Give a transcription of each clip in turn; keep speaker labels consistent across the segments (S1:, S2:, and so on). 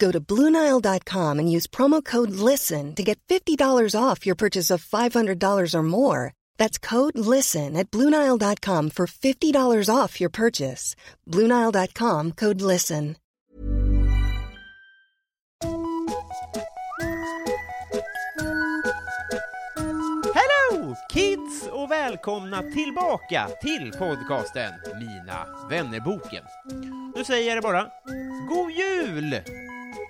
S1: Go to Bluenile.com and use promo code LISTEN to get $50 off your purchase of $500 or more. That's code LISTEN at Bluenile.com for $50 off your purchase. Bluenile.com code LISTEN.
S2: Hello kids och välkomna tillbaka till podcasten Mina vännerboken. Nu säger jag det bara. God jul!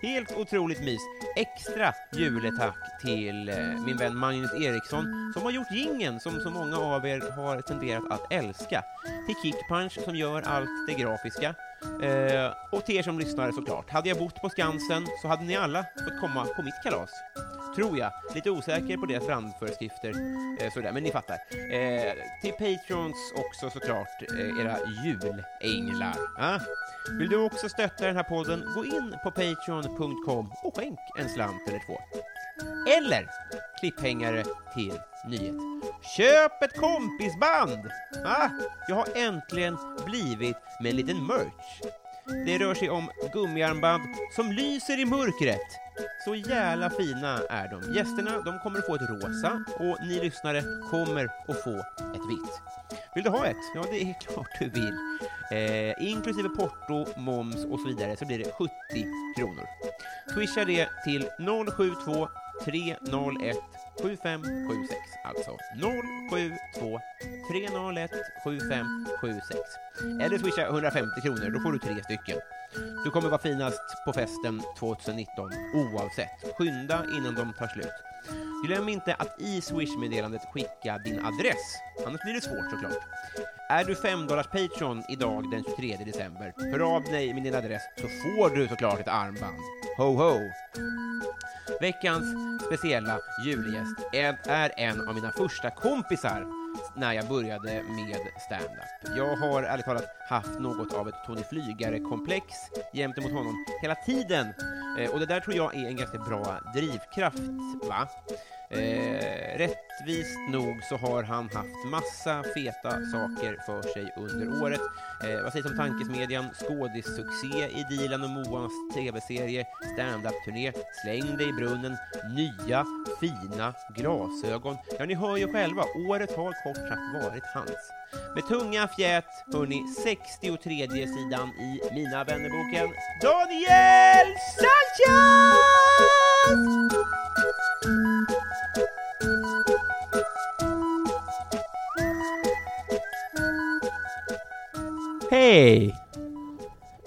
S2: Helt otroligt mys. Extra juletack till eh, min vän Magnus Eriksson som har gjort gingen som så många av er har tenderat att älska. Till Kickpunch som gör allt det grafiska. Eh, och till er som lyssnar såklart. Hade jag bott på Skansen så hade ni alla fått komma på mitt kalas tror jag. Lite osäker på deras brandföreskrifter, eh, sådär, men ni fattar. Eh, till Patreons också såklart, eh, era julänglar. Ah? Vill du också stötta den här podden, gå in på patreon.com och skänk en slant eller två. Eller klipphängare till nyhet. Köp ett kompisband! Ah, jag har äntligen blivit med en liten merch. Det rör sig om gummiarmband som lyser i mörkret. Så jävla fina är de. Gästerna de kommer att få ett rosa och ni lyssnare kommer att få ett vitt. Vill du ha ett? Ja, det är klart du vill. Eh, inklusive porto, moms och så vidare så blir det 70 kronor. Swisha det till 072 301 7576. Alltså 072 301 7576. Eller swisha 150 kronor, då får du tre stycken. Du kommer vara finast på festen 2019 oavsett. Skynda innan de tar slut. Glöm inte att i Swish-meddelandet skicka din adress, annars blir det svårt såklart. Är du 5 Patreon idag den 23 december, hör av dig med din adress så får du såklart ett armband. Ho ho! Veckans speciella julgäst är- är en av mina första kompisar när jag började med stand-up. Jag har ärligt talat haft något av ett Tony Flygare-komplex gentemot honom hela tiden Eh, och det där tror jag är en ganska bra drivkraft, va? Eh, rättvist nog så har han haft massa feta saker för sig under året. Eh, vad sägs om tankesmedjan, skådissuccé i Dilan och Moans tv-serie, standup-turné, Släng dig i brunnen, nya fina glasögon. Ja, ni hör ju själva, året har kort sagt varit hans. Med tunga fjät, hörni, 63 sidan i Mina vännerboken, Daniel Sanchez! Hej!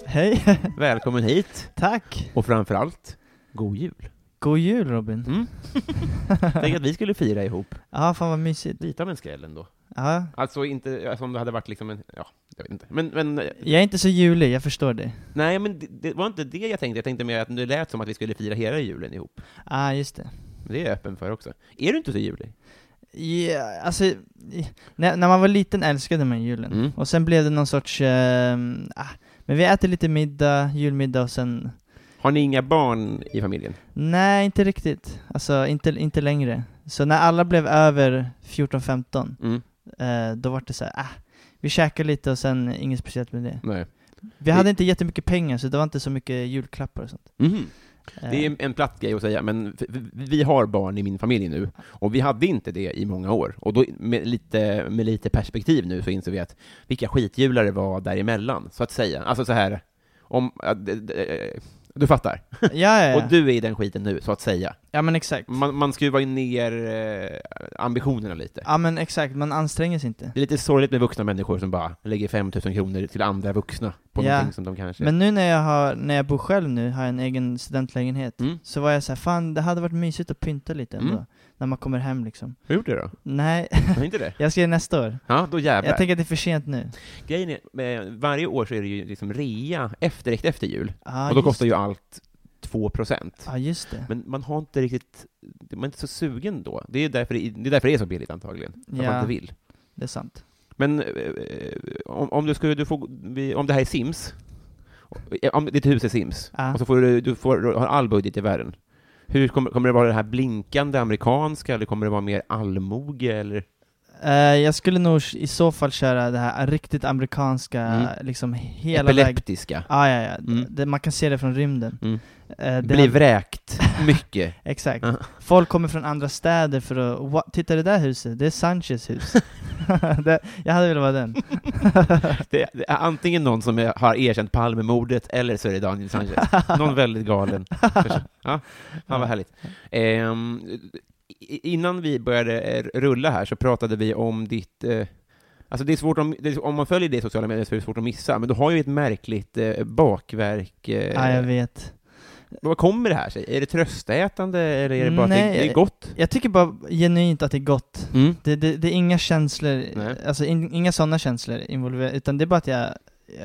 S3: Hej!
S2: Välkommen hit,
S3: Tack!
S2: och framförallt, god jul.
S3: God jul Robin!
S2: Mm. Tänk att vi skulle fira ihop.
S3: Ja, fan vad mysigt.
S2: Lite av en skräll ändå.
S3: Ja,
S2: Alltså inte, alltså om det hade varit liksom en, ja, jag vet inte. Men, men eh,
S3: jag är inte så julig, jag förstår det.
S2: Nej, men det, det var inte det jag tänkte. Jag tänkte mer att det lät som att vi skulle fira hela julen ihop.
S3: Ja, ah, just det.
S2: Men Det är jag öppen för också. Är du inte så julig?
S3: Ja, alltså, i- när, när man var liten älskade man julen.
S2: Mm.
S3: Och sen blev det någon sorts, ehm, ah, men vi äter lite middag, julmiddag och sen,
S2: Har ni inga barn i familjen?
S3: nej inte riktigt. Alltså inte, inte längre. Så när alla blev över 14-15,
S2: Mm.
S3: eh, då var det så här, ah, vi käkar lite och sen inget speciellt med det.
S2: Nej.
S3: Vi hade inte jättemycket pengar så det var inte så mycket julklappar och sånt.
S2: Mhm.
S3: Eh,
S2: Det är en platt grej att säga, men f- f- vi har barn i min familj nu, och vi hade inte det i många år. Och då, med lite, med lite perspektiv nu så inser vi att vilka skitjular det var däremellan, så att säga. Alltså så här, om, att- d- d- Du fattar?
S3: Ja, Eh, ja, ja.
S2: Och du är i den skiten nu, så att säga.
S3: ja men exakt.
S2: Man, man skruvar ju ner eh, ambitionerna lite.
S3: Ja men exakt, man anstränger sig inte.
S2: Det är lite sorgligt med vuxna människor som bara lägger 5000 kronor till andra vuxna på
S3: Ja.
S2: någonting som de kanske...
S3: Men nu när jag, har, när jag bor själv nu, har jag en egen studentlägenhet,
S2: Mm.
S3: så var jag så här, fan det hade varit mysigt att pynta lite ändå,
S2: Mm.
S3: när man kommer hem liksom.
S2: Har du gjort det då?
S3: Nej,
S2: Har du inte det?
S3: jag ska göra nästa år.
S2: Ja, då jävlar.
S3: Jag tänker att det är för sent nu.
S2: Grejen är, eh, varje år så är det ju liksom rea efter, direkt efter jul.
S3: Ah,
S2: och då
S3: just-
S2: kostar ju allt 2%.
S3: Ja just det.
S2: Men man har inte riktigt, man är inte så sugen då. Det är därför det, det, är, därför det är så billigt antagligen. För att man
S3: Ja.
S2: inte vill.
S3: Det är sant.
S2: Men eh, om, om du skulle, du får, vi- om det här är Sims, eh, om ditt hus är Sims,
S3: Ja.
S2: och så får du, du får, har all budget i världen. Hur kommer, kommer det vara det här blinkande amerikanska, eller kommer det vara mer allmoge, eller?
S3: Eh, jag skulle nog i så fall köra det här riktigt amerikanska,
S2: Mm.
S3: liksom hela vägen.
S2: epileptiska?
S3: Ah, ja, ja.
S2: Mm.
S3: Det, man kan se det från rymden.
S2: Mm.
S3: Eh, det
S2: Bli vräkt mycket.
S3: Exakt.
S2: Ja.
S3: Folk kommer från andra städer för att, "Wa- titta det där huset, det är Sanchez hus. det, jag hade velat vara den.
S2: Det, det är antingen någon som är, har erkänt Palmemordet, eller så är det Daniel Sanchez. Någon väldigt galen. person. Ja, fan vad härligt. Ehm, i- innan vi började eh, rulla här så pratade vi om ditt... Eh, alltså det är svårt om, det är, om man följer det i sociala medier så är det svårt att missa, men du har ju ett märkligt eh, bakverk. Eh,
S3: Ja, jag vet.
S2: vad kommer det här sig? Är det tröstätande, eller är det bara att det,
S3: Nej.
S2: det är gott?
S3: Jag tycker bara genuint att det är gott.
S2: Mm.
S3: Det, det, det är inga känslor,
S2: Nej.
S3: alltså in, inga sådana känslor involverade, utan det är bara att jag,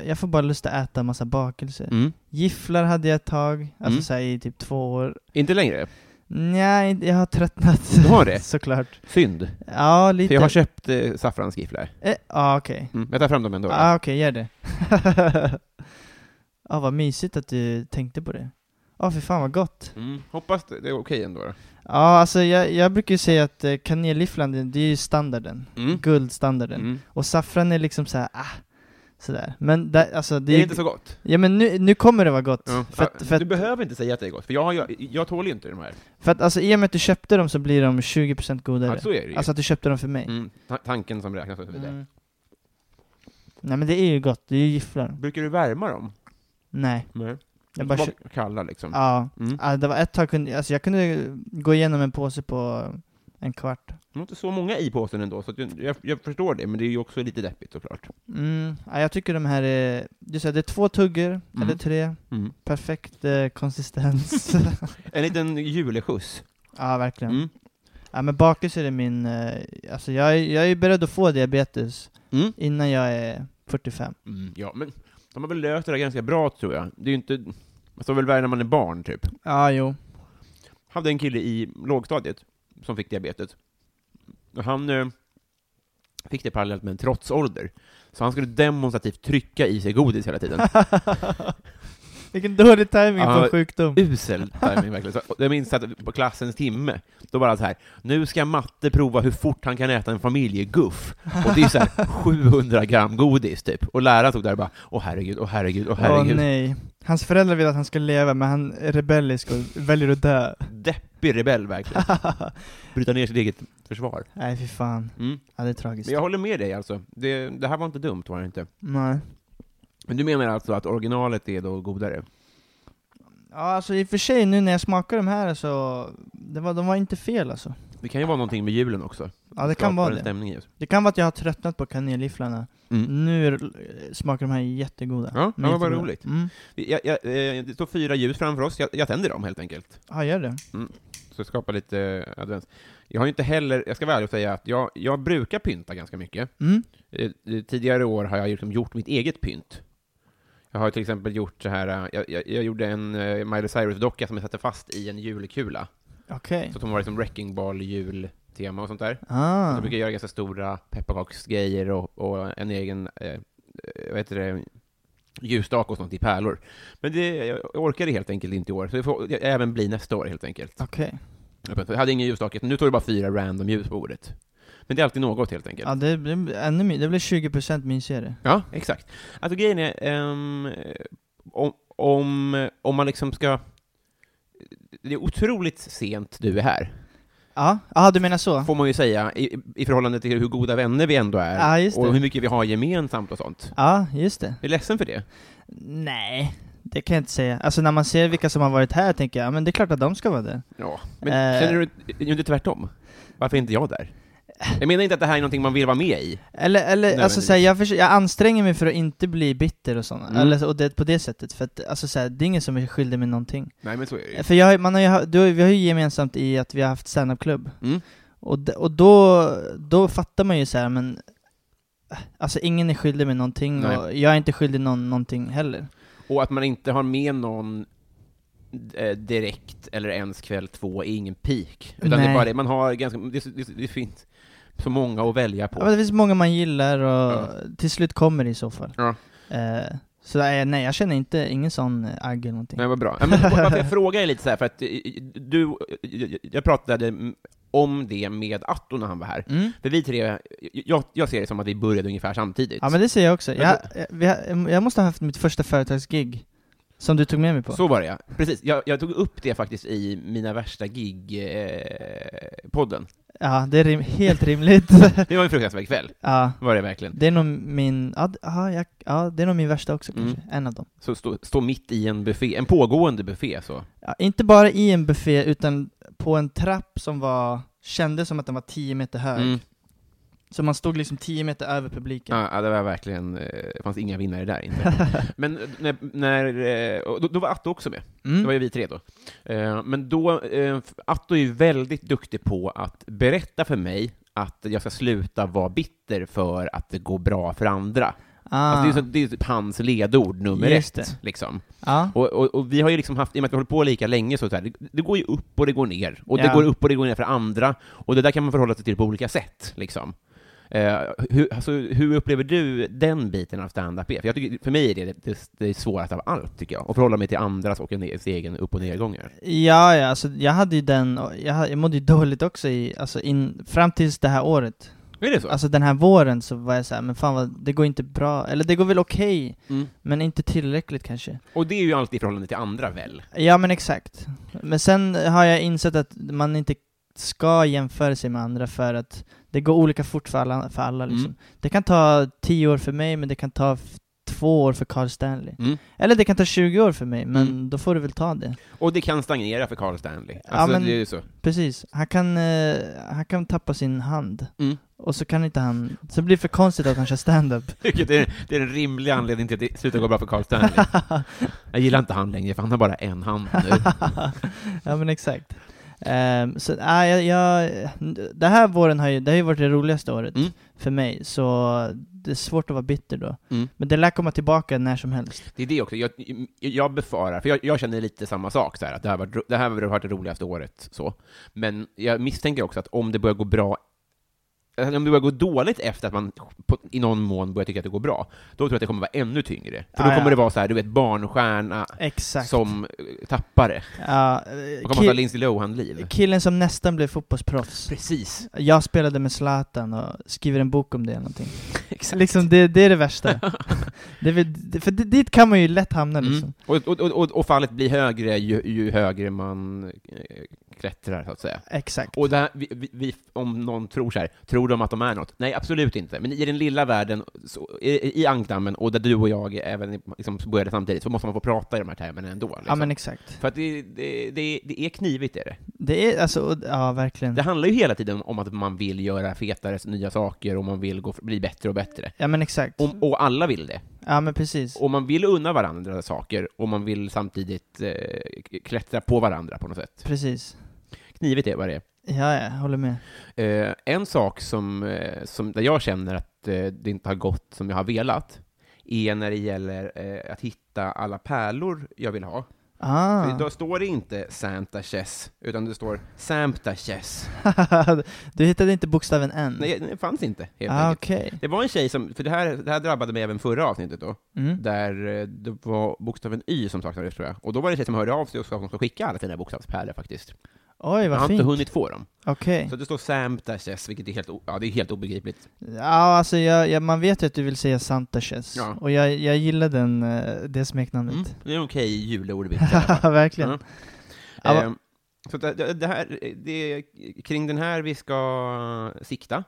S3: jag får bara lust att äta massa bakelser.
S2: Mm.
S3: Gifflar hade jag ett tag, alltså
S2: Mm.
S3: så här, i typ två år.
S2: Inte längre?
S3: Nej, jag har tröttnat.
S2: Du har det?
S3: Såklart.
S2: Synd.
S3: Ja, lite.
S2: För jag har köpt eh, saffransgifflar.
S3: eh, ah, okej.
S2: Mm. Jag tar fram dem ändå.
S3: Ja,
S2: då.
S3: ah, okej, gör det. ah, vad mysigt att du tänkte på det. Ja, ah, för fan vad gott. Ja,
S2: Mm. Hoppas det det är okej ändå. Då.
S3: ah, alltså jag, jag brukar ju säga att eh, kanelgifflan, det, det är ju standarden.
S2: Mm.
S3: Guldstandarden.
S2: Mm.
S3: Och saffran är liksom så här, ah, sådär. Men där, alltså det,
S2: Det
S3: är
S2: är
S3: ju-
S2: inte så gott.
S3: Ja men nu, nu kommer det vara gott.
S2: Ja. Ah,
S3: För, att, för, att,
S2: Du behöver inte säga att det är gott, för jag, har ju- jag tål ju inte de här.
S3: för att alltså i och med att du köpte dem så blir de 20% godare.
S2: Ja,
S3: Alltså,
S2: så är det ju.
S3: att du köpte dem för mig.
S2: mm, ta- tanken som räknas och så vidare.
S3: Mm. Nej men det är ju gott, det är ju gifflar.
S2: Brukar du värma dem?
S3: Nej,
S2: Nej.
S3: jag bara...
S2: Var
S3: kö-
S2: kalla liksom.
S3: Ja.
S2: Mm.
S3: Ja, det var ett tag kunde, alltså jag kunde gå igenom en påse på en kvart.
S2: Det var inte så många i påsen ändå, så att jag, jag, jag förstår det, men det är ju också lite deppigt såklart.
S3: Mm, ja, jag tycker de här är, du säger det är två tuggor, eller tre,
S2: Mm.
S3: perfekt eh, konsistens.
S2: En liten juleskjuts.
S3: ja, verkligen.
S2: Mm.
S3: Ja, men bakelser är min, eh, alltså jag, är- jag är beredd att få diabetes
S2: Mm.
S3: innan jag är 45.
S2: Mm. Ja, men de har väl löst det där ganska bra, tror jag. Det är ju inte... Man står väl värre när man är barn, typ.
S3: Ja, jo.
S2: hade en kille i lågstadiet som fick diabetes. Och han eh, fick det parallellt med en trotsålder. Så han skulle demonstrativt trycka i sig godis hela tiden.
S3: Vilken dålig timing på
S2: Ja.
S3: en sjukdom.
S2: Usel timing verkligen. Så och jag minns att på klassens timme, då var det så här, nu ska matte prova hur fort han kan äta en familjeguff. Och det är så här 700 gram godis typ. Och läraren stod där och bara, åh herregud, åh herregud, åh
S3: Åh
S2: herregud.
S3: nej. Hans föräldrar vill att han ska leva, men han är rebellisk och väljer att dö.
S2: Deppig rebell verkligen. Bryta ner sitt eget försvar.
S3: nej, fy fan.
S2: Mm.
S3: Ja, det är tragiskt.
S2: Men jag håller med dig alltså. Det, det här var inte dumt, var det inte?
S3: Nej.
S2: Men du menar alltså att originalet är då godare?
S3: Ja, alltså i och för sig nu när jag smakar de här så, det var, de var inte fel alltså.
S2: Det kan ju vara någonting med julen också.
S3: Ja, det
S2: Skapar
S3: kan vara
S2: en
S3: det.
S2: Stämning i oss.
S3: Det kan vara att jag har tröttnat på kanelgifflarna.
S2: Mm.
S3: Nu är- smakar de här jättegoda.
S2: Ja, ja, vad
S3: Jättegoda.
S2: roligt.
S3: Mm.
S2: Jag, jag, eh, det står fyra ljus framför oss, jag, jag tänder dem helt enkelt.
S3: Ja, gör det.
S2: Så jag skapar lite eh, advents. Jag har ju inte heller, jag ska vara ärlig och säga att jag, jag brukar pynta ganska mycket.
S3: Mm.
S2: Eh, eh, Tidigare år har jag liksom gjort mitt eget pynt. Jag har till exempel gjort så här, eh, jag, jag, jag gjorde en eh, Miley Cyrus-docka som jag satte fast i en julkula.
S3: Okej.
S2: Så att hon var liksom wrecking ball jultema och sånt där.
S3: Ah.
S2: Jag brukar göra ganska stora pepparkaksgrejer och, och en egen, eh, vad heter det, ljusstake och sånt i pärlor. Men det, jag orkar det helt enkelt inte i år, så det får det även bli nästa år helt enkelt.
S3: Okej.
S2: Jag hade ingen ljusstake, nu tar det bara fyra random ljus på bordet. Men det är alltid något helt enkelt.
S3: Ja, det blir ännu mer. Det blir 20% mysigare.
S2: Ja, exakt. Alltså grejen är, ehm, om, om, om man liksom ska... Det är otroligt sent du är här,
S3: Ja, ah, du menar så?
S2: får man ju säga, i, i förhållande till hur goda vänner vi ändå är,
S3: Ja, just det.
S2: och hur mycket vi har gemensamt och sånt.
S3: Ja, just det.
S2: Jag är ledsen för det.
S3: Nej. Det kan jag inte säga. Alltså när man ser vilka som har varit här tänker jag, ja, men det är klart att de ska vara där.
S2: Ja. Men
S3: Eh.
S2: känner du är inte tvärtom? Varför är inte jag där? Jag menar inte att det här är någonting man vill vara med i.
S3: Eller, eller alltså
S2: Nödvändigtvis.
S3: såhär, jag, försö- jag anstränger mig för att inte bli bitter och sådana,
S2: Mm.
S3: eller, så- och det, på det sättet, för att alltså, såhär, det är ingen som är skyldig med någonting.
S2: Nej, men så är det ju.
S3: För jag, har- man har ju, ha- du, har ju- vi har ju gemensamt i att vi har haft standup-klubb,
S2: Mm.
S3: och, d- och då, då fattar man ju såhär, men äh, alltså ingen är skyldig med någonting,
S2: Nej.
S3: och jag är inte skyldig någon någonting heller.
S2: Och att man inte har med någon eh, direkt eller ens kväll två är ingen peak. Utan det är
S3: Nej.
S2: bara det, man har ganska, det, det, det finns så många att välja på.
S3: Ja, men det finns många man gillar, och
S2: Ja.
S3: till slut kommer det i så fall.
S2: Ja.
S3: Eh, så eh, nej, jag känner inte, ingen sån eh, agg eller någonting.
S2: Nej, vad bra. Ja, men varför jag frågar är lite så här, för att eh, du, eh, jag pratade mm, om det med Atto när han var här.
S3: Mm.
S2: För vi tre, jag, jag ser det som att vi började ungefär samtidigt.
S3: Ja men det ser jag också.
S2: Men
S3: Jag, jag, vi har- eh, jag måste ha haft mitt första företagsgig, som du tog med mig på.
S2: Så var det ja. Precis, jag, jag tog upp det faktiskt i mina värsta gig-podden.
S3: Ja, det är rim, helt rimligt.
S2: det var en fruktansvärd kväll,
S3: ja,
S2: var det verkligen.
S3: det är nog min, ja, d- aha, jag, ja det är nog min värsta också
S2: Mm.
S3: kanske, en av dem.
S2: Så stå, stå mitt i en buffé, en pågående buffé så.
S3: Ja, inte bara i en buffé, utan på en trapp som var, kändes som att den var 10 meter hög.
S2: Mm.
S3: Så man stod liksom 10 meter över publiken.
S2: Ja, ja, det var verkligen, eh, det fanns inga vinnare där inte. Men när, när eh, och då, då var Atto också med. Det
S3: Mm.
S2: var ju vi tre då. Eh, Men då, eh, Atto är ju väldigt duktig på att berätta för mig att jag ska sluta vara bitter för att det går bra för andra.
S3: Ah.
S2: Alltså det, är så, det är typ hans ledord nummer
S3: Just
S2: ett.
S3: det.
S2: Liksom.
S3: ja.
S2: Och, och, och vi har ju liksom haft, i och med att vi håller på lika länge, så, så här, det, det går ju upp och det går ner. Och det
S3: Ja.
S2: går upp och det går ner för andra. Och det där kan man förhålla sig till på olika sätt. Liksom. Eh, hur, alltså, hur upplever du den biten av stand-up är? För, jag tycker, för mig är det det, det svåraste av allt, tycker jag. Att förhålla mig till andras och en e, ens egen upp och nedgångar.
S3: Ja, ja, alltså jag hade ju den, och jag, ha- jag mådde ju dåligt också i, alltså in, fram tills det här året.
S2: Är det så?
S3: Alltså den här våren så var jag så här, men fan vad, det går inte bra, eller det går väl okej,
S2: Mm.
S3: men inte tillräckligt kanske.
S2: Och det är ju alltid i förhållande till andra, väl?
S3: Ja men exakt. Men sen har jag insett att man inte ska jämföra sig med andra för att det går olika fort för alla. För alla liksom.
S2: Mm.
S3: Det kan ta 10 år för mig, men det kan ta f- två år för Carl Stanley.
S2: Mm.
S3: Eller det kan ta 20 år för mig, men
S2: Mm.
S3: då får du väl ta det.
S2: Och det kan stagnera för Carl Stanley.
S3: Ja,
S2: Alltså,
S3: men-
S2: det är ju så.
S3: Precis. Han kan, eh, han kan tappa sin hand.
S2: Mm.
S3: Och så kan inte han... Så blir det för konstigt att han kör stand-up.
S2: Vilket är, det är en rimlig anledning till att det slutar gå bra för Carl Stanley. Jag gillar inte han längre, för han har bara en hand nu.
S3: ja men exakt. Ehm, så, nej, jag, jag, det här våren har ju, det har ju varit det roligaste året
S2: Mm.
S3: för mig, så det är svårt att vara bitter då.
S2: Mm.
S3: Men det lär komma tillbaka när som helst.
S2: Det är det också. Jag, jag befarar, för jag, jag känner lite samma sak, så här, att det här, var, det här har varit det roligaste året. Så. Men jag misstänker också att om det börjar gå bra eller om det börjar gå dåligt efter att man på, i någon mån börjar tycka att det går bra, då tror jag att det kommer vara ännu tyngre. För då
S3: Ah, ja.
S2: kommer det vara så här, du vet, barnstjärna
S3: Exakt.
S2: som eh, tappare.
S3: Ja, eh,
S2: Då kommer man ta
S3: ki-
S2: Lindsay Lohan-liv.
S3: killen som nästan blev fotbollsproffs.
S2: Precis.
S3: Jag spelade med Zlatan och skriver en bok om det eller någonting. Liksom, det, det är det värsta. det är väl, det, för di- dit kan man ju lätt hamna liksom.
S2: Mm. Och, och, och, och- och fallet blir högre ju, ju högre man eh, klättrar, så att säga.
S3: Exakt.
S2: Och det här, vi, vi, vi, om någon tror så här, tror de att de är något? Nej, absolut inte. Men i den lilla världen, så, i, i ankdammen, och där du och jag även liksom, började samtidigt, så måste man få prata i de här termerna ändå. Liksom.
S3: Ja men exakt.
S2: För att det, det, det, det är knivigt, är det.
S3: Det är alltså, och- ja verkligen.
S2: Det handlar ju hela tiden om att man vill göra fetare, nya saker, och man vill gå, bli bättre och bättre.
S3: Ja men exakt.
S2: Och, och alla vill det.
S3: Ja men precis.
S2: Och man vill unna varandra saker, och man vill samtidigt eh, klättra på varandra på något sätt.
S3: Precis.
S2: Knivigt är vad det är.
S3: Ja, ja, jag håller med.
S2: Eh, en sak som, eh, som där jag känner att eh, det inte har gått som jag har velat är när det gäller eh, att hitta alla pärlor jag vill ha.
S3: Ah.
S2: För Då står det inte Santa Chess, utan det står Sampta Chess.
S3: du hittade inte bokstaven N?
S2: Nej, det fanns inte, helt
S3: ah,
S2: enkelt.
S3: okej.
S2: Det var en tjej som, för det här, det här drabbade mig även förra avsnittet då,
S3: Mm.
S2: där eh, det var bokstaven Y som saknades tror jag. Och då var det en tjej som hörde av sig och sa att hon ska skicka alla sina bokstavspärlor faktiskt.
S3: Oj,
S2: Jag
S3: vad
S2: har inte
S3: fint.
S2: hunnit få dem.
S3: Okej.
S2: Så det står Sampta Chess, vilket är helt, o- ja, det är helt obegripligt.
S3: Ja, alltså jag, jag, man vet ju att du vill säga Santaches.
S2: Ja.
S3: Och jag, jag gillar den, eh, det smeknamnet.
S2: Mm. Det är en okej julordvits i alla fall.
S3: Verkligen.
S2: Mm.
S3: Ja, va-
S2: Ehm, eh, Så det, det det här, det är kring den här vi ska sikta,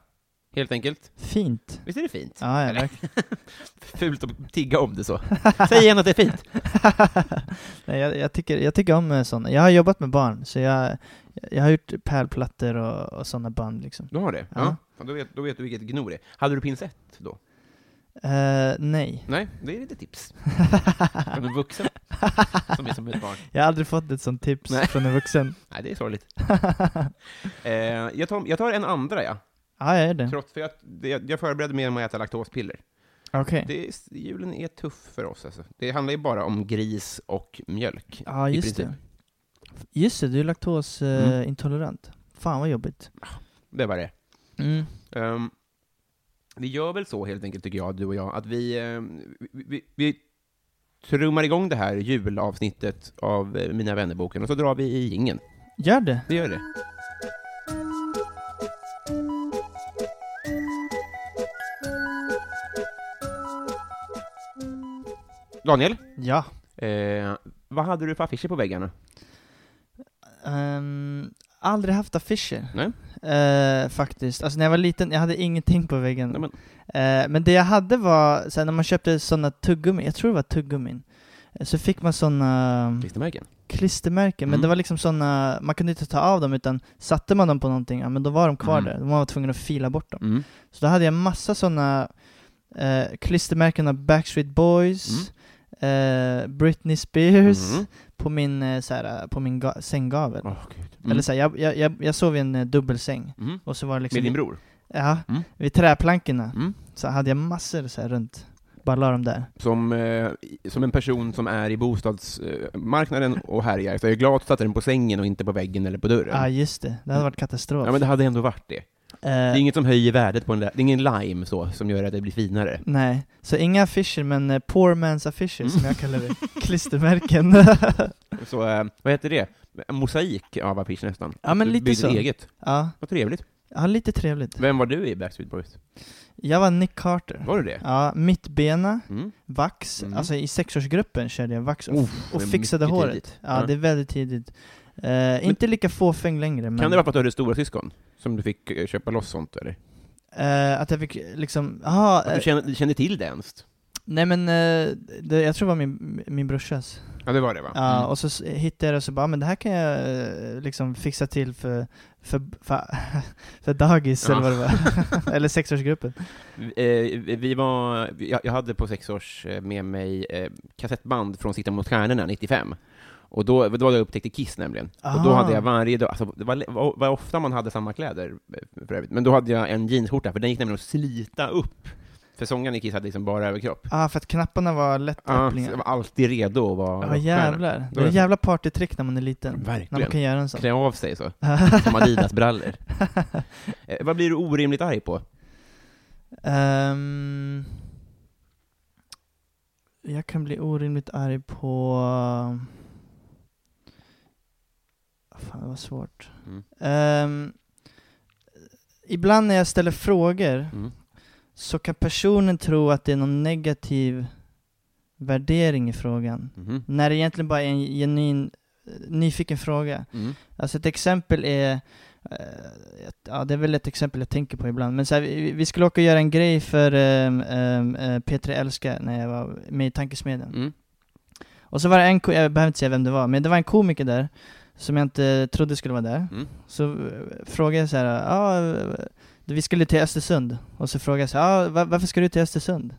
S2: helt enkelt.
S3: Fint.
S2: Visst är det fint?
S3: Ja, ja,
S2: Eller?
S3: verkligen.
S2: Fult att tigga om det så. Säg igen att det är fint.
S3: Nej, jag, jag, tycker, jag tycker om eh, såna. Jag har jobbat med barn, så jag, jag har gjort pärlplattor och, och sådana band liksom.
S2: Du har det?
S3: Ja.
S2: Ja. ja då, vet, då vet du vilket gno det är. Hade du pinsett då?
S3: Eh, nej.
S2: Nej, det är lite tips. Från en vuxen som är som ett barn.
S3: Jag har aldrig fått ett sånt tips
S2: Nej.
S3: från en vuxen.
S2: Nej, det är sorgligt. eh, jag, tar, jag tar en andra, ja.
S3: Ja, jag är det.
S2: Trots, för jag, det- jag, jag förberedde mig med att äta laktospiller.
S3: Okej.
S2: Det, är- julen är tuff för oss alltså. Det handlar ju bara om gris och mjölk.
S3: Ja,
S2: i
S3: just
S2: princip.
S3: det. Just det, du är
S2: Mm.
S3: laktosintolerant. Fan vad jobbigt.
S2: Det var det.
S3: Mm.
S2: Ehm, vi gör väl så helt enkelt, tycker jag, du och jag, att vi, ehm, vi, vi, vi trummar igång det här julavsnittet av eh, Mina vännerboken och så drar vi i ingen.
S3: Gör det.
S2: Vi gör det. Daniel,
S3: Ja.
S2: eh, vad hade du för affischer på väggarna?
S3: Ehm, aldrig haft affischer.
S2: Nej.
S3: Eh, faktiskt. Alltså när jag var liten, jag hade ingenting på väggen.
S2: Nej, men,
S3: Eh, men det jag hade var, sen när man köpte sådana tuggummin, jag tror det var tuggummin, eh, så fick man sådana
S2: klistermärken?
S3: klistermärken, men
S2: Mm.
S3: det var liksom sådana, man kunde inte ta av dem utan satte man dem på någonting, ja men då var de kvar
S2: Mm.
S3: där. Man var tvungen att fila bort dem.
S2: Mm.
S3: Så då hade jag massa sådana eh, klistermärken av Backstreet Boys, eh, Britney Spears,
S2: Mm.
S3: på min, eh, såhär, på min ga- sänggavel.
S2: Åh, gud. Mm.
S3: Eller såhär, jag, jag, jag, jag sov i en eh, dubbelsäng,
S2: Mm.
S3: och så var det liksom...
S2: Med din bror?
S3: Ja,
S2: Mm.
S3: vid träplankorna.
S2: Mm.
S3: Så hade jag massor så här runt. Bara la dem där.
S2: Som, eh, i- som en person som är i bostadsmarknaden och härjar, så är jag glad att du satte den på sängen och inte på väggen eller på
S3: Ja,
S2: dörren.
S3: ah, just det. Det hade varit katastrof.
S2: ja, men det hade ändå varit det. Det är
S3: eh,
S2: inget som höjer värdet på den där, det är ingen lime så, som gör att det blir finare.
S3: nej, så inga affischer, men eh, poor man's affischer
S2: Mm.
S3: som jag kallar det. Klistermärken.
S2: Så, eh, vad heter det? En mosaik av affisch nästan.
S3: Ja, men
S2: Du
S3: lite
S2: byggde
S3: så.
S2: eget.
S3: ja,
S2: Vad trevligt.
S3: ja, lite trevligt.
S2: Vem var du i Backstreet Boys?
S3: Jag var Nick Carter.
S2: Var du det?
S3: Ja, mittbena,
S2: Mm.
S3: vax.
S2: Mm.
S3: Alltså i sexårsgruppen körde jag vax och,
S2: Uff,
S3: och
S2: det är
S3: fixade
S2: mycket
S3: håret.
S2: tidigt.
S3: Ja,
S2: Ja.
S3: det är väldigt tidigt. Eh, inte lika fåfäng längre, men
S2: Kan det vara för att du hade stora syskon? Som du fick eh, köpa loss sånt, eller?
S3: eh, att jag fick liksom, aha,
S2: Att du
S3: eh,
S2: kände, du kände till det ens?
S3: nej men eh, det, jag tror det var min, min brorsas.
S2: Ja, det var det va?
S3: Ja,
S2: Mm.
S3: och så s- hittade jag det och så bara, "Ah, men det här kan jag eh, liksom fixa till för, för, för, för dagis
S2: Ja.
S3: eller vad det var. eller sexårsgruppen.
S2: Eh, vi var, jag, jag hade på sex års eh, med mig eh, kassettband från Sikta mot stjärnorna 95. Och då, då hade jag upptäckte Kiss nämligen. Och då
S3: Ah.
S2: hade jag varje dag, alltså, det var, var, var ofta man hade samma kläder eh, för övrigt, men då hade jag en jeansskjorta, för den gick nämligen att slita upp. För sångaren i Kiss hade liksom bara överkropp.
S3: Ja, ah, för att knapparna var
S2: Ja, så jag
S3: lättöppningar.
S2: var alltid redo att vara
S3: Ja,
S2: rockstjärna.
S3: jävlar.
S2: Då
S3: Det är
S2: är-
S3: ett jävla partytrick när man är liten. När man
S2: Verkligen.
S3: kan göra en sån.
S2: Klä av sig så, som Adidas-brallor. Eh, vad blir du orimligt arg på?
S3: Ehm, jag kan bli orimligt arg på... Fan, det var svårt.
S2: Mm.
S3: Ehm, ibland när jag ställer frågor
S2: Mm.
S3: så kan personen tro att det är någon negativ värdering i frågan.
S2: Mhm.
S3: När det egentligen bara är en genuin eh, nyfiken fråga.
S2: Mm.
S3: Alltså ett exempel är, eh, ett- ja det är väl ett exempel jag tänker på ibland, men så här, vi, vi skulle åka och göra en grej för um, um, P3 Älska när jag var med i Tankesmedjan.
S2: Mm.
S3: Och så var det en, ko- jag behöver inte säga vem det var, men det var en komiker där som jag inte trodde skulle vara där.
S2: Mm.
S3: Så eh, frågade jag så här, ja, eh, vi skulle till Östersund. Och så frågade jag så här, ja, va- varför ska du till Östersund?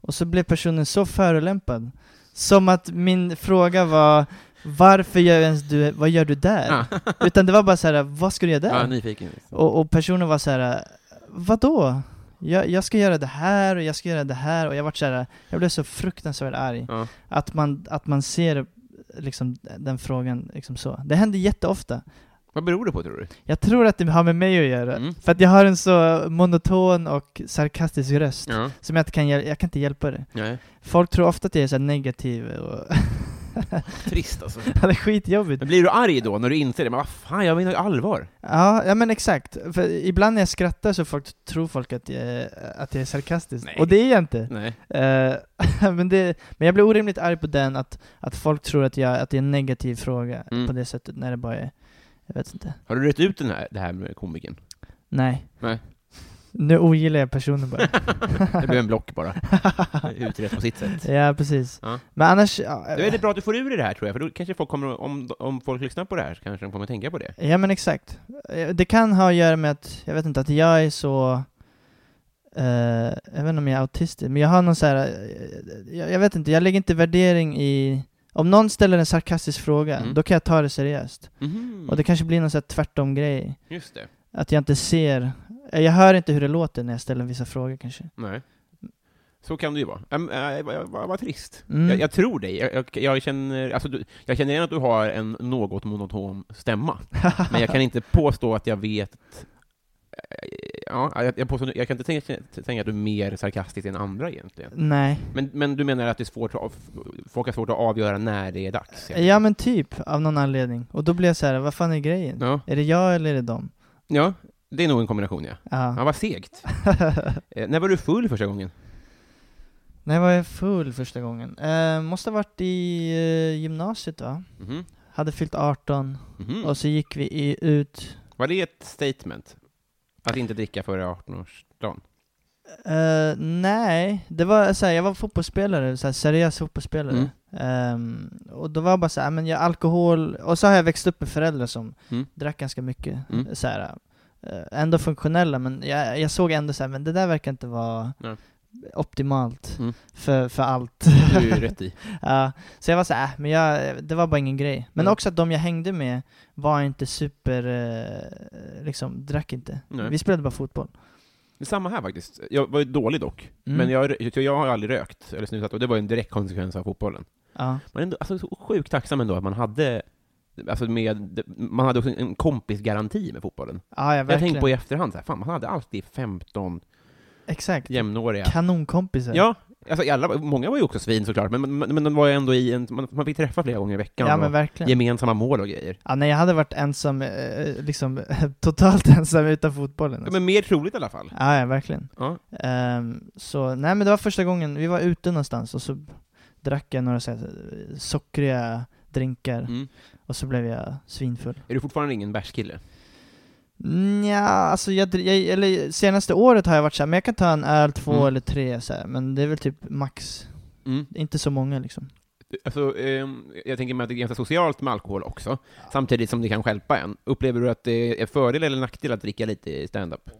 S3: Och så blev personen så förolämpad. Som att min fråga var, varför gör ens du, vad gör du där?
S2: Ah.
S3: Utan det var bara så här, vad ska du göra
S2: Ja,
S3: där?
S2: nyfiken.
S3: och, och personen var så här, vadå? Jag, jag ska göra det här och jag ska göra det här och jag vart så här, jag blev så fruktansvärt arg.
S2: Ja.
S3: Att man, att man ser liksom den frågan liksom så. Det händer jätteofta.
S2: Vad beror det på, tror du?
S3: Jag tror att det har med mig att göra.
S2: Mm.
S3: För att jag har en så monoton och sarkastisk röst.
S2: Ja.
S3: Som jag inte kan, hjäl- jag kan inte hjälpa det.
S2: Nej.
S3: Folk tror ofta att jag är så här negativ och
S2: Trist alltså.
S3: det är skitjobbigt.
S2: Men blir du arg då, när du inser det? Men vad fan, jag menar ju allvar.
S3: Ja, ja men exakt. För ibland när jag skrattar så folk, tror folk att jag, att jag är sarkastisk.
S2: Nej.
S3: Och det är jag inte.
S2: Nej.
S3: Eh, men, det, men jag blir orimligt arg på den, att, att folk tror att, jag, att det är en negativ fråga
S2: Mm.
S3: på det sättet när det bara är, jag vet inte.
S2: Har du rätt ut den här, det här med komikern?
S3: Nej.
S2: Nej.
S3: Nu ogillar jag personen bara.
S2: Det blev en block bara. Utrett på sitt sätt.
S3: ja, precis.
S2: Ja.
S3: Men annars... Ja,
S2: Det är väldigt bra att du får ur dig det här tror jag, för då kanske folk kommer, om, om folk lyssnar på det här så kanske de kommer att tänka på det.
S3: Ja men exakt. Eh, Det kan ha att göra med att, jag vet inte, att jag är så... eh, jag vet inte om jag är autistisk, men jag har någon så här... eh, jag, jag vet inte, jag lägger inte värdering i... Om någon ställer en sarkastisk fråga,
S2: Mm.
S3: då kan jag ta det seriöst.
S2: Mhm.
S3: Och det kanske blir någon så här tvärtom-grej.
S2: Just det.
S3: Att jag inte ser... eh, Jag hör inte hur det låter när jag ställer vissa frågor kanske.
S2: Nej. Så kan det ju vara. Äm, äh, vad, vad, vad trist.
S3: Mm.
S2: Jag, jag tror dig. Jag, jag, jag, känner, alltså, du, jag känner igen att du har en något monoton stämma, men jag kan inte påstå att jag vet äh, Ja, jag, jag, påstår, jag kan inte tänka, tänka att du är mer sarkastisk än andra egentligen.
S3: Nej.
S2: Men, men du menar att det är svårt att, av- folk har svårt att avgöra när det är dags? helt
S3: Ja men typ, av någon anledning. Och då blir jag så här, vad fan är grejen?
S2: Ja.
S3: Är det jag eller är det dem?
S2: Ja, det är nog en kombination, ja. Ja,
S3: Ja.
S2: vad segt. Eh, när var du full första gången?
S3: När var jag full första gången? Eh, måste ha varit i eh, gymnasiet va?
S2: Mhm.
S3: Hade fyllt 18
S2: Mhm.
S3: och så gick vi i, ut.
S2: Var det ett statement? Att inte dricka före 18-årsdagen?
S3: Eh, nej, det var såhär, jag var fotbollsspelare, såhär, seriös fotbollsspelare.
S2: Mm.
S3: Ehm, och då var jag bara såhär, men jag alkohol, och så har jag växt upp med föräldrar som
S2: Mm.
S3: drack ganska mycket.
S2: Mm.
S3: Såhär, eh, ändå funktionella, men jag, jag såg ändå såhär, men det där verkar inte vara
S2: Nej.
S3: optimalt
S2: Mm.
S3: för, för allt.
S2: Det är ju rätt i.
S3: Ja, så jag var såhär, äh, men jag, det var bara ingen grej. Men
S2: Mm.
S3: också att de jag hängde med var inte super, eh, liksom, drack inte.
S2: Nej.
S3: Vi spelade bara fotboll.
S2: Det är samma här faktiskt. Jag var ju dålig dock,
S3: Mm.
S2: men jag, jag, jag har ju aldrig rökt eller snusat, och det var ju en direkt konsekvens av fotbollen.
S3: Ja,
S2: Men ändå, alltså, så sjukt tacksam ändå att man hade Alltså med, man hade också en kompisgaranti med fotbollen.
S3: ja, ja
S2: Jag
S3: verkligen.
S2: tänkte på i efterhand, så här, fan man hade alltid 15
S3: Exakt.
S2: jämnåriga
S3: Kanonkompisar.
S2: Ja, alltså alla, många var ju också svin såklart, men, men, men de var ju ändå i en, man, man fick träffa flera gånger i veckan
S3: ja men
S2: och
S3: verkligen.
S2: gemensamma mål och grejer.
S3: Ja, nej, jag hade varit ensam, eh, liksom totalt ensam utan fotbollen.
S2: Ja,
S3: Alltså.
S2: men mer troligt i alla fall.
S3: Ja, ja, verkligen.
S2: Ja.
S3: Ehm, så, nej men det var första gången, vi var ute någonstans och så drack jag några så här, eh, sockriga drinkar
S2: Mm.
S3: och så blev jag svinfull.
S2: Är du fortfarande ingen bärskille?
S3: Nja, alltså jag, dri- jag, eller senaste året har jag varit såhär, men jag kan ta en öl, två
S2: Mm.
S3: eller tre så här, men det är väl typ max,
S2: Mm.
S3: inte så många liksom.
S2: Alltså, ehm, jag tänker mig att det är ganska socialt med alkohol också, samtidigt som det kan stjälpa en. Upplever du att det är fördel eller nackdel att dricka lite i stand-up?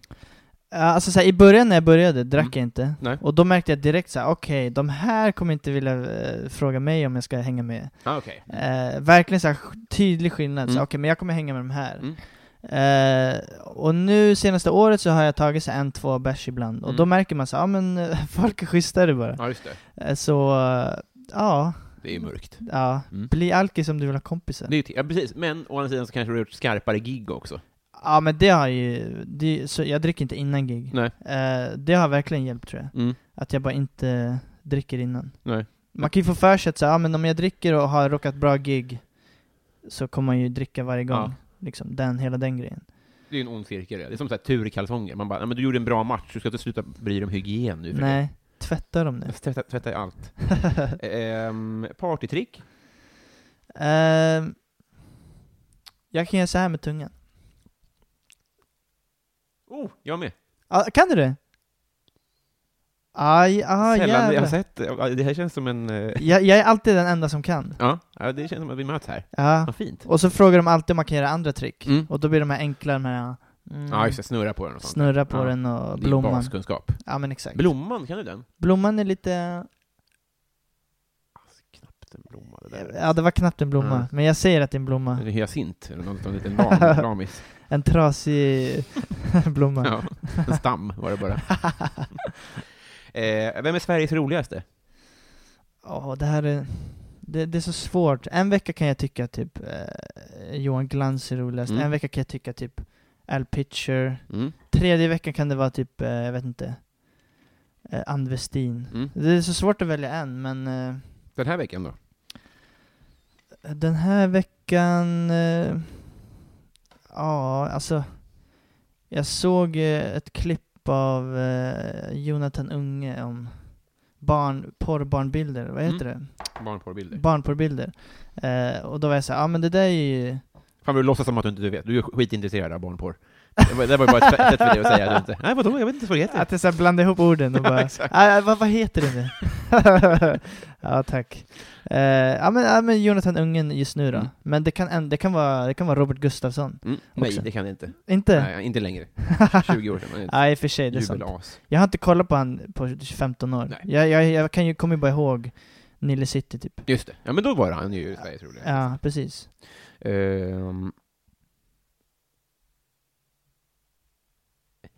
S3: Ja, Alltså så här, i början när jag började drack
S2: Mm.
S3: jag inte,
S2: Nej.
S3: och då märkte jag direkt såhär, okej, de här kommer inte vilja eh, fråga mig om jag ska hänga med.
S2: Ah, okej.
S3: Eh, verkligen så här, sk- tydlig skillnad, så
S2: Mm.
S3: här, okej men jag kommer hänga med de här.
S2: Mm.
S3: Eh, och nu senaste året så har jag tagit så här, en, två bärs ibland, och
S2: Mm.
S3: då märker man så här, ja men eh, folk är schysstare bara.
S2: Ja, just det.
S3: Eh, så, eh, ja.
S2: Det är ju mörkt.
S3: Ja,
S2: Mm.
S3: bli alkis om du vill ha kompisar.
S2: Det är ju t- ja, precis. Men å andra sidan så kanske du har gjort skarpare gig också.
S3: Ja men det har ju, det, så jag dricker inte innan gig.
S2: Nej.
S3: Eh, det har verkligen hjälpt tror jag.
S2: Mm.
S3: Att jag bara inte dricker innan.
S2: Nej.
S3: Man kan ju få för sig att säga, ja men om jag dricker och har råkat bra gig så kommer man ju dricka varje gång.
S2: Ja.
S3: Liksom den, hela den grejen.
S2: Det är ju en ond cirkel. Det är som så här tur i kalsonger. Man bara, "Nej, men du gjorde en bra match, du ska inte sluta bry dig om hygien nu för det."
S3: Nej, tvätta dem nu.
S2: Jag Tvätta, tvätta i allt. Ehm, partytrick?
S3: Ehm, jag kan göra så här med tungan.
S2: Oh, jag med.
S3: Ah, kan du det? Aj, ah,
S2: Sällan jag har
S3: jävlar.
S2: sett ja, det. här känns som en... eh,
S3: Jag, jag är alltid den enda som kan.
S2: Ja, ja, det känns som att vi möts här.
S3: Ja.
S2: Vad fint.
S3: Och så frågar de alltid om man kan göra andra trick.
S2: Mm.
S3: Och då blir de här enkla, de här... Mm,
S2: Ja, just det. Snurra på den och sånt.
S3: snurra på
S2: Ja.
S3: den och
S2: Det är ju
S3: blomman.
S2: baskunskap.
S3: Ja men exakt.
S2: Blomman, kan du den?
S3: blomman är lite...
S2: Knappt en blomma. Det där.
S3: Ja det var knappt en blomma,
S2: Ja.
S3: men jag säger att det är en
S2: Är
S3: blomma.
S2: det hyacint? Eller något, en liten lam, lamis?
S3: En trasig blomma.
S2: Ja, en stam var det bara. Eh, vem är Sveriges roligaste?
S3: Åh, det här är... Det, det är så svårt. En vecka kan jag tycka typ eh, Johan Glans är roligast,
S2: Mm.
S3: en vecka kan jag tycka typ Al Pitcher,
S2: Mm.
S3: tredje veckan kan det vara typ, eh, jag vet inte, eh, Ann Westin.
S2: Mm.
S3: Det är så svårt att välja en, men eh,
S2: Den här veckan då?
S3: Den här veckan... eh, Ja, alltså... Jag såg eh, ett klipp av eh, Jonathan Unge om barn, porrbarnbilder, vad heter det?
S2: Barnporrbilder.
S3: Barnporrbilder. Eh, och då var jag såhär, ja men det där är ju...
S2: Fan vad du låtsas som att du inte vet. Du är skitintresserad av barnporr. Det var, det var ju bara ett sätt för dig att säga. att du inte- Nej, vadå? Jag vet inte vad det heter.
S3: Att jag så här blandar ihop orden och
S2: Ja,
S3: bara,
S2: exakt.
S3: ah, vad, vad heter det nu? ja, tack. Eh, ja, men, ja, men Jonathan Ungen just nu då.
S2: Mm.
S3: Men det kan, en- det, kan vara, det kan vara Robert Gustafsson.
S2: Mm, nej,
S3: Också.
S2: det kan det inte.
S3: Inte?
S2: Nej, inte längre. 20 år sedan. Han är ett
S3: Ja, i och för sig, det är sant.
S2: Jubelas.
S3: Jag har inte kollat på han på 15 år.
S2: Nej.
S3: Jag, jag, jag kan ju, kommer ju bara ihåg Nile City typ.
S2: Just det. Ja, men då var han ju i Sverige, tror jag.
S3: Ja, precis.
S2: Ehm.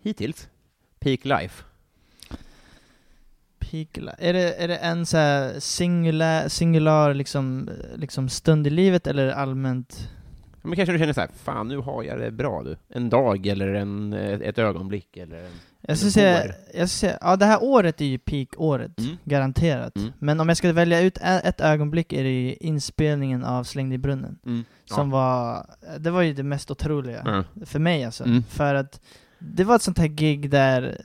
S2: Hittills. Peak Life.
S3: Pigla. Är det, är det en så här singular, singular liksom, liksom stund i livet eller allmänt?
S2: Men kanske du känner så här, fan nu har jag det bra du. En dag eller en, ett ett ögonblick eller en...
S3: Jag
S2: Eller
S3: skulle säga,
S2: år.
S3: jag skulle säga, ja det här året är ju peak-året,
S2: Mm.
S3: garanterat.
S2: Mm.
S3: Men om jag ska välja ut e- ett ögonblick är det ju inspelningen av Slängd i brunnen.
S2: Mm.
S3: Mm. Som var, det var ju det mest otroliga.
S2: Ja. Mm.
S3: För mig alltså.
S2: Mm.
S3: För att det var ett sånt här gig där,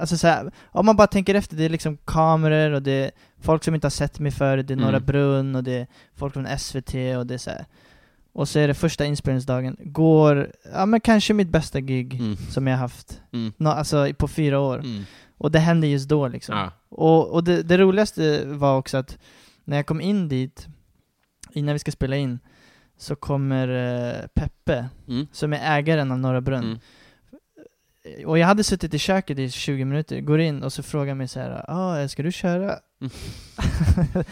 S3: alltså så här, om man bara tänker efter, det är liksom kameror och det är folk som inte har sett mig förut, det är
S2: Mm.
S3: Norra Brunn och det är folk från SVT och det är så här. Och så är det första inspelningsdagen, går, ja men kanske mitt bästa gig
S2: Mm.
S3: som jag haft,
S2: Mm.
S3: Nå, alltså i- på fyra år.
S2: Mm.
S3: Och det hände just då liksom.
S2: Ja.
S3: Och, och det, det roligaste var också att när jag kom in dit, innan vi ska spela in, så kommer eh, Peppe,
S2: Mm.
S3: som är ägaren av Norra Brunn.
S2: Mm.
S3: Och jag hade suttit i köket i 20 minuter, går in och så frågar mig så här, ah, ska du köra?
S2: Mm.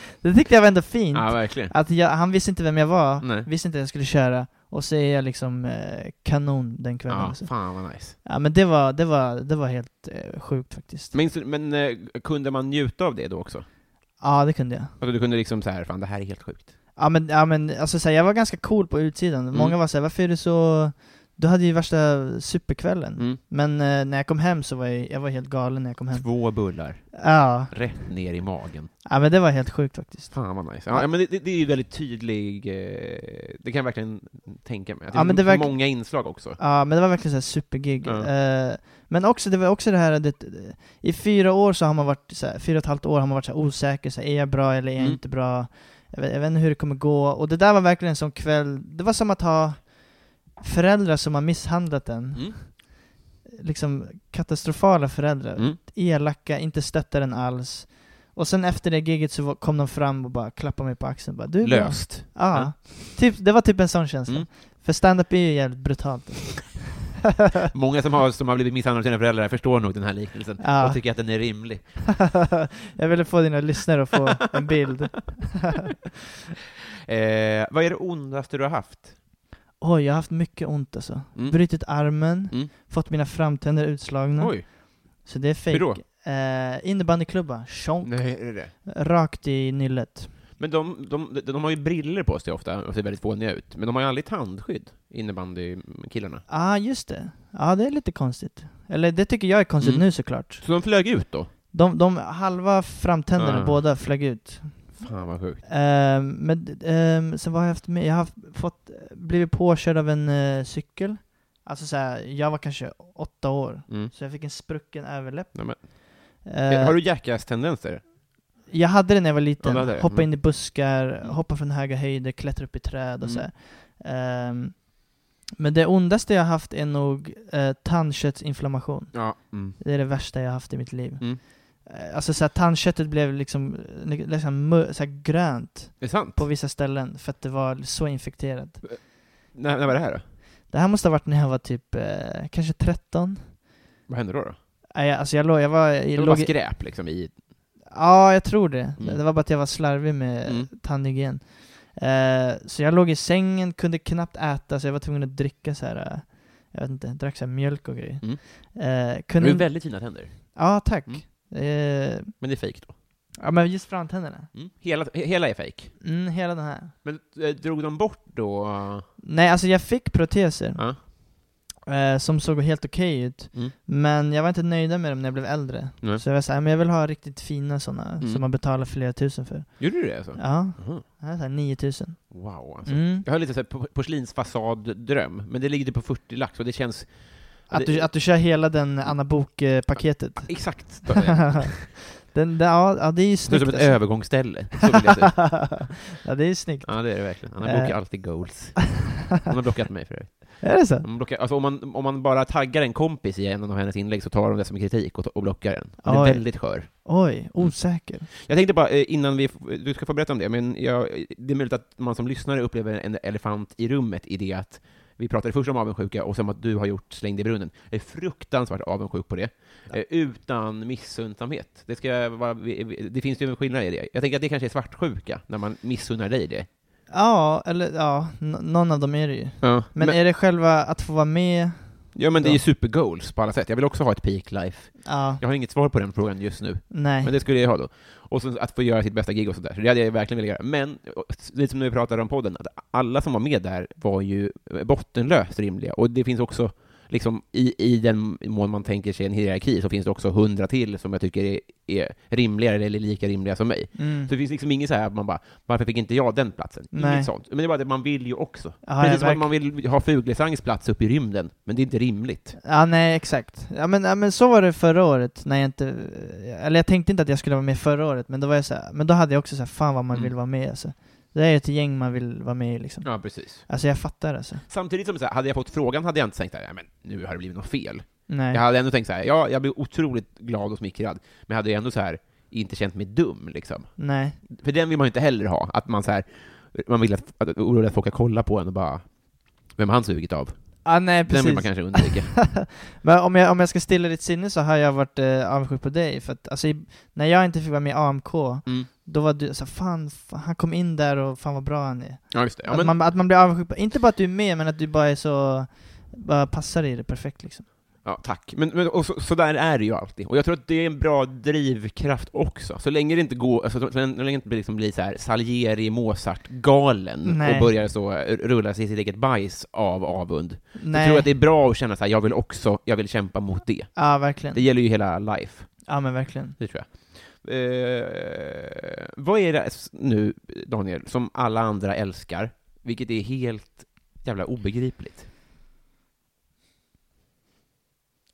S3: det tyckte jag var ändå fint.
S2: ja, verkligen.
S3: Att jag, han visste inte vem jag var,
S2: Nej.
S3: visste inte att jag skulle köra, och så är jag liksom eh, kanon den kvällen.
S2: Ja,
S3: också.
S2: fan vad nice.
S3: Ja men det var, det var, det var helt eh, sjukt faktiskt.
S2: Men, men eh, kunde man njuta av det då också?
S3: Ja det kunde jag.
S2: Alltså, du kunde liksom så här, fan det här är helt sjukt.
S3: Ja men, ja, men alltså, så här, jag var ganska cool på utsidan,
S2: Mm.
S3: många var såhär 'Varför är du så...' Du hade ju värsta superkvällen
S2: Mm.
S3: Men eh, när jag kom hem så var jag, jag var helt galen när jag kom hem
S2: Två bullar,
S3: ja.
S2: rätt ner i magen.
S3: ja, men det var helt sjukt faktiskt
S2: Fan vad nice. Ja, ja, men det, det, det är ju väldigt tydlig, eh, det kan jag verkligen tänka mig. Att det
S3: Ja,
S2: är
S3: men det verk-
S2: många inslag också.
S3: Ja men det var verkligen såhär supergig
S2: Ja.
S3: Eh, Men också, det var också det här det, I fyra år så har man varit, så här, fyra och ett halvt år har man varit så här osäker, så här, är jag bra eller är jag
S2: Mm.
S3: inte bra? Jag vet, jag vet inte hur det kommer gå, och det där var verkligen en sån kväll Det var som att ha föräldrar som har misshandlat en
S2: Mm.
S3: liksom katastrofala föräldrar.
S2: Mm.
S3: Elaka, inte stöttar den alls. Och sen efter det giget så var- kom de fram och bara klappade mig på axeln. Bara, du är bra."
S2: Löst.
S3: Ja.
S2: Ja.
S3: Typ, det var typ en sån känsla.
S2: Mm.
S3: För stand-up är ju jävligt brutalt.
S2: Många som har, som har blivit misshandlade av sina föräldrar förstår nog den här liknelsen
S3: Ja.
S2: och tycker att den är rimlig.
S3: jag ville få dina lyssnare att få en bild.
S2: Eh, vad är det ondaste du har haft?
S3: Oj, jag har haft mycket ont alltså.
S2: Mm.
S3: Brutit armen,
S2: Mm.
S3: fått mina framtänder utslagna.
S2: Oj,
S3: Så det är
S2: hur då?
S3: fejk. Eh, innebandyklubba, tjong,
S2: Nej, är det det?
S3: rakt i nyllet.
S2: Men de, de, de, de har ju briller på sig ofta och ser väldigt fåniga ut, men de har ju aldrig tandskydd, innebandykillarna.
S3: Ja, ah, just det. Ja, det är lite konstigt. Eller det tycker jag är konstigt
S2: Mm.
S3: nu såklart.
S2: Så de flög ut då?
S3: De, de halva framtänderna
S2: Ah.
S3: båda flög ut.
S2: Fan vad sjukt.
S3: Ehm, men ehm, sen vad har jag haft med? Jag har haft, fått, blivit påkörd av en eh, cykel. Alltså såhär, jag var kanske åtta år.
S2: Mm.
S3: Så jag fick en sprucken överläpp.
S2: Nej, men.
S3: Ehm,
S2: Har du jackass-tendenser?
S3: Jag hade det när jag var liten.
S2: Ja, det hade jag.
S3: hoppa
S2: Mm.
S3: in i buskar, hoppa från höga höjder, klättra upp i träd och
S2: Mm.
S3: så här. Ehm, Men det ondaste jag har haft är nog eh, tandköttsinflammation.
S2: Ja. Mm.
S3: Det är det värsta jag har haft i mitt liv.
S2: Mm.
S3: Eh, Alltså så här, tandköttet blev liksom, eh, liksom mö- så här, grönt
S2: Det är sant.
S3: på vissa ställen för att det var så infekterat.
S2: När, när var det här då?
S3: Det här måste ha varit när jag var typ eh, kanske 13.
S2: Vad hände då? då?
S3: Nej, alltså jag, låg, jag var...
S2: Det
S3: Jag
S2: var bara
S3: låg i,
S2: skräp liksom i...
S3: ja, jag tror det.
S2: Mm.
S3: Det var bara att jag var slarvig med
S2: Mm.
S3: tandhygien. Eh, så jag låg i sängen, kunde knappt äta, så jag var tvungen att dricka så här. eh, Jag vet inte, drack så här mjölk och grejer.
S2: Mm.
S3: Eh,
S2: Du
S3: kunde,
S2: har ju
S3: inte-
S2: väldigt fina tänder.
S3: ja, tack.
S2: Mm.
S3: Eh,
S2: Men det är fejk då?
S3: ja, men just framtänderna.
S2: Mm. Hela, he- hela är fejk.
S3: Mm, hela den här.
S2: Men eh, drog de bort då?
S3: Nej, alltså jag fick proteser
S2: Ja.
S3: eh, som såg helt okej ut,
S2: Mm.
S3: men jag var inte nöjd med dem när jag blev äldre.
S2: Nej.
S3: Så jag var såhär, men jag vill ha riktigt fina sådana
S2: Mm.
S3: som man betalar flera tusen för.
S2: Gjorde du det alltså?
S3: Ja,
S2: Aha.
S3: det här är 9000.
S2: Wow, alltså.
S3: Mm.
S2: Jag har lite så här por- porslinsfasad-dröm, men det ligger typ på 40 lax och det känns
S3: Att, du, att du kör hela den Anna Bok-paketet.
S2: exakt
S3: den, den, ja, ja, det är ju
S2: Det är
S3: snyggt.
S2: som ett
S3: alltså.
S2: övergångsställe. Så vill jag säga.
S3: ja, det är snyggt. Eh.
S2: Ja, det är det verkligen. Han har blockat alltid goals. Han har blockat mig för övrigt.
S3: Är det så?
S2: Man blockar, alltså om, man, om man bara taggar en kompis i en av hennes inlägg så tar de det som kritik och, ta- och blockar den. Den är
S3: Oj.
S2: väldigt skör.
S3: Oj, osäker.
S2: Jag tänkte bara, eh, innan vi, f- du ska få berätta om det, men jag, det är möjligt att man som lyssnare upplever en elefant i rummet i det att vi pratade först om avundsjuka och sen att du har gjort Släng dig i brunnen. Jag är fruktansvärt avundsjuk på det, eh, utan missunnsamhet. Det, ska jag vara, vi- vi- det finns ju en skillnad i det. Jag tänker att det kanske är svartsjuka, när man missunnar dig det.
S3: Ja, eller ja, n- någon av dem är det ju.
S2: Ja,
S3: Men,
S2: men,
S3: är det själva att få vara med?
S2: ja, men det är ju supergoals på alla sätt. Jag vill också ha ett peak life.
S3: Ja,
S2: Jag har inget svar på den frågan just nu.
S3: nej.
S2: Men det skulle jag ha då. Och sen att få göra sitt bästa gig och sådär. Så det hade jag verkligen velat göra. Men, och, lite som när vi pratade om podden, att alla som var med där var ju bottenlöst rimliga. Och det finns också, liksom, i, i den mån man tänker sig en hierarki, så finns det också hundra till som jag tycker är, är rimligare eller lika rimliga som mig.
S3: mm.
S2: Så det finns liksom inget så här att man bara, varför fick inte jag den platsen?
S3: Nej.
S2: Inget sånt. Men det är bara det, man vill ju också.
S3: Ja, ja,
S2: Precis som att
S3: verkligen.
S2: man vill ha Fuglesangs plats uppe i rymden, men det är inte rimligt.
S3: Ja, nej, exakt. Ja men, ja, men så var det förra året när jag inte... Eller jag tänkte inte att jag skulle vara med förra året, men då var jag så här, Men då hade jag också så här, fan vad man
S2: Mm.
S3: vill vara med alltså. Det är ett gäng man vill vara med i liksom.
S2: Ja, precis.
S3: Alltså jag fattar alltså.
S2: Samtidigt som så här, hade jag fått frågan hade jag inte tänkt att men nu har det blivit något fel.
S3: Nej.
S2: Jag hade ändå tänkt så här, ja, jag blev otroligt glad och smickrad, men jag hade ju ändå så här inte känt mig dum liksom.
S3: Nej.
S2: För den vill man ju inte heller ha, att man så här, man vill att, att orolig att folk ska kolla på en och bara, vem har han sugit av?
S3: Ja, nej
S2: Den vill
S3: precis.
S2: man kanske undvika.
S3: Men om jag, om jag ska stilla ditt sinne så har jag varit eh, avundsjuk på dig, för att alltså, i, när jag inte fick vara med i AMK,
S2: Mm.
S3: då var du så här, fan, fan, han kom in där och fan vad bra han är.
S2: Ja, just det. Ja,
S3: att,
S2: men,
S3: man, att man blir avundsjuk på, inte bara att du är med, men att du bara är så, bara passar i det perfekt liksom.
S2: ja, tack. Men, men och så, så där är det ju alltid. Och jag tror att det är en bra drivkraft också. Så länge det inte går, alltså, så länge så länge det inte liksom blir så här Salieri, Mozart-galen
S3: Nej.
S2: och börjar så eh, rulla sig i sitt eget bajs av avund.
S3: Nej.
S2: Jag tror att det är bra att känna så här, jag vill också, jag vill kämpa mot det.
S3: Ja, verkligen.
S2: Det gäller ju hela life.
S3: Ja men verkligen.
S2: Det tror jag. Eh, vad är det s- nu, Daniel, som alla andra älskar, vilket är helt jävla obegripligt?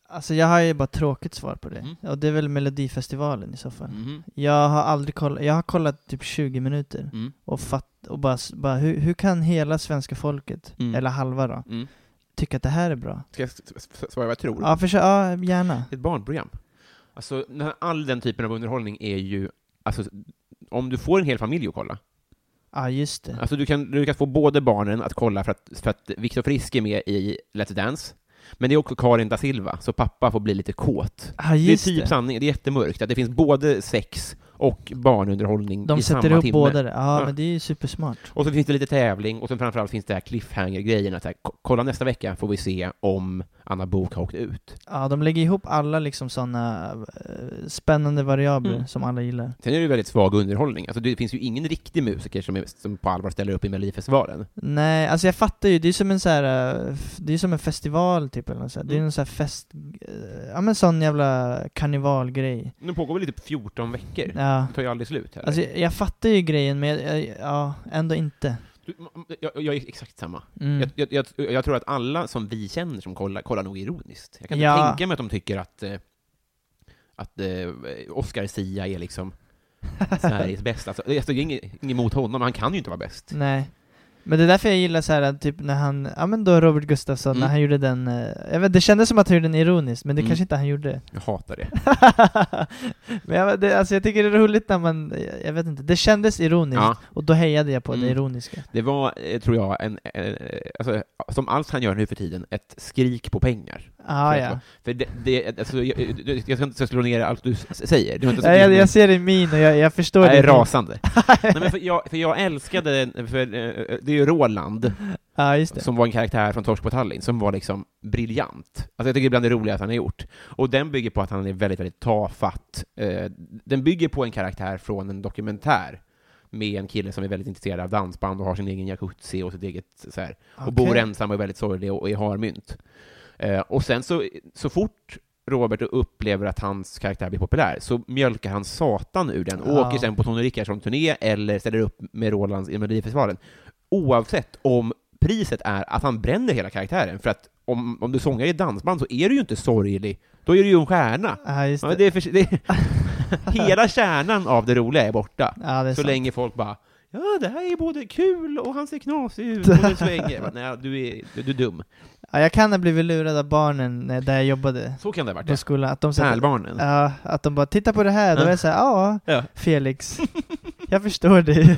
S3: Alltså jag har ju bara tråkigt svar på det.
S2: Mm.
S3: Och det är väl Melodifestivalen i så fall. Jag har aldrig kollat, jag har kollat typ 20 minuter
S2: Mm.
S3: och fatt, och bara, s- bara hur, hur kan hela svenska folket,
S2: Mm.
S3: eller halva då,
S2: Mm.
S3: tycka att det här är bra?
S2: Ska jag s- s- s- svara vad jag tror?
S3: Ja, försök, ja gärna.
S2: Ett barnprogram. Alltså, när all den typen av underhållning är ju, alltså, om du får en hel familj att kolla,
S3: Ja just det.
S2: Alltså du kan, du kan få både barnen att kolla för att, för att Viktor Frisk är med i Let's Dance, men det är också Karin da Silva, så pappa får bli lite kåt.
S3: Ja
S2: Det är
S3: just det.
S2: typ sanningen, det är jättemörkt, att det finns både sex och barnunderhållning
S3: De
S2: i
S3: sätter
S2: samma
S3: ihop
S2: timme.
S3: båda det. Ja,
S2: Ja.
S3: men det är ju supersmart.
S2: Och så finns det lite tävling, och sen framförallt finns det här cliffhanger-grejen, att så här, "Ko- kolla nästa vecka får vi se om Anna Bok har åkt ut.
S3: Ja, de lägger ihop alla liksom sådana spännande variabler
S2: Mm.
S3: som alla gillar.
S2: Sen är det ju väldigt svag underhållning, alltså det finns ju ingen riktig musiker som, är, som på allvar ställer upp i Melodifestivalen.
S3: Nej, alltså jag fattar ju, det är som en så här, eh, f- det är som en festival typ eller något så här. Det är
S2: Mm.
S3: en sån här fest, eh, ja men sån jävla karnevalgrej.
S2: Nu pågår väl typ 14 veckor?
S3: Ja.
S2: Det tar ju aldrig slut heller.
S3: Alltså jag, jag fattar ju grejen men jag, jag, ja, ändå inte.
S2: Du, jag, jag är exakt samma.
S3: Mm.
S2: Jag, jag, jag, jag tror att alla som vi känner som kollar, kollar nog ironiskt. Jag kan inte
S3: Ja.
S2: tänka mig att de tycker att, eh, att eh, Oscar Sia är liksom Sveriges bästa. Alltså, jag står ju inget, inget emot honom, han kan ju inte vara bäst.
S3: Nej. Men det är därför jag gillar så här typ när han, ja men då Robert Gustafsson,
S2: Mm.
S3: när han gjorde den, eh, jag vet, det kändes som att han gjorde den ironiskt men det
S2: Mm.
S3: kanske inte han gjorde.
S2: Jag hatar det.
S3: men jag, det, alltså jag tycker det är roligt när man, jag, jag vet inte, det kändes ironiskt
S2: Ja.
S3: och då hejade jag på
S2: Mm.
S3: det ironiska.
S2: Det var, eh, tror jag, en, eh, alltså, som allt han gör nu för tiden, ett skrik på pengar.
S3: Ah,
S2: För
S3: ja.
S2: att- För det, det, alltså, jag, jag, jag ska inte slå ner allt du s- säger. Du har inte
S3: Ja, jag, jag ser din min och jag, jag förstår
S2: jag är
S3: din min.
S2: rasande. Nej, men för, jag, för jag älskade, för, eh, det är ju Roland,
S3: Ja, just det.
S2: som var en karaktär från Torsk på Tallinn, som var liksom briljant. Alltså jag tycker bland det roligaste han har gjort. Och den bygger på att han är väldigt, väldigt tafatt. Eh, Den bygger på en karaktär från en dokumentär med en kille som är väldigt intresserad av dansband och har sin egen jacuzzi och sitt eget så här, Alltså, och bor
S3: Okej.
S2: ensam och är väldigt sorglig och och är harmynt. Eh, Och sen så, så fort Robert upplever att hans karaktär blir populär så mjölkar han satan ur den och
S3: Ja.
S2: åker sen på Tony Rickardsson-turné eller ställer upp med Roland i Melodifestivalen. Oavsett om priset är att han bränner hela karaktären, för att om, om du sångar i ett dansband så är du ju inte sorglig, då är du ju en stjärna.
S3: Ja, just
S2: Ja,
S3: det.
S2: men det är för, det är, hela kärnan av det roliga är borta,
S3: Ja, det är
S2: så
S3: sant.
S2: länge folk bara ja, det här är både kul och han ser knasig ut och det svänger. Jag bara, Nej, du är, du, du är dum.
S3: Ja, jag kan ha blivit lurad av barnen när- där jag jobbade
S2: Så kan det ha varit.
S3: på
S2: ja.
S3: skolan. Att de, sa,
S2: Pärlbarnen.
S3: ja, att de bara 'Titta på det här' Då
S2: Ja.
S3: var jag såhär 'Ja,
S2: Ja.
S3: Felix, jag förstår dig'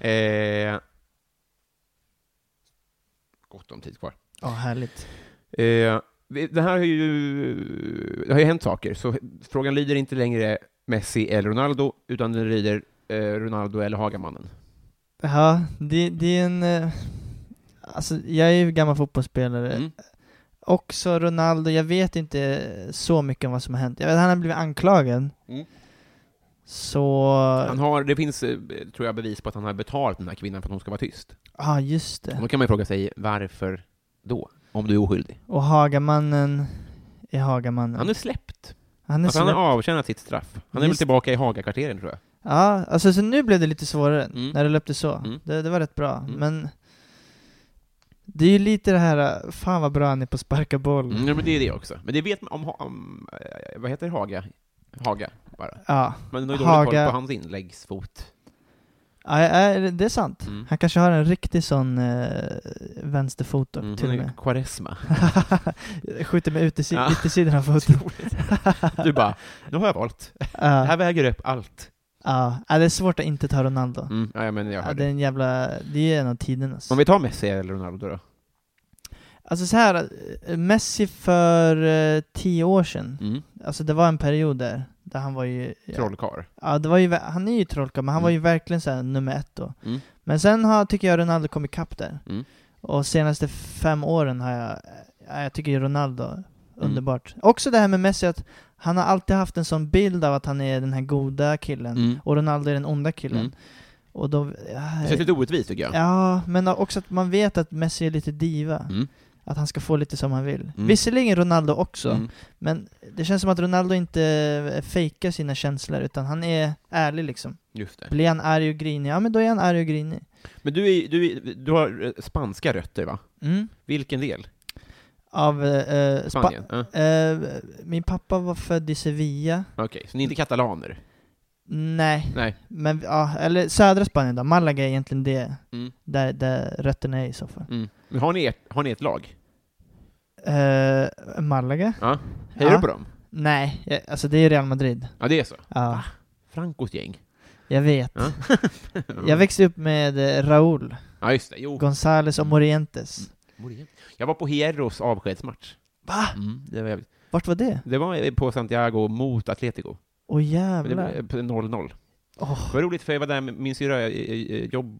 S2: Eh, gott om tid kvar.
S3: Ja, härligt.
S2: Eh, vi- det här har ju, det har ju hänt saker, så frågan lyder inte längre Messi eller Ronaldo, utan den lyder eh, Ronaldo eller Hagamannen.
S3: Ja, det, det är en... eh, Alltså, jag är ju gammal fotbollsspelare.
S2: Mm.
S3: Också Ronaldo, jag vet inte så mycket om vad som har hänt. Jag vet att han har blivit anklagad.
S2: Mm.
S3: Så...
S2: Han har, det finns, eh, tror jag, bevis på att han har betalt den här kvinnan för att hon ska vara tyst.
S3: Ja, ah, just det.
S2: Och Då kan man ju fråga sig, varför då? Om du är oskyldig.
S3: Och Hagamannen är Hagamannen.
S2: Han är släppt.
S3: han är
S2: Alltså, han
S3: släppt.
S2: har avtjänat sitt straff. Han är väl
S3: Just-
S2: tillbaka i Hagakvarteren, tror jag.
S3: Ja, alltså så nu blev det lite svårare
S2: Mm.
S3: när du löpte så.
S2: Mm.
S3: Det, det var rätt bra,
S2: Mm.
S3: men det är ju lite det här, eh, fan vad bra han är på att sparka boll.
S2: Mm, ja, men det är det också. Men det vet man om, Ha- om eh, vad heter Haga? Haga, bara.
S3: Ja,
S2: Men det är dålig
S3: Haga.
S2: koll på hans inläggsfot.
S3: ja ja, det är sant.
S2: Mm.
S3: Han kanske har en riktig sån eh, vänsterfot upp
S2: Mm,
S3: till
S2: han
S3: och
S2: är
S3: med.
S2: Quaresma.
S3: Skjuter med utesi-
S2: Ja.
S3: utsidan av foten.
S2: Du bara, nu har jag valt. Det
S3: Ja,
S2: här väger upp allt.
S3: ja, ja, det är svårt att inte ta Ronaldo.
S2: Mm. Ja, men jag
S3: Ja,
S2: hör
S3: det är
S2: det.
S3: en jävla, det är en av tidernas.
S2: Om vi tar Messi eller Ronaldo då?
S3: Alltså så här, eh, Messi för eh, tio år sedan,
S2: Mm.
S3: alltså det var en period där, där han var ju...
S2: Trollkarl.
S3: Ja, det var ju, ver- han är ju trollkarl, men han
S2: Mm.
S3: var ju verkligen så här nummer ett då.
S2: Mm.
S3: Men sen har, tycker jag Ronaldo kommit ikapp där.
S2: Mm.
S3: Och senaste fem åren har jag, ja, jag tycker ju
S2: Mm.
S3: Ronaldo, underbart. Också det här med Messi, att han har alltid haft en sån bild av att han är den här goda killen,
S2: Mm.
S3: och Ronaldo är den onda killen.
S2: Mm.
S3: Och då,
S2: Det
S3: ja,
S2: känns lite orättvist tycker jag.
S3: ja, men också att man vet att Messi är lite diva.
S2: Mm.
S3: Att han ska få lite som han vill.
S2: Mm.
S3: Visserligen Ronaldo också,
S2: Mm.
S3: men det känns som att Ronaldo inte fejkar sina känslor, utan han är ärlig liksom.
S2: Just det.
S3: Blir han arg och grinig, ja men då är han arg och grinig.
S2: Men du, är, du, är, du har eh, spanska rötter, va?
S3: Mm.
S2: Vilken del?
S3: Av... eh, eh, Spa-
S2: Spanien? Ja.
S3: eh, min pappa var född i Sevilla.
S2: Okej, så ni är inte katalaner?
S3: Nej,
S2: Nej.
S3: men ja, eller södra Spanien då. Malaga är egentligen det,
S2: Mm.
S3: där, där rötterna är i så fall.
S2: Mm. Men har ni, ert, har ni ett lag?
S3: Eh, Malaga?
S2: Ja. Hejar
S3: Ja.
S2: du på dem?
S3: Nej, jag- alltså det är Real Madrid.
S2: Ja, det är så.
S3: Ja,
S2: Francos gäng.
S3: jag vet.
S2: Ja.
S3: Jag
S2: Mm.
S3: växte upp med eh, Raúl,
S2: Ja, just det. Jo.
S3: Gonzales och
S2: Mm.
S3: Morientes.
S2: Jag var på Hierros avskedsmatch.
S3: Va?
S2: Mm, det, var, jävligt.
S3: Vart var det?
S2: det var på Santiago mot Atletico.
S3: Åh
S2: Men det
S3: jävlar.
S2: blev 0-0.
S3: Åh,
S2: Det var roligt för jag var där med min syrra, eh, jag, jag, jag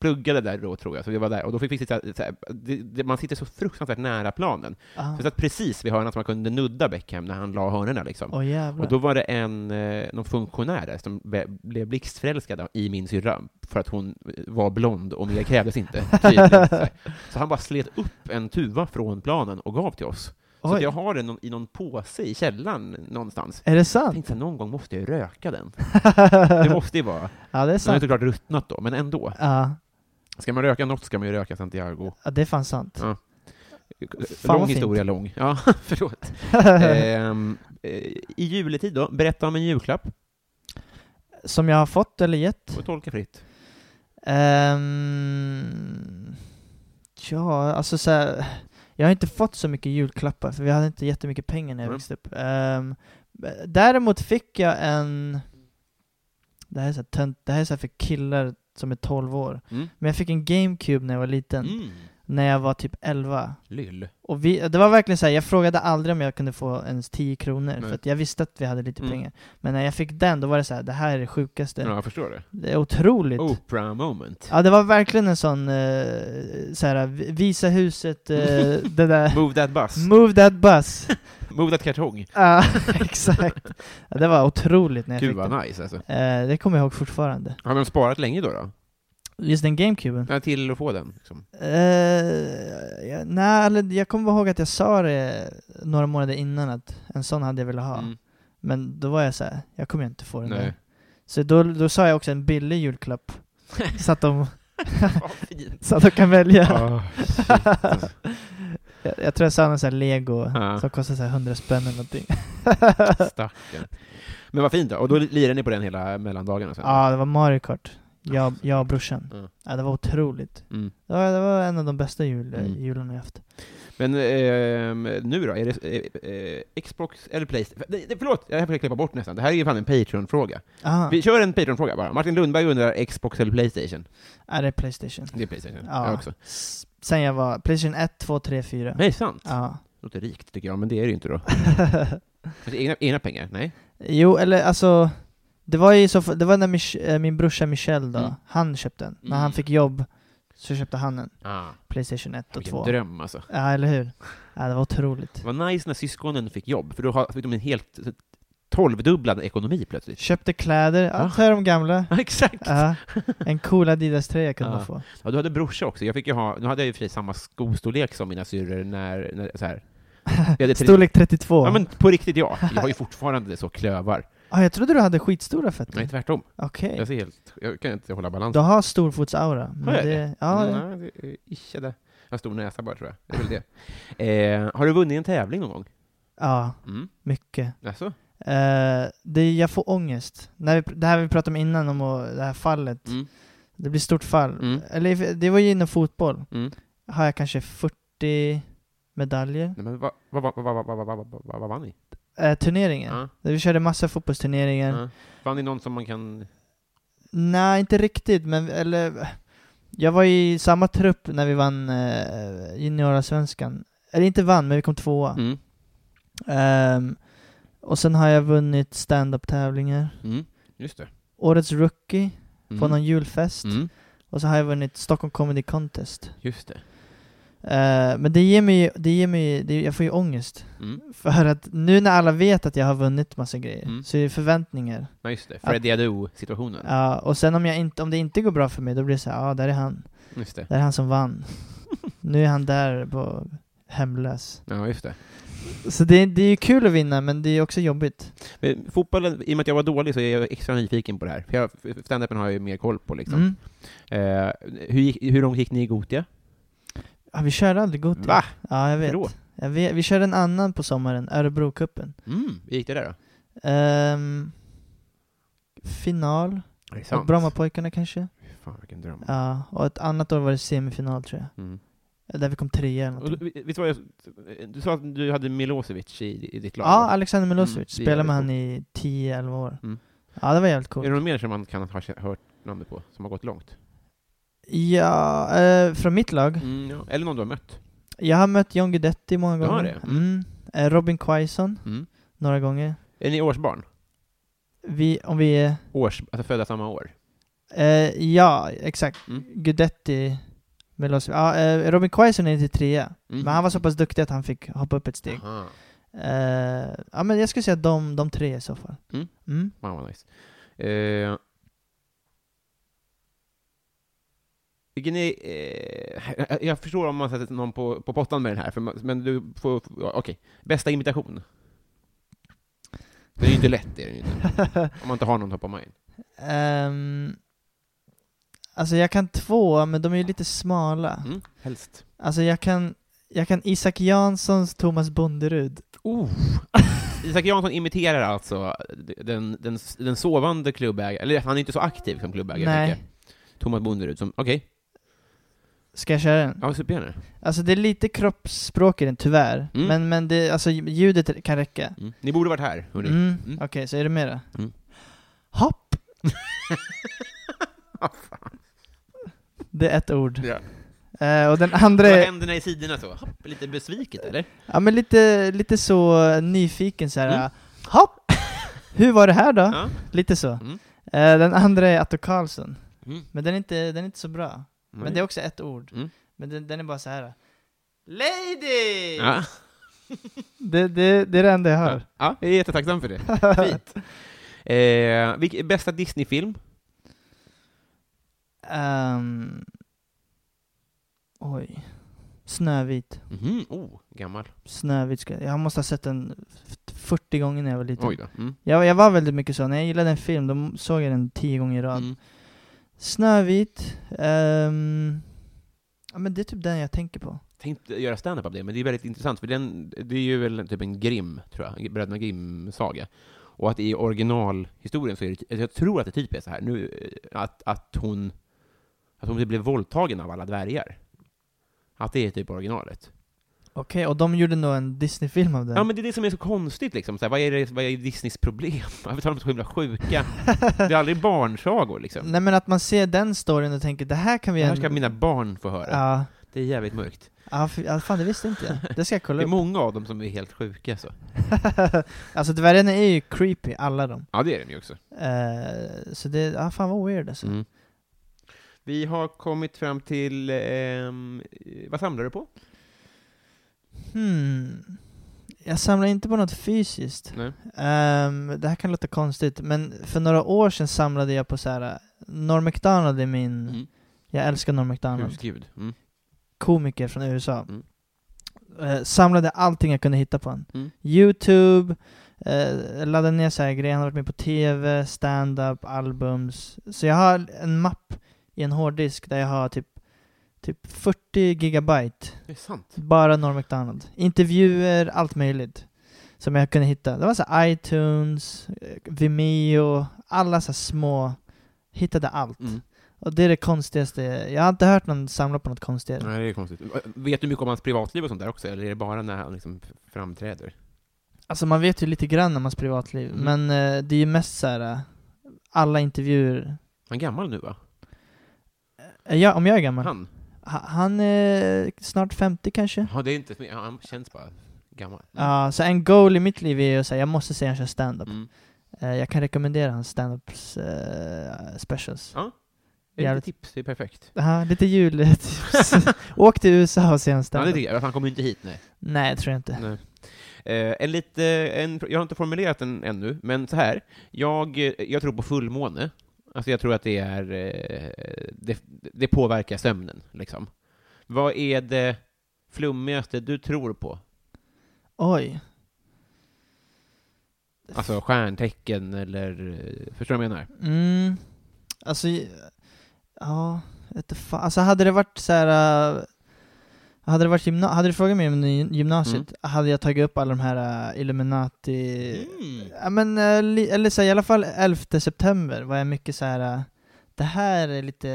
S2: pluggade där då tror jag, så jag var där, och då fick vi sitta, så här, det, det, man sitter så fruktansvärt nära planen.
S3: ah.
S2: Så jag satt precis vid hörnan så man kunde nudda Beckham när han la hörnorna liksom.
S3: Åh jävlar.
S2: Och då var det en, eh, någon funktionär där som be- blev blixtförälskad i min syrra för att hon eh, var blond och mer krävdes inte. tydligen. Så här. Så han bara slet upp en tuva från planen och gav till oss. Så
S3: Oj.
S2: att jag har den någon- i någon påse i källaren någonstans.
S3: Är det
S2: Jag
S3: sant?
S2: tänkte att någon gång måste jag ju röka den. Det måste ju vara.
S3: ja, det är
S2: Den har ju
S3: sant.
S2: såklart ruttnat då, men ändå.
S3: Ja,
S2: Ska man röka något ska man ju röka Santiago.
S3: ja, det är fan sant.
S2: Ja.
S3: Fan, vad
S2: lång
S3: fint.
S2: historia lång. Ja, förlåt. Ehm, eh, I juletid då, berätta om en julklapp.
S3: Som jag har fått eller gett?
S2: Och tolka fritt.
S3: Ehm, ja, alltså så här, Jag har inte fått så mycket julklappar, för vi hade inte jättemycket pengar när jag
S2: Mm.
S3: växte upp. Ehm, däremot fick jag en... Det här är så här, tönt, det här är så här för killar som är 12 år.
S2: Mm.
S3: Men jag fick en GameCube när jag var liten,
S2: Mm.
S3: när jag var typ 11.
S2: Lyll.
S3: Och vi, det var verkligen så här, jag frågade aldrig om jag kunde få ens 10 kronor,
S2: Nej.
S3: för att jag visste att vi hade lite
S2: Mm.
S3: pengar. Men när jag fick den, då var det så här, det här är det sjukaste.
S2: Ja, Oh. jag förstår det.
S3: Det är otroligt.
S2: Oprah moment.
S3: Ja, det var verkligen en sån, eh, så här, vi- visa huset, eh, det där,
S2: Move that bus.
S3: move that bus.
S2: Move that kartong.
S3: Ja, exakt. Ja, det var otroligt när jag
S2: Gud
S3: fick den.
S2: vad nice alltså.
S3: Eh, det kommer jag ihåg fortfarande.
S2: Har de sparat länge då? då?
S3: Just den GameCuben.
S2: Ja, till att få den. Liksom.
S3: Eh, ja, nej, eller jag kommer ihåg att jag sa det några månader innan att en sån hade jag velat ha.
S2: Mm.
S3: Men då var jag så här, jag kommer ju inte få den
S2: Nej.
S3: där. Så då, då sa jag också en billig julklapp. så, att de,
S2: Vad fint.
S3: så att de kan välja.
S2: Ah, shit, alltså.
S3: Jag, jag tror jag sa någon sån här lego
S2: Ja.
S3: som kostar så här 100 spänn eller någonting.
S2: Stackarn. Men vad fint då. Och då lirar ni på den hela mellandagarna sen?
S3: Ja, det var Mario Kart. Jag, jag och brorsan.
S2: Mm.
S3: Ja, det var otroligt.
S2: Mm.
S3: Det var, det var en av de bästa jul, eh,
S2: Mm.
S3: jularna jag haft.
S2: Men eh, nu då? Är det eh, eh, Xbox eller Playstation? Nej, nej, Förlåt, jag får klippa bort nästan. Det här är ju fan en Patreon-fråga.
S3: Ah,
S2: Vi kör en Patreon-fråga bara. Martin Lundberg undrar Xbox eller Playstation?
S3: är det är Playstation?
S2: Det är Playstation.
S3: Ja.
S2: Jag också.
S3: S- Sen jag var Playstation 1, 2, 3, 4.
S2: Nej, sant.
S3: Ja.
S2: Låter rikt tycker jag, men det är det ju inte då. Alltså, egna, egna pengar? Nej?
S3: Jo, eller alltså Det var ju så, det var när Mich- eh, min brorsa Michel då,
S2: Mm.
S3: han köpte den. När han
S2: Mm.
S3: fick jobb så köpte han en
S2: Ah,
S3: Playstation 1 och
S2: vilken
S3: 2.
S2: dröm alltså.
S3: Ja, eller hur? Ja, det var otroligt.
S2: Vad nice när syskonen fick jobb, för då har- fick de en helt tolvdubblad ekonomi plötsligt.
S3: Köpte kläder, ja,
S2: Ah.
S3: så är de gamla.
S2: Ja, exakt!
S3: Ja, en cool Adidas-tröja kunde
S2: Ja.
S3: man få.
S2: Ja, du hade brorsa också. Jag fick ju ha, nu hade jag ju för sig samma skostorlek som mina syrror när, när så här. Vi hade tre-
S3: Storlek 32.
S2: Ja, men på riktigt ja. Jag har ju fortfarande så klövar.
S3: ah, jag trodde du hade skitstora fötter.
S2: Nej, tvärtom.
S3: Okej.
S2: Jag ser helt... Jag kan inte hålla
S3: Du
S2: balansen.
S3: har storfotsaura. Men
S2: Har jag
S3: det, ja,
S2: Mm, nej, det är icke det. Jag har stor näsa bara, tror jag. Det är väl det. Eh, har du vunnit en tävling någon gång?
S3: ja,
S2: Mm.
S3: mycket.
S2: Alltså?
S3: Eh, det, jag får ångest. När vi, det här vi pratade om innan, om att- det här fallet.
S2: Mm.
S3: Det blir stort fall.
S2: Mm.
S3: Eller det var ju inom fotboll.
S2: Mm.
S3: Har jag kanske 40 medaljer.
S2: Nej, men vad vad vad vad vad vad vad vad vad vad vann ni?
S3: Eh, turneringar.
S2: Ja.
S3: Där Vi körde massa fotbollsturneringar.
S2: Ja. Vann ni någon som man kan...
S3: Nej, inte riktigt, men eller... Jag var i samma trupp när vi vann eh, juniorallsvenskan. Eller inte vann, men vi kom tvåa.
S2: Mm.
S3: Ehm, och sen har jag vunnit stand-up-tävlingar.
S2: Mm. Just det.
S3: Årets rookie
S2: Mm.
S3: på någon julfest.
S2: Mm.
S3: Och så har jag vunnit Stockholm Comedy Contest.
S2: Just det.
S3: Eh, men det ger mig ju, det ger mig det, jag får ju ångest.
S2: Mm.
S3: För att nu när alla vet att jag har vunnit massa grejer,
S2: Mm.
S3: så är det förväntningar.
S2: Ja, just det. Freddy Adu-situationen.
S3: Ja, och sen om, jag inte, om det inte går bra för mig, då blir det så här, ja där är han.
S2: Just det.
S3: Där är han som vann. nu är han där på hemlös.
S2: Ja, just det.
S3: Så det, det är ju kul att vinna, men det är också jobbigt.
S2: Men fotbollen, i och med att jag var dålig så är jag extra nyfiken på det här. För jag, standupen har jag ju mer koll på liksom.
S3: Mm.
S2: Eh, hur, gick, hur långt gick ni i Gotia?
S3: Ja, vi körde aldrig Gothia.
S2: Va?
S3: Ja, jag vet.
S2: Hur då?
S3: Jag vet. Vi körde en annan på sommaren, Örebrocupen.
S2: Mm, hur gick det där då?
S3: Ehm, final.
S2: Är det
S3: Och Brommapojkarna kanske?
S2: Fan vilken dröm.
S3: Ja, och ett annat år var det semifinal tror jag.
S2: Mm.
S3: Där vi kom trea eller
S2: Och,
S3: något.
S2: du- visst var jag, du sa att du hade Milosevic i, i ditt lag?
S3: Ja,
S2: va?
S3: Alexander Milosevic.
S2: Mm, det är
S3: Spelade med han
S2: jävligt
S3: i 10-11 år.
S2: Mm.
S3: Ja, det var jävligt
S2: Är det
S3: coolt.
S2: någon mer som man kan ha hört namnet på, som har gått långt?
S3: Ja, eh, från mitt lag.
S2: Mm, ja. Eller någon du har mött?
S3: Jag har mött John Guidetti många
S2: Du har
S3: gånger.
S2: det? Mm.
S3: Mm. Eh, Robin Quaison,
S2: Mm.
S3: några gånger.
S2: Är ni årsbarn?
S3: Vi, om vi är...
S2: Års, alltså födda samma år?
S3: Eh, ja, exakt.
S2: Mm.
S3: Guidetti, Milosevic. Ja, eh, Robin Quaison är inte trea.
S2: Mm.
S3: Men han var så pass duktig att han fick hoppa upp ett steg.
S2: Aha.
S3: Eh, ja men jag skulle säga de, de tre i så fall.
S2: Mm.
S3: Mm.
S2: Fan vad nice. Eh, vilken är, eh, jag förstår om man sätter någon på, på pottan med den här, för man, men du får, ja, okej. Bästa imitation? Det är ju inte lätt, det är det ju inte. Om man inte har någon top of mind.
S3: Ehm, alltså jag kan två, men de är ju lite smala.
S2: Mm, helst.
S3: Alltså jag kan, jag kan Isak Janssons Thomas Bonderud.
S2: Oh. Isak Jansson imiterar alltså den, den, den sovande klubbägaren, eller han är inte så aktiv som klubbägare,
S3: Nej.
S2: tänker jag. Thomas Bonderud som, okej,
S3: Ska jag köra den?
S2: ja, supergärna.
S3: Alltså det är lite kroppsspråk i den tyvärr.
S2: Mm.
S3: Men, men det, alltså ljudet kan räcka.
S2: Mm. Ni borde varit här, hörni.
S3: Mm.
S2: Mm.
S3: Okej, så är det mera?
S2: Mm.
S3: Hopp! det är ett ord.
S2: Ja.
S3: Eh, och den andra
S2: Med
S3: är,
S2: händerna i sidorna så. Hopp, lite besviket eller?
S3: ja men lite, lite så nyfiken så här.
S2: Mm.
S3: Hopp! Hur var det här då?
S2: Ja.
S3: Lite så.
S2: Mm.
S3: Eh, den andra är Atto Karlsson.
S2: Mm.
S3: Men den är, inte, den är inte så bra. Men det är också ett ord.
S2: Mm.
S3: Men den, den är bara så här. Lady!
S2: Ja.
S3: Det, det, det är det enda jag hör.
S2: ja, jag är jättetacksam för det. Fint. Eh, vilk, bästa Disney-film?
S3: Ehm, oj. Snövit.
S2: Mhm, Oh, gammal.
S3: Snövit ska jag... måste ha sett den f- 40 gånger när jag var liten.
S2: Oj då. Mm.
S3: Jag, jag var väldigt mycket så. När jag gillade en film, då såg jag den 10 gånger i rad.
S2: Mm.
S3: Snövit. ehm, ja men det är typ den jag tänker på.
S2: tänkte göra stand-up av det, men det är väldigt intressant, för den, det är ju väl typ en Grimm, tror jag, Bröderna Grimm-saga. Och att i originalhistorien så är det, jag tror att det typ är så här nu, eh, att, att hon, att hon typ blev våldtagen av alla dvärgar. Att det är typ originalet.
S3: Mm. Okej, och de gjorde nog en Disney-film av det.
S2: Ja, men det är det som är så konstigt liksom, så här, vad, är det, vad är Disneys problem? Varför tar de så himla sjuka? Det är aldrig barnsagor liksom.
S3: Nej men att man ser den storyn och tänker det här kan vi...
S2: Det här ska mina barn få höra.
S3: Ja.
S2: Det är jävligt mörkt.
S3: Ja, för, ja, fan det visste inte jag. Det ska jag
S2: Det
S3: kolla
S2: är
S3: upp.
S2: många av dem som är helt sjuka så.
S3: alltså dvärgarna är ju creepy, alla de.
S2: Ja, det är de ju också.
S3: Eh, så det, ja fan vad weird alltså.
S2: Mm. Vi har kommit fram till, ehm, eh, vad samlar du på?
S3: Hmm. Jag samlar inte på något fysiskt.
S2: Nej.
S3: Ehm, det här kan låta konstigt, men för några år sedan samlade jag på så här. eh, Norm MacDonald är min...
S2: Mm.
S3: Jag älskar Norm MacDonald.
S2: Husgud. Mm.
S3: komiker från USA.
S2: Mm.
S3: Eh, samlade allting jag kunde hitta på honom.
S2: Mm.
S3: Youtube, eh, laddade ner så här grejer, han har varit med på TV, stand-up, albums. Så jag har en mapp i en hårddisk där jag har typ, typ 40 gigabyte,
S2: Det är sant.
S3: bara Norm MacDonald. Intervjuer, allt möjligt. Som jag kunde hitta. Det var så här iTunes, eh, Vimeo, alla så här små. Hittade allt.
S2: Mm.
S3: Och det är det konstigaste. Jag har inte hört någon samla på något konstigare.
S2: Nej, det är konstigt. Vet du mycket om hans privatliv och sånt där också, eller är det bara när han liksom framträder?
S3: Alltså man vet ju lite grann om hans privatliv,
S2: Mm.
S3: men eh, det är ju mest så här eh, alla intervjuer.
S2: Han är gammal nu va?
S3: Eh, ja, om jag är gammal? Han,
S2: Han? Mm.
S3: han är snart 50 kanske?
S2: Ja, det är inte, ja, han känns bara gammal.
S3: Ja, så en goal i mitt liv är ju att säga jag måste se han kör stand-up.
S2: Mm.
S3: Eh, jag kan rekommendera hans stand-up eh, specials.
S2: Ja. Det är
S3: Jävligt.
S2: lite typ- tips, det är perfekt.
S3: Ja, lite jultips. Åk till USA och se hans
S2: Ja, det
S3: stand-up.
S2: tycker jag. Han kommer ju inte hit, nej.
S3: Nej, jag tror jag inte.
S2: Nej. Eh, en lite, en, jag har inte formulerat den ännu, men så här. Jag, eh, jag tror på fullmåne. Alltså jag tror att det är, eh, det, det påverkar sömnen, liksom. Vad är det flummigaste du tror på?
S3: Oj.
S2: Alltså stjärntecken eller, eh, förstår du vad jag menar?
S3: Mm. Alltså, ja, vet du fan. Alltså hade det varit så här. äh, hade det varit gymna- hade du frågat mig om ny- gymnasiet,
S2: Mm.
S3: hade jag tagit upp alla de här äh, Illuminati... Ja, men, äh, li- eller så här, i alla fall 11 september var jag mycket så här. äh, det här är lite...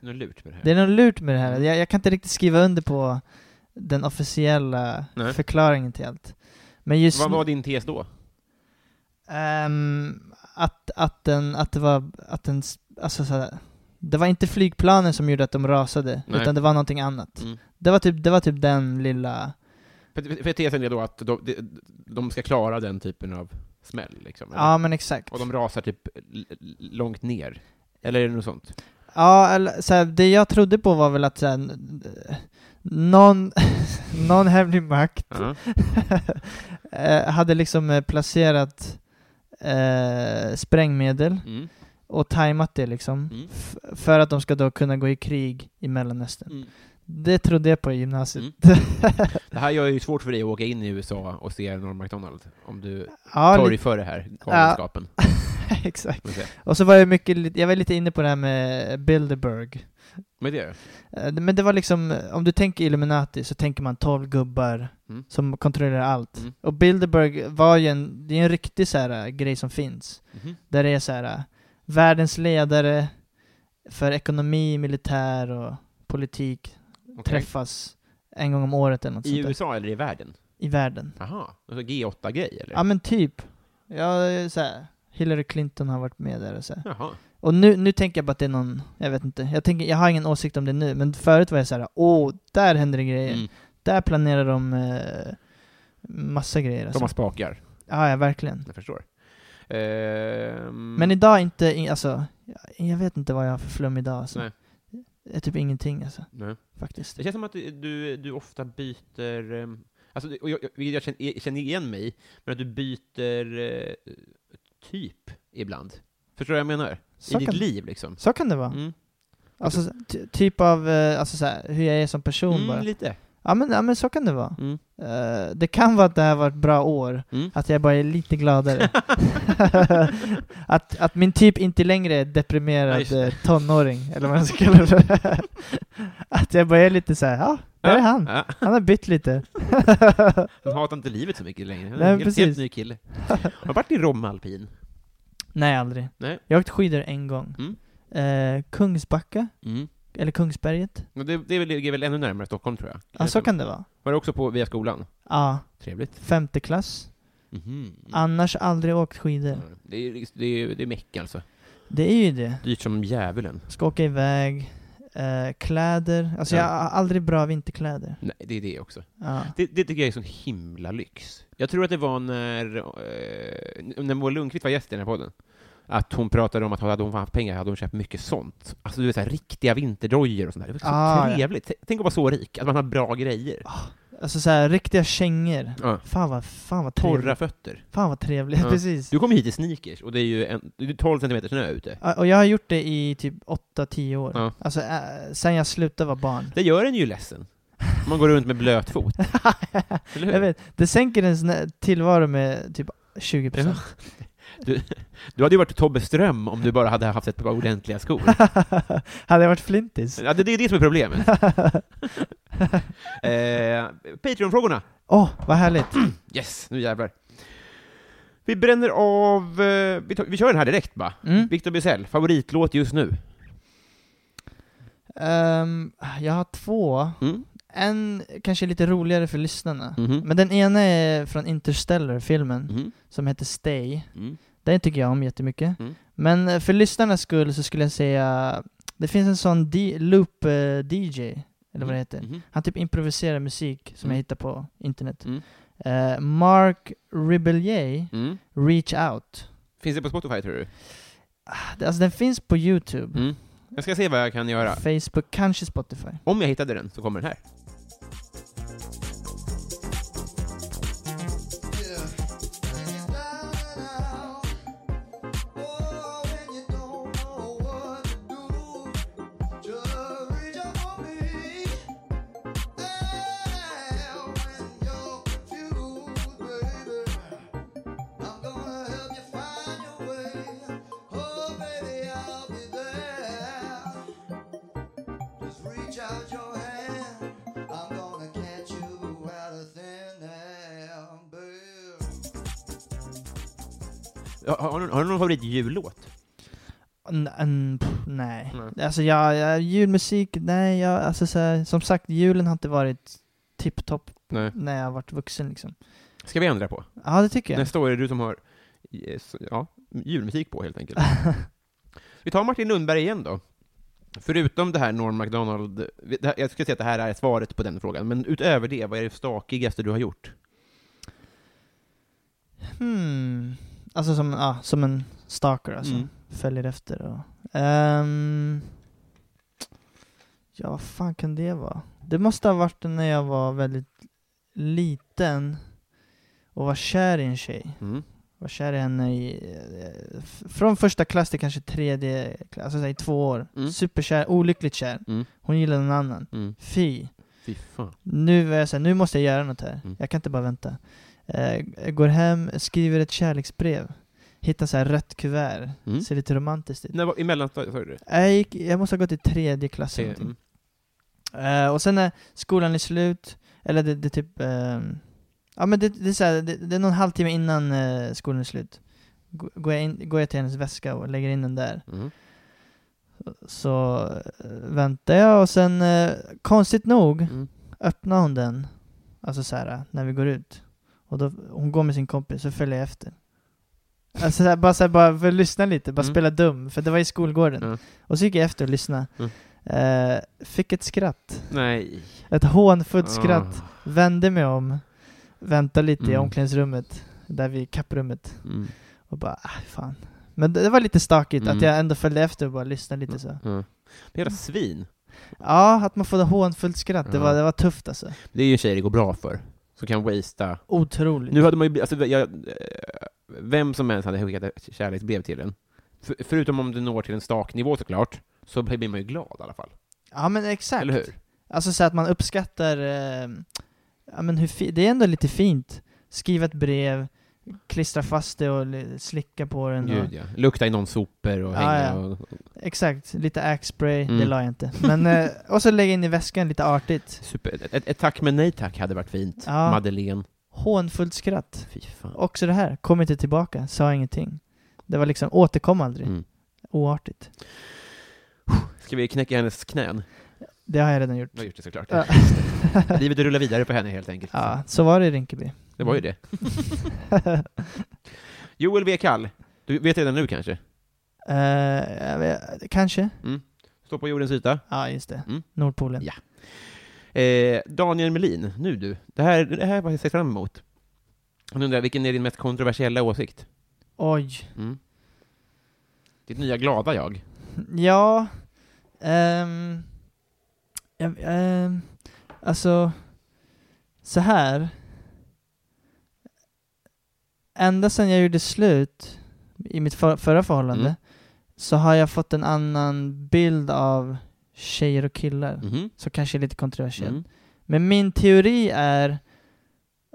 S2: Det är något lurt med det här.
S3: Det är något lurt med det
S2: Mm.
S3: här. Jag, jag kan inte riktigt skriva under på den officiella
S2: Nej.
S3: förklaringen till allt. Men just
S2: Vad
S3: nu-
S2: var din tes då?
S3: Ehm, att, att, den, att det var, att den, s- alltså så här, det var inte flygplanen som gjorde att de rasade,
S2: Nej.
S3: utan det var någonting annat.
S2: Mm.
S3: Det var typ, det var typ den lilla,
S2: För, för tesen är då att de, de, de ska klara den typen av smäll, liksom. eller?
S3: ja men exakt.
S2: Och de rasar typ l- l- långt ner. Eller är det något sånt?
S3: Ja, eller så här, det jag trodde på var väl att så här, n- någon, någon hemlig makt
S2: Ja.
S3: eh, hade liksom eh, placerat eh, sprängmedel
S2: Mm.
S3: och tajmat det liksom,
S2: Mm.
S3: f- för att de ska då kunna gå i krig i Mellanöstern.
S2: Mm.
S3: Det trodde jag på i gymnasiet.
S2: Det här gör ju svårt för dig att åka in i USA och se Norm MacDonald, om du
S3: Ja, lite,
S2: torgför det här galenskapen.
S3: exakt.
S2: får vi se.
S3: Och så var jag mycket, li- jag var lite inne på det här med Bilderberg.
S2: Men det är det.
S3: Eh, Men det var liksom, om du tänker Illuminati så tänker man 12 gubbar
S2: Mm.
S3: som kontrollerar allt.
S2: Mm.
S3: Och Bilderberg var ju en, det är en riktig så här, eh, grej som finns.
S2: Mhm.
S3: Där det är så här, eh, världens ledare för ekonomi, militär och politik
S2: Okej.
S3: träffas en gång om året eller något
S2: I
S3: sånt där.
S2: USA eller i världen?
S3: I världen.
S2: Jaha, alltså G8-grej eller?
S3: Ja men typ. Ja, så här, Hillary Clinton har varit med där och så här.
S2: Jaha.
S3: Och nu, nu tänker jag bara att det är någon, jag vet inte, jag, tänker, jag har ingen åsikt om det nu, men förut var jag så här: åh, där händer det grejer.
S2: Mm.
S3: Där planerar de eh, massa grejer.
S2: De
S3: Alltså.
S2: har Mm. spakar,
S3: Ja, ja, verkligen.
S2: jag förstår. Ehm,
S3: Men idag inte, i- alltså, jag- jag vet inte vad jag har för flum idag alltså.
S2: Nej.
S3: Det är typ ingenting alltså,
S2: nej.
S3: faktiskt.
S2: Det känns som att du, du, du ofta byter, ehm, alltså, det- och jag, jag, vilket jag känner, känner igen mig, men att du byter eh, typ ibland. Förstår du vad jag menar? I
S3: Så
S2: ditt
S3: kan,
S2: liv liksom.
S3: så kan det vara.
S2: Mm.
S3: Alltså, ty, typ av, eh, alltså så här, hur jag är som person
S2: Mm,
S3: bara.
S2: lite.
S3: Ja men, ja men så kan det vara.
S2: Mm.
S3: Eh, det kan vara att det här var ett bra år,
S2: Mm.
S3: att jag bara är lite gladare. att, att min typ inte längre är
S2: Ja,
S3: deprimerad
S2: just
S3: eh, tonåring, eller vad man ska kalla det. att jag bara är lite så här, ja, där är han.
S2: Ja,
S3: Han har bytt lite.
S2: han hatar inte livet så mycket längre. Han är
S3: Nej,
S2: en helt,
S3: precis.
S2: helt ny kille. Har du varit i Romme Alpin?
S3: Nej, aldrig.
S2: Nej.
S3: Jag har åkt skidor en gång.
S2: Mm.
S3: Eh, Kungsbacka, eller Kungsberget.
S2: Men Mm. Det, det ligger väl ännu närmare Stockholm, tror jag.
S3: Ja, så kan det vara.
S2: Var det också på via skolan?
S3: Ja,
S2: Trevligt.
S3: femte klass.
S2: Mhm.
S3: Annars aldrig åkt skidor.
S2: Mm. Det är, det är, det är meck alltså.
S3: Det är ju det.
S2: Dyrt som djävulen.
S3: Ska åka iväg, eh, kläder. Alltså
S2: Ja.
S3: jag har aldrig bra vinterkläder.
S2: Nej, det är det också.
S3: Ja.
S2: Det, det tycker jag är sån himla lyx. Jag tror att det var när, eh, när Moa Lundqvist var gäst i den här podden, att hon pratade om att hade hon haft pengar hade hon köpt mycket sånt. Alltså du vet, så här, riktiga vinterdojor och sånt där. Det var så
S3: Ah, ja.
S2: trevligt. T- Tänk att vara så rik, att man har bra grejer.
S3: Alltså så här, riktiga kängor.
S2: Ja.
S3: Fan vad, fan vad trevligt.
S2: Torra fötter.
S3: Fan vad trevligt,
S2: Ja.
S3: precis.
S2: Du kom hit i sneakers, och det är ju en, det är 12 centimeter snö ute.
S3: Ja, Och jag har gjort det i typ 8-10 år.
S2: Ja.
S3: Alltså äh, sen jag slutade vara barn.
S2: Det gör en ju ledsen. Man går runt med blöt fot. Eller hur?
S3: jag vet, det sänker ens nä- tillvaro med typ 20%.
S2: Ja. Du hade ju varit Tobbe Ström om du bara hade haft ett par ordentliga skor.
S3: Hade jag varit flintis?
S2: Ja, det, det är det som är problemet. eh, Patreon-frågorna.
S3: Åh, vad härligt.
S2: Yes, nu jävlar. Vi bränner av... Eh, vi, tar, vi kör den här direkt bara.
S3: Mm.
S2: Victor Bizell, favoritlåt just nu.
S3: Ehm, jag har två.
S2: Mm.
S3: En kanske lite roligare för lyssnarna.
S2: Mhm.
S3: Men den ena är från Interstellar-filmen,
S2: Mhm.
S3: som heter Stay.
S2: Mm.
S3: Den tycker jag om jättemycket.
S2: Mm.
S3: Men eh, för lyssnarnas skull så skulle jag säga, det finns en sån eh, D- loop-DJ, eller vad det heter.
S2: Mhm.
S3: Han typ improviserar musik som
S2: Mm.
S3: jag hittar på internet.
S2: Mm.
S3: Eh, Mark Ribelier,
S2: Mm.
S3: Reach Out.
S2: Finns det på Spotify, tror du?
S3: Det- Alltså den finns på YouTube,
S2: Mm. Jag ska se vad jag kan göra.
S3: Facebook, kanske Spotify.
S2: Om jag hittade den så kommer den här.
S4: Oh, Reach out your hand, I'm gonna catch you out of thin air, babe.
S2: Har, har, du- har du någon favoritjullåt?
S3: N- n- pff, nej.
S2: Nej.
S3: Alltså jag, jag, julmusik, nej jag, alltså så här, som sagt julen har inte varit tipptopp
S2: Nej.
S3: när jag har varit vuxen liksom.
S2: Ska vi ändra på?
S3: Ja det tycker jag.
S2: Nästa år är det du som har yes, ja, julmusik på, helt enkelt. Vi tar Martin Lundberg igen då. Förutom det här Norm Macdonald, det här- jag skulle säga att det här är svaret på den frågan, men utöver det, vad är det stakigaste du har gjort?
S3: Hmm. Alltså som, ja, som en stalker alltså.
S2: Mm.
S3: Följer efter och... Ehm. ja vad fan kan det vara? Det måste ha varit när jag var väldigt liten och var kär i en tjej.
S2: Mm.
S3: var kär i henne i, eh, f- från första klass till kanske tredje klass, alltså så här i två år.
S2: Mm.
S3: Superkär, olyckligt kär.
S2: Mm.
S3: Hon gillade en annan.
S2: Mm.
S3: Fy.
S2: Fy fan.
S3: Nu är jag så här, nu måste jag göra något här.
S2: Mm.
S3: Jag kan inte bara vänta. Eh, går hem, skriver ett kärleksbrev. Hittar så här rött kuvert.
S2: Mm.
S3: Ser lite romantiskt ut. Eh,
S2: När var, I mellanstadiet, sa du det?
S3: Jag, gick, jag måste ha gått i tredje klass. eller
S2: Mm.
S3: någonting. Eh, och sen när skolan är slut, eller det, det typ... Eh, ja men det, det, är så här, det, det är någon halvtimme innan eh, skolan är slut. Gå- Går jag, in, går jag till hennes väska och lägger in den där.
S2: Mm.
S3: Så eh, väntar jag och sen, eh, konstigt nog,
S2: Mm.
S3: öppnar hon den. Alltså så här, när vi går ut. Och då, hon går med sin kompis, så följer jag efter. Alltså så här, bara, så här, bara för att lyssna lite, bara
S2: Mm.
S3: spela dum, för det var i skolgården.
S2: Mm.
S3: Och så gick jag efter och lyssnade.
S2: Mm.
S3: Eh, fick ett skratt.
S2: Nej.
S3: Ett hånfullt skratt.
S2: Ah.
S3: Vände mig om, väntade lite i
S2: Mm.
S3: omklädningsrummet, där vid kapprummet.
S2: Mm.
S3: Och bara, ah, fan. Men det, det var lite stakigt
S2: Mm.
S3: att jag ändå följde efter och bara lyssnade lite så.
S2: Mm. Det är jävla svin.
S3: Ja, att man får ett hånfullt skratt, det,
S2: Ja.
S3: var, det var tufft alltså.
S2: Det är ju en tjej det går bra för, som kan wastea
S3: Otroligt.
S2: Nu hade man ju, bli- alltså, jag, eh, vem som helst hade skickat ett kärleksbrev till en. För, förutom om du når till en staknivå såklart, så blir man ju glad i alla fall.
S3: Ja men exakt.
S2: Eller hur?
S3: Alltså så att man uppskattar eh, ja, men hur fi- det är ändå lite fint. Skriva ett brev, klistra fast det och li- slicka på den. Och,
S2: Gud, ja. Lukta i någon sopor och
S3: Ja,
S2: hänga
S3: ja.
S2: och...
S3: Exakt, lite axe-spray, det
S2: Mm.
S3: la jag inte. Men, eh, och så lägga in i väskan lite artigt.
S2: Super. Ett, ett, ett tack men nej tack hade varit fint.
S3: Ja.
S2: Madeleine.
S3: Hånfullt skratt.
S2: Fy fan.
S3: Också det här, kom inte tillbaka, sa ingenting. Det var liksom, återkom aldrig.
S2: Mm.
S3: Oartigt.
S2: Ska vi knäcka hennes knän?
S3: Det har jag redan gjort.
S2: Jag har gjort det såklart.
S3: Ja.
S2: Livet rullar vidare på henne helt enkelt.
S3: ja, så var det i Rinkeby.
S2: Det var ju det. Joel W. Kall. Du vet redan nu kanske?
S3: Eh, jag vet- kanske?
S2: Stå på jordens yta.
S3: Ja, just det.
S2: Mm.
S3: Nordpolen.
S2: Ja. Eh, Daniel Melin, nu du. Det här, det här har jag sett fram emot. Han undrar, vilken är din mest kontroversiella åsikt?
S3: Oj.
S2: Mm. Ditt nya glada jag.
S3: Ja. ehm, jag- ehm, alltså, så här. Ända sedan jag gjorde slut i mitt för- förra förhållande
S2: Mm.
S3: så har jag fått en annan bild av tjejer och killar.
S2: Mhm.
S3: Så kanske är lite kontroversiellt.
S2: Mm.
S3: Men min teori är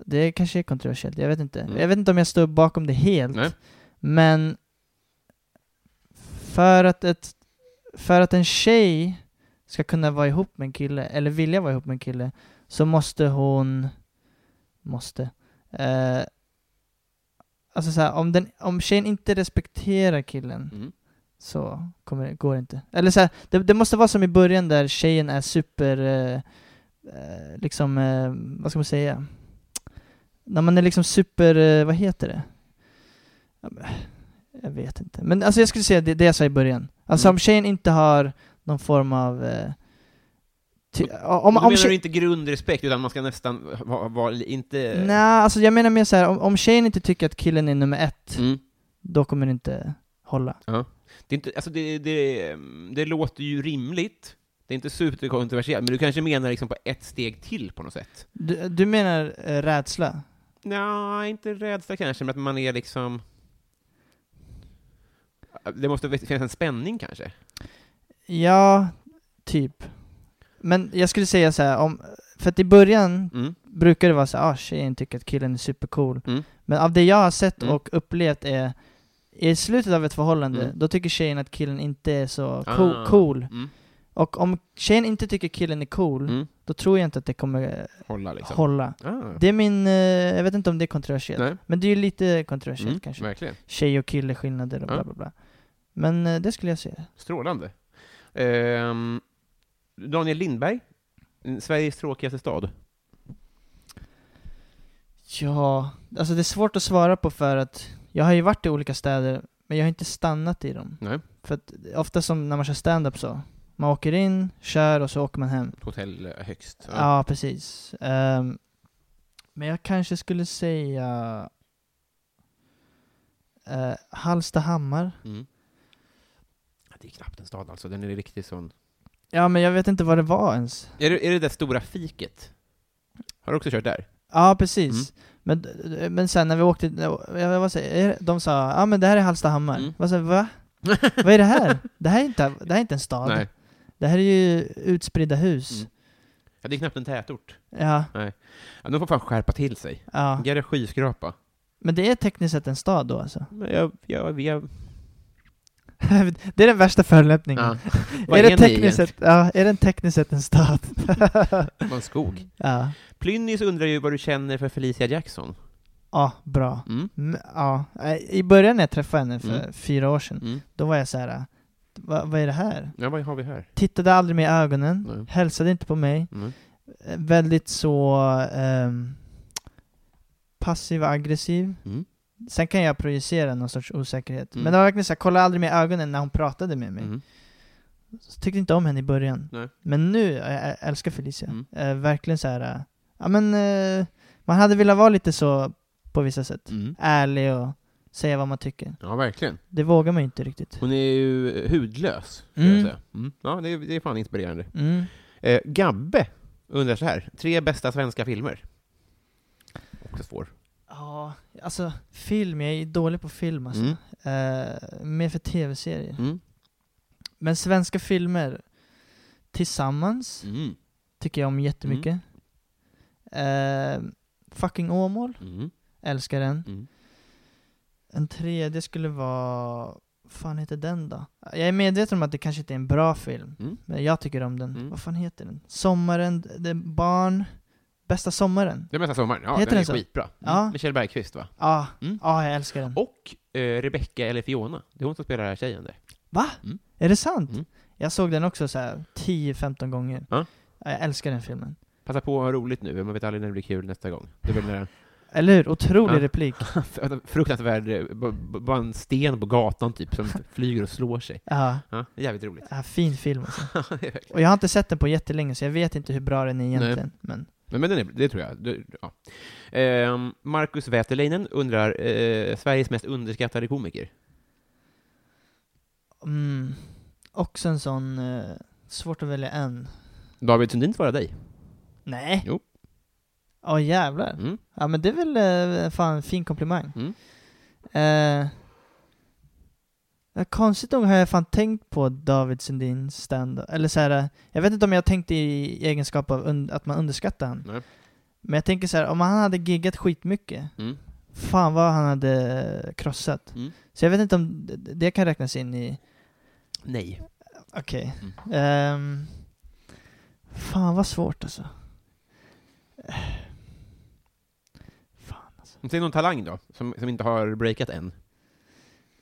S3: Det kanske är kontroversiellt, jag vet inte.
S2: Mm.
S3: Jag vet inte om jag står bakom det helt.
S2: Nej.
S3: Men för att, ett, för att en tjej ska kunna vara ihop med en kille, eller vilja vara ihop med en kille, så måste hon... Måste. Eh, alltså så här, om, den, om tjejen inte respekterar killen
S2: Mm.
S3: så kommer det, går det inte. Eller så här, det, det måste vara som i början där tjejen är super, eh, eh, liksom, eh, vad ska man säga? När man är liksom super, eh, vad heter det? Ja, men, Jag vet inte. Men alltså jag skulle säga det, det jag sa i början. Alltså
S2: Mm.
S3: om tjejen inte har någon form av... Eh, ty- om,
S2: Om,
S3: om
S2: menar
S3: tje-
S2: du inte grundrespekt, utan man ska nästan vara, vara, inte...
S3: Nej, alltså jag menar mer så här, om, om tjejen inte tycker att killen är nummer ett,
S2: Mm.
S3: då kommer det inte hålla.
S2: Det, är inte, alltså det, det, det låter ju rimligt, det är inte superkontroversiellt, men du kanske menar liksom på ett steg till på något sätt?
S3: Du, du menar eh, rädsla?
S2: Nej, inte rädsla kanske, men att man är liksom... Det måste finnas en spänning kanske?
S3: Ja, typ. Men jag skulle säga så här, om, för att i början
S2: Mm.
S3: brukar det vara så här, ah, tjejen tycker att killen är supercool.
S2: Mm.
S3: Men av det jag har sett
S2: Mm.
S3: och upplevt är, i slutet av ett förhållande,
S2: Mm.
S3: då tycker tjejen att killen inte är så cool.
S2: Ah.
S3: cool.
S2: Mm.
S3: Och om tjejen inte tycker killen är cool,
S2: Mm.
S3: då tror jag inte att det kommer
S2: Hålla liksom.
S3: hålla.
S2: ah.
S3: Det är min, eh, jag vet inte om det är kontroversiellt,
S2: Nej.
S3: men det är ju lite kontroversiellt
S2: Mm,
S3: kanske.
S2: Verkligen.
S3: Tjej och kille skillnader och
S2: Ja.
S3: bla bla bla. Men eh, det skulle jag säga.
S2: Strålande. Ehm, Daniel Lindberg, Sveriges tråkigaste stad.
S3: Ja, alltså det är svårt att svara på för att jag har ju varit i olika städer, men jag har inte stannat i dem.
S2: Nej.
S3: För att ofta som när man kör stand-up så, man åker in, kör och så åker man hem.
S2: Hotell eh, högst.
S3: Ja, precis. Ehm, men jag kanske skulle säga eh, Hallstahammar.
S2: Mm. Det är knappt en stad alltså, den är riktigt sån.
S3: Ja, men jag vet inte vad det var ens.
S2: Är det, är det där stora fiket? Har du också kört där?
S3: Ja, precis.
S2: Mm.
S3: Men, men sen när vi åkte, jag, vad säger, jag? de sa ja ah, men det här är Hallstahammar.
S2: Mm.
S3: Jag sa, va? Vad är det här? Det här är inte, det här är inte en stad.
S2: Nej.
S3: Det här är ju utspridda hus.
S2: Mm. Ja, det är knappt en tätort.
S3: Ja,
S2: Ja, de får fan skärpa till sig.
S3: ja.
S2: Vilka skyskrapa?
S3: Men det är tekniskt sett en stad då alltså?
S2: Men jag, jag, jag...
S3: det är den värsta förolämpningen.
S2: Ja. Vad
S3: är,
S2: är
S3: det
S2: ni
S3: tekniskt sett, ja, är den tekniskt sett en stad?
S2: Det var en skog.
S3: ja.
S2: Plynnis undrar ju vad du känner för Felicia Jackson.
S3: ja, bra.
S2: Mm.
S3: Mm, Ja. I början när jag träffade henne för
S2: Mm.
S3: fyra år sedan,
S2: Mm.
S3: då var jag så här. eh, Va, vad är det här?
S2: Ja, vad har vi här?
S3: Tittade aldrig mig i ögonen,
S2: Nej.
S3: hälsade inte på mig.
S2: Mm.
S3: Eh, Väldigt så ehm, passiv och aggressiv.
S2: Mm.
S3: Sen kan jag projicera någon sorts osäkerhet.
S2: Mm.
S3: Men det var verkligen så här, kolla aldrig mig i ögonen när hon pratade med mig.
S2: Mm.
S3: Så tyckte inte om henne i början.
S2: Nej.
S3: Men nu, jag ä- älskar Felicia.
S2: Mm.
S3: Eh, verkligen så här, eh, ja men eh, man hade velat vara lite så på vissa sätt.
S2: Mm.
S3: Ärlig och säga vad man tycker.
S2: Ja, verkligen.
S3: Det vågar man ju inte riktigt.
S2: Hon är ju eh, hudlös, skulle
S3: Mm.
S2: jag säga. Mm. Ja, det är, det är fan inspirerande.
S3: Mm.
S2: Eh, Gabbe undrar så här. Tre bästa svenska filmer. Också svår.
S3: Ja, alltså film, jag är dålig på film alltså.
S2: Mm.
S3: Eh, mer för tv-serier.
S2: Mm.
S3: Men svenska filmer tillsammans
S2: Mm.
S3: tycker jag om jättemycket. Eh, fucking Åmål,
S2: Mm.
S3: älskar den.
S2: Mm.
S3: En tredje skulle vara... fan heter den då? Jag är medveten om att det kanske inte är en bra film,
S2: Mm.
S3: men jag tycker om den.
S2: Mm.
S3: Vad fan heter den? Sommaren, det är barn... Bästa sommaren?
S2: Det är mesta sommaren. Ja,
S3: Heter
S2: den
S3: den
S2: är
S3: så?
S2: skitbra. Mm.
S3: Ja.
S2: Med Kjell Bergqvist, va?
S3: Ja, ah,
S2: Mm.
S3: jag älskar den.
S2: Och eh, Rebecca eller Fiona. Det är hon som spelar den här tjejen där.
S3: Är det sant?
S2: Mm.
S3: Jag såg den också så här 10-15 gånger.
S2: Ja.
S3: Jag älskar den filmen.
S2: Passa på att ha roligt nu, man vet aldrig när det blir kul nästa gång. Det blir när
S3: Eller hur? Otrolig
S2: Ja.
S3: replik.
S2: en fruktansvärd, eh, b- b- bara en sten på gatan typ, som flyger och slår sig.
S3: Ja,
S2: Ja, det är jävligt roligt.
S3: ja, fin film alltså. Och jag har inte sett den på jättelänge så jag vet inte hur bra den är egentligen. Men
S2: Men, men den är, det tror jag. Det, ja. Ehm, Marcus Wäterleinen undrar, eh, Sveriges mest underskattade komiker?
S3: mm, också en sån... Eh, svårt att välja en.
S2: David Sundin svarar dig.
S3: Nej.
S2: Jo.
S3: Åh jävlar.
S2: Mm.
S3: Ja men det är väl eh, fan en fin komplimang.
S2: Mm.
S3: Eh, ja, konstigt nog har jag fan tänkt på David Sundin stand Eller så här, eh, jag vet inte om jag har tänkt i egenskap av un- att man underskattar han.
S2: Nej.
S3: Men jag tänker så här, om han hade giggat skitmycket,
S2: Mm.
S3: fan vad han hade eh, krossat.
S2: Mm.
S3: Så jag vet inte om d- det kan räknas in i,
S2: Nej. Mm.
S3: okej. Ehm, fan vad svårt alltså. Eh, Fan. alltså.
S2: Säg någon talang då, som, som inte har breakat än.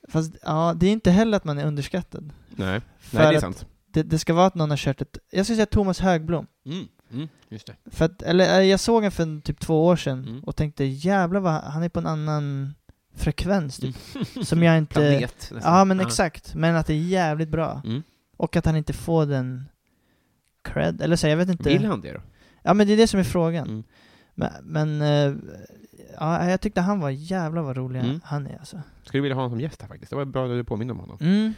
S3: Fast ja, det är inte heller att man är underskattad.
S2: Nej,
S3: För
S2: Nej det är
S3: att
S2: sant.
S3: det, det ska vara att någon har kört ett... Jag skulle säga Thomas Högblom.
S2: Mm. Mm. Just det.
S3: För att, eller eh, jag såg honom för en typ två år sedan
S2: Mm.
S3: och tänkte jävlar vad han är på en annan frekvens typ. Som jag inte...
S2: Planet. Mm. nästan.
S3: Ja men
S2: Ja.
S3: exakt. Men att det är jävligt bra.
S2: Mm.
S3: Och att han inte får den cred. Eller så, jag vet inte.
S2: Vill han det då?
S3: Ja men det är det som är frågan.
S2: Mm.
S3: Men, men eh, ja, jag tyckte han var jävlar vad rolig
S2: Mm.
S3: han är alltså.
S2: Skulle vilja ha honom som gäst här faktiskt. Det var bra att du påminde om honom.
S3: Mm.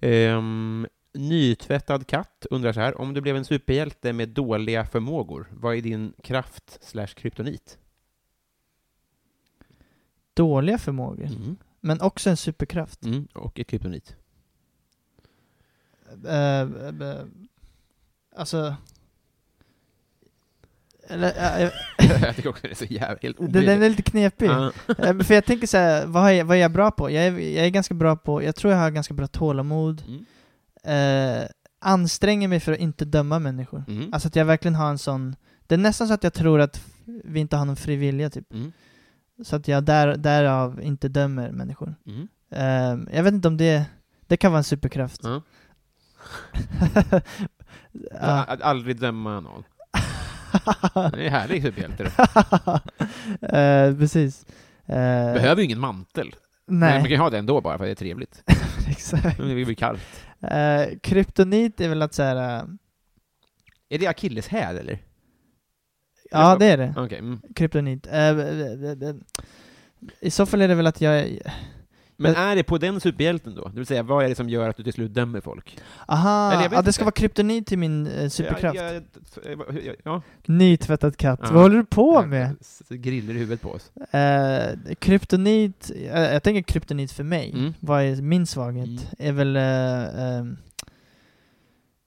S2: Ehm, nytvättad katt undrar så här, om du blev en superhjälte med dåliga förmågor, vad är din kraft slash kryptonit?
S3: Dåliga förmågor. Men också en superkraft.
S2: Mm, och ett kryptonit.
S3: Eh, eh, alltså... Eller, eh, eh,
S2: jag tycker också det är så jävla helt Ah.
S3: den, den
S2: obilligt.
S3: är lite knepig. Eh, för jag tänker så här, vad, har jag, vad är jag bra på? Jag är, jag är ganska bra på, jag tror jag har ganska bra tålamod.
S2: Mm.
S3: Eh, anstränger mig för att inte döma människor.
S2: Mm.
S3: Alltså att jag verkligen har en sån... Det är nästan så att jag tror att f- vi inte har någon fri vilja, typ.
S2: Mm.
S3: Så att jag där, därav inte dömer människor.
S2: Mm.
S3: Eh, jag vet inte om det... Det kan vara en superkraft.
S2: Ja.
S3: Ja.
S2: Att aldrig döma någon. Det är en härlig superhjälte. det.
S3: Eh, precis. Eh,
S2: Behöver ju ingen mantel. Men man
S3: Nej,
S2: kan ju ha det ändå bara för att det är trevligt.
S3: exakt.
S2: Men Det blir kallt.
S3: Eh, kryptonit är väl att såhär... eh,
S2: Är det akilleshäl eller?
S3: ja, det är det.
S2: Okej. mm.
S3: Kryptonit. Eh, eh, eh, eh, I så fall är det väl att jag...
S2: Men
S3: Eh.
S2: är det på den superhjälten då? Det vill säga, vad är det som gör att du till slut dömer folk?
S3: Aha!
S2: Eller jag vet
S3: ja, det ska
S2: inte.
S3: vara kryptonit till min eh, superkraft.
S2: Ja, ja, ja, ja.
S3: Nytvättad katt.
S2: Ja.
S3: Vad håller du på
S2: Ja,
S3: med?
S2: s- Griller i huvudet på oss.
S3: Eh, kryptonit, eh, jag tänker kryptonit för mig.
S2: Mm.
S3: Vad är min svaghet?
S2: Mm.
S3: Är väl... eh, ehm,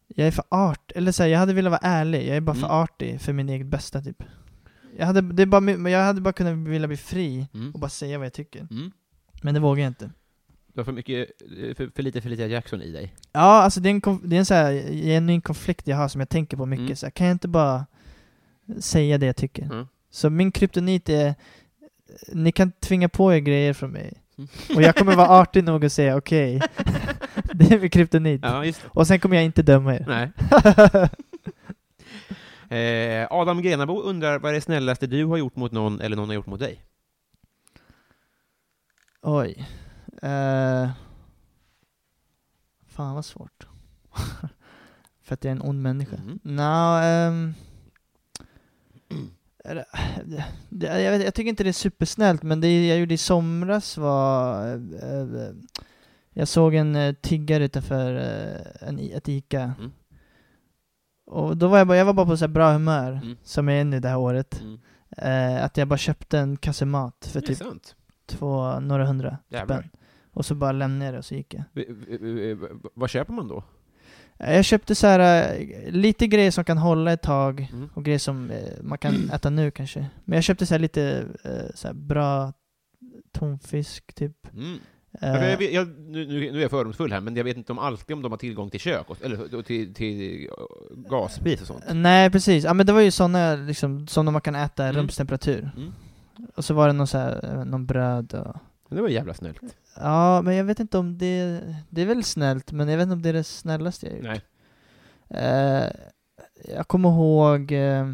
S3: jag är för art, eller så här, jag hade velat vara ärlig, jag är bara
S2: Mm.
S3: för artig för min eget bästa typ. Jag hade, det är bara, min- men jag hade bara kunnat vilja bli fri
S2: Mm.
S3: och bara säga vad jag tycker.
S2: Mm.
S3: Men det vågar jag inte.
S2: Du har för, mycket, eh, för, för lite för lite Jackson i dig.
S3: Ja, alltså det är en, konf- det är en så här genuin konflikt jag har som jag tänker på mycket.
S2: Mm.
S3: Så här, kan jag inte bara säga det jag tycker?
S2: Mm.
S3: Så min kryptonit är, ni kan tvinga på er grejer från mig.
S2: Mm.
S3: Och jag kommer vara artig nog att säga okej. det är min kryptonit.
S2: Ja, just det.
S3: Och sen kommer jag inte döma er.
S2: Nej. Eh, Adam Grenabo undrar, vad är det snällaste du har gjort mot någon eller någon har gjort mot dig?
S3: Oj. Eh. fan vad svårt. För att jag är en ond människa.
S2: Mm.
S3: Nå, ehm. är det- det- jag, vet, jag tycker inte det är supersnällt, men det jag gjorde i somras var... eh, eh, jag såg en eh, tiggare utanför eh, en, i- ett Ica.
S2: Mm.
S3: Och då var jag, bara, jag var bara på så här bra humör,
S2: Mm.
S3: som jag är nu det här året.
S2: Mm.
S3: Eh, att jag bara köpte en kasse mat för
S2: Det är
S3: typ
S2: sant.
S3: två, några hundra
S2: Jävlar.
S3: spänn. Och så bara lämnade jag det och så gick jag.
S2: V- v- v- v- Vad köper man då?
S3: Eh, Jag köpte så här eh, lite grejer som kan hålla ett tag
S2: Mm.
S3: och grejer som eh, man kan äta nu kanske. Men jag köpte så här lite eh, så här bra tonfisk typ.
S2: Mm.
S3: Eh,
S2: Jag, jag, jag, nu, nu nu är jag fördomsfull här, men jag vet inte om alltid om de har tillgång till kök, och, eller och till, till eh, gasspis och sånt.
S3: Nej precis, ja, men det var ju sådana liksom, såna man kan äta i
S2: Mm.
S3: rumstemperatur.
S2: Mm.
S3: Och så var det någon, så här, eh, någon bröd och...
S2: Men Det var jävla snällt.
S3: Ja, men jag vet inte om det... Det är väl snällt, men jag vet inte om det är det snällaste jag gjort.
S2: Nej.
S3: Eh, jag kommer ihåg eh,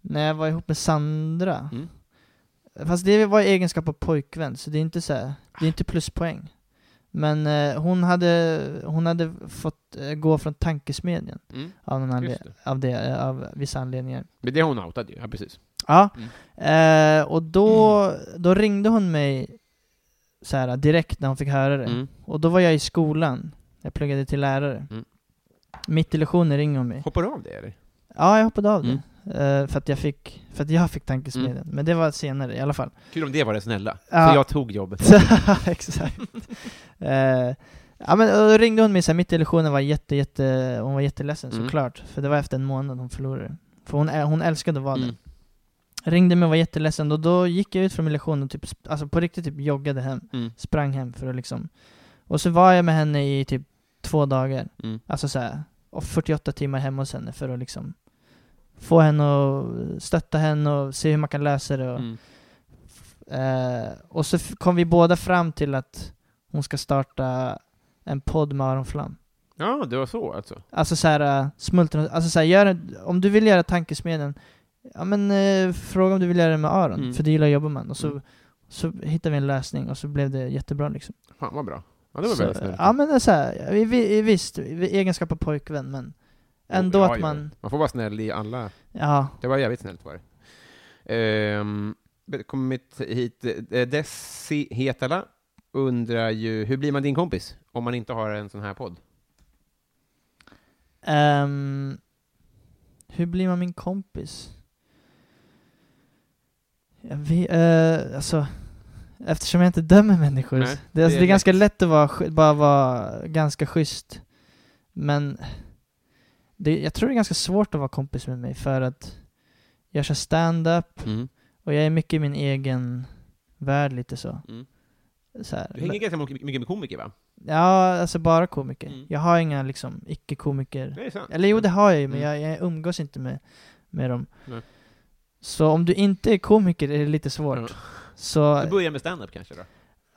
S3: när jag var ihop med Sandra.
S2: Mm.
S3: Fast det var i egenskap av pojkvän, så det är inte så här, det är inte pluspoäng. Men eh, hon, hade, hon hade fått eh, gå från tankesmedjan
S2: Mm.
S3: av, någon anled-
S2: Just det.
S3: av, det, eh, av vissa anledningar.
S2: Men det har hon outat ju, ja Mm. precis.
S3: Ja, eh, och då, då ringde hon mig så här, direkt när hon fick höra det.
S2: Mm.
S3: Och då var jag i skolan. Jag pluggade till lärare.
S2: Mm.
S3: Mitt i lektionen ringer hon mig.
S2: Hoppar du av det eller?
S3: Ja, jag hoppade av
S2: Mm.
S3: det. Eh, för, att jag fick, för att jag fick tankesmedjan. Men det var senare i alla fall.
S2: Kul om det var det snälla.
S3: Ja.
S2: För jag tog jobbet.
S3: Exakt. Eh, ja, men, och då ringde hon mig så här, mitt i lektionen var jätte, jätte, hon var jätteledsen
S2: Mm.
S3: såklart. För det var efter en månad hon förlorade. För hon, ä- hon älskade att vara
S2: Mm.
S3: där. Ringde mig och var jätteledsen och då gick jag ut från min lektion och typ, sp- alltså på riktigt typ joggade hem.
S2: Mm.
S3: Sprang hem för att liksom... Och så var jag med henne i typ två dagar.
S2: Mm.
S3: Alltså så här, och 48 timmar hemma hos henne för att liksom få henne och stötta henne och se hur man kan lösa det. Och,
S2: Mm.
S3: eh, och så f- kom vi båda fram till att hon ska starta en podd med Aron Flam.
S2: Ja, det var så alltså.
S3: Alltså så här, äh, smultron, alltså så här, gör, en- om du vill göra tankesmedjan, ja men eh, fråga om du vill göra det med Aron,
S2: Mm.
S3: för det gillar jobbar man. Och så,
S2: Mm.
S3: så hittade vi en lösning och så blev det jättebra liksom.
S2: Fan vad bra. Ja, det var
S3: så,
S2: väldigt snällt.
S3: Ja men det är så här, vi, vi, visst, vi, egenskap av pojkvän men ändå
S2: Ja,
S3: att
S2: ja.
S3: man,
S2: Man får vara snäll i alla...
S3: ja,
S2: Det var jävligt snällt var det. Ehm, kommit hit, eh, Desi Hetala undrar ju, hur blir man din kompis om man inte har en sån här podd?
S3: ehm, hur blir man min kompis? Jag vet, eh, alltså, eftersom jag inte dömer människor,
S2: Nej,
S3: det, alltså,
S2: det är
S3: det är ganska
S2: lätt.
S3: lätt att vara, sch- bara vara ganska schysst. Men det, jag tror det är ganska svårt att vara kompis med mig för att jag kör stand-up
S2: Mm.
S3: och jag är mycket i min egen värld lite så.
S2: Mm.
S3: så här,
S2: Du hänger ganska mycket mycket med komiker va?
S3: Ja, alltså bara komiker.
S2: Mm.
S3: Jag har inga liksom icke-komiker.
S2: Det är sant.
S3: Eller jo, det har jag ju, men
S2: Mm.
S3: jag, jag umgås inte med, med dem.
S2: Nej.
S3: Så om du inte är komiker är det lite svårt.
S2: Ja.
S3: Så,
S2: Du börjar med stand-up kanske då?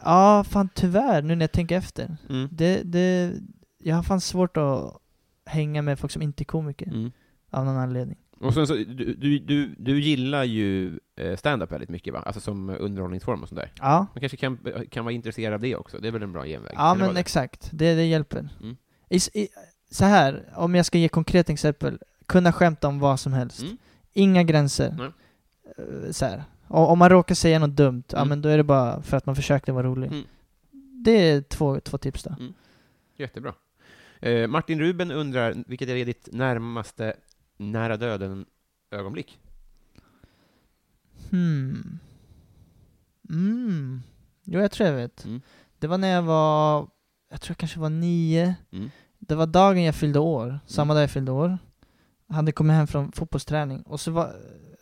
S3: ja fan tyvärr, nu när jag tänker efter.
S2: Mm.
S3: Det, det, jag har fan svårt att hänga med folk som inte är komiker,
S2: Mm.
S3: av någon anledning.
S2: Och sen så, du, du, du, du gillar ju eh, stand-up väldigt mycket va? Alltså som underhållningsform och sådär.
S3: Ja,
S2: Man kanske kan, kan vara intresserad av det också, det är väl en bra genväg?
S3: ja
S2: Eller
S3: men
S2: vad det?
S3: exakt. Det, det hjälper.
S2: Mm.
S3: I, s- i, så här, om jag ska ge konkret exempel, kunna skämta om vad som helst.
S2: Mm.
S3: Inga gränser.
S2: Nej.
S3: Eh, Så här. Och, om man råkar säga något dumt, ja
S2: Mm.
S3: men då är det bara för att man försökte vara rolig.
S2: Mm.
S3: Det är två, två tips då.
S2: Jättebra. Eh, Martin Ruben undrar, vilket är ditt närmaste nära döden-ögonblick?
S3: Hmm. Mm. Jo, jag tror jag vet.
S2: Mm.
S3: Det var när jag var, jag tror jag kanske var nio.
S2: Mm.
S3: Det var dagen jag fyllde år, samma dag jag fyllde år. Jag hade kommit hem från fotbollsträning och så var,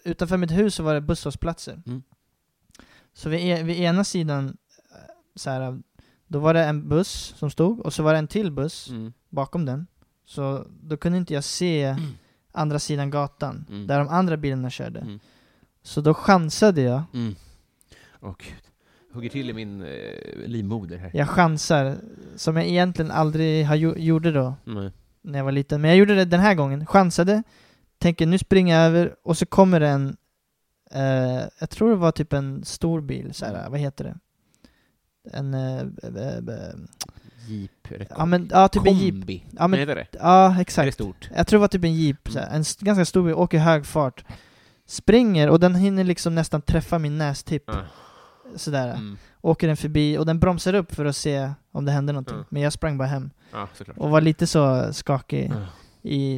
S3: utanför mitt hus så var det busshållplatser.
S2: Mm.
S3: Så vid, e- vid ena sidan, eh, så här, då var det en buss som stod och så var det en till
S2: Mm.
S3: buss bakom den. Så då kunde inte jag se andra sidan gatan,
S2: Mm.
S3: där de andra bilarna körde.
S2: Mm.
S3: Så då chansade jag.
S2: Mm. Åh gud. Hugger till i min eh, livmoder här.
S3: Jag chansar, som jag egentligen aldrig har gjo- gjorde då,
S2: Mm.
S3: när jag var liten. Men jag gjorde det den här gången. Chansade, tänker nu springer jag över och så kommer det en, eh, jag tror det var typ en stor bil, så här, vad heter det? En, eh, eh, eh,
S2: Jeep. eller
S3: ja men, ja typ en jeep.
S2: Kombi.
S3: Ja men,
S2: Nej, det är det.
S3: ja
S2: Det är
S3: exakt.
S2: stort.
S3: Jag tror det var typ en jeep, så här, en s- ganska stor bil, åker i hög fart. Springer och den hinner liksom nästan träffa min nästipp.
S2: Ah.
S3: Sådär.
S2: Mm.
S3: Åker den förbi och den bromsar upp för att se om det händer någonting.
S2: Ja.
S3: Men jag sprang bara hem.
S2: Ja, såklart. Ah.
S3: Och var lite så skakig
S2: Ja.
S3: i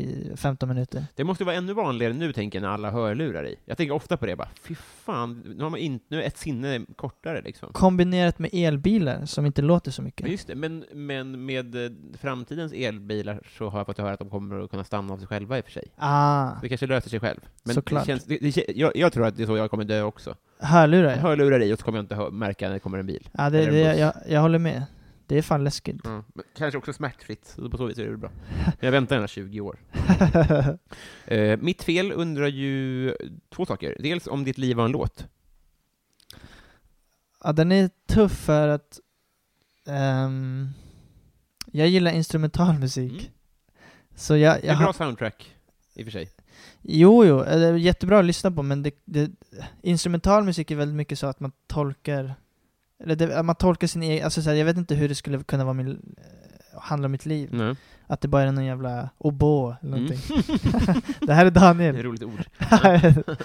S3: i 15 minuter.
S2: Det måste vara ännu vanligare nu, tänker jag, när alla hörlurar i. Jag tänker ofta på det, bara fy fan, nu har man inte, nu är ett sinne kortare liksom.
S3: Kombinerat med elbilar som inte låter så mycket.
S2: Men just det, men, men med eh, framtidens elbilar så har jag fått höra att de kommer att kunna stanna av sig själva i och för sig.
S3: Ah,
S2: Det kanske löser sig själv. Men det
S3: Såklart.
S2: känns, det, det, kän- jag, jag tror att det är så jag kommer dö också.
S3: hörlurar
S2: Jag
S3: ja.
S2: hörlurar i och så kommer jag inte hö- märka när det kommer en bil.
S3: ja det,
S2: Eller en
S3: det,
S2: buss.
S3: jag, jag håller med. Det är fan läskigt.
S2: Men kanske också smärtfritt, så på så vis är det väl bra. Men jag väntar gärna 20 år. Eh, mitt fel undrar ju två saker. Dels om ditt liv var en låt.
S3: ja, den är tuff för att ehm, jag gillar instrumentalmusik.
S2: Mm.
S3: Så jag,
S2: Det är
S3: jag
S2: bra
S3: har,
S2: soundtrack, i och för sig.
S3: jo, jo, eh, det är jättebra att lyssna på men det, det, instrumental musik är väldigt mycket så att man tolkar, eller det, att man tolkar sin egen, alltså så här, jag vet inte hur det skulle kunna vara min, eh, handla om mitt liv.
S2: Nej.
S3: Att det bara är någon jävla oboe eller
S2: Mm.
S3: någonting. det här är
S2: Det
S3: Daniel.
S2: är ett roligt ord.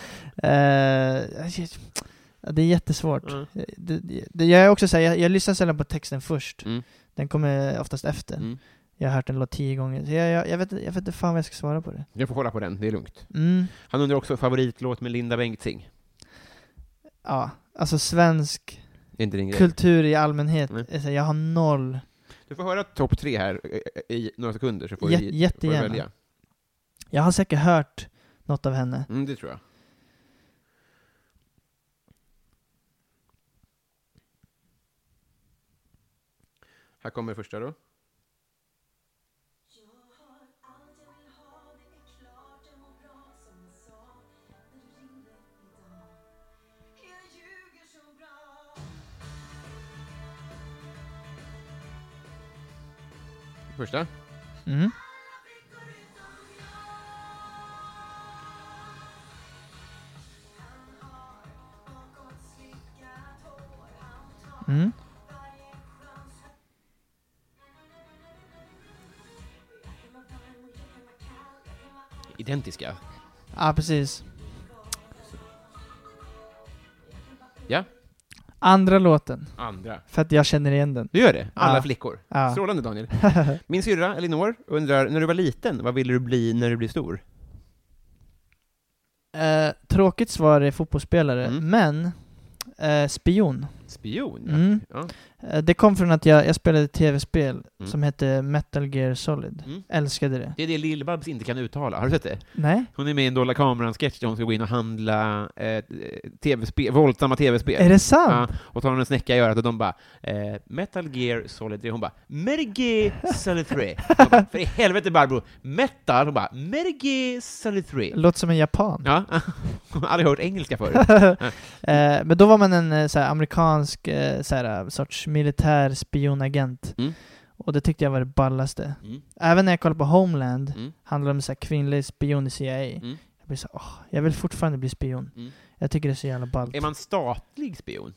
S3: Eh, shit. Ja, det är jättesvårt.
S2: Ja.
S3: Det, det- det, jag är också så här, jag, jag lyssnar sällan på texten först.
S2: Mm.
S3: Den kommer oftast efter.
S2: Mm.
S3: Jag har hört den låt tio gånger. Så jag, jag, jag, vet, jag vet inte fan vad jag ska svara på det.
S2: Jag får hålla på den, det är lugnt.
S3: Mm.
S2: Han undrar också favoritlåt med Linda Bengtzing.
S3: Ja, alltså svensk
S2: Det är inte din grej.
S3: kultur i allmänhet.
S2: Mm.
S3: är så här, Jag har noll.
S2: Du får höra topp tre här eh, i några sekunder, så får
S3: Jä-
S2: du, får du
S3: jättegärna.
S2: välja.
S3: Jag har säkert hört något av henne.
S2: Mm, det tror jag. Här kommer första då. Första.
S3: Mm. Mm.
S2: Identiska.
S3: Ja, precis.
S2: Ja.
S3: Andra låten.
S2: Andra.
S3: För att jag känner igen den.
S2: Du gör det? Alla
S3: Ja.
S2: flickor.
S3: Ja.
S2: Strålande Daniel. Min syrra Elinor undrar, när du var liten, vad ville du bli när du blev stor?
S3: Eh, tråkigt svar är fotbollsspelare,
S2: Mm.
S3: men eh, spion.
S2: Spion? ja.
S3: Mm.
S2: Ja.
S3: Eh, det kom från att jag, jag spelade ett tv-spel
S2: Mm.
S3: som hette Metal Gear Solid.
S2: Mm.
S3: Älskade det.
S2: Det är det Lill-Babs inte kan uttala, har du sett det?
S3: Nej?
S2: Hon är med i en Dolda Kameran-sketch där hon ska gå in och handla eh, TV-spel, våldsamma tv-spel.
S3: Är det sant?
S2: Ja, och tar hon en snäcka i örat och de bara eh, Metal Gear Solid 3, hon bara Metal Gear Solid 3 Hon bara, För i helvete Barbro, metal, hon bara Metal Gear Solid 3
S3: Låter som en japan.
S2: Ja, hon har aldrig hört engelska förut.
S3: Eh, men då var man en eh, såhär, amerikansk eh, såhär, sorts militär spionagent.
S2: Mm.
S3: Och det tyckte jag var det ballaste.
S2: Mm.
S3: Även när jag kollade på Homeland,
S2: Mm.
S3: handlade det om såhär, kvinnlig spion i CIA.
S2: Mm.
S3: Jag, blir så, åh, jag vill fortfarande bli spion.
S2: Mm.
S3: Jag tycker det är så jävla ballt.
S2: Är man statlig spion?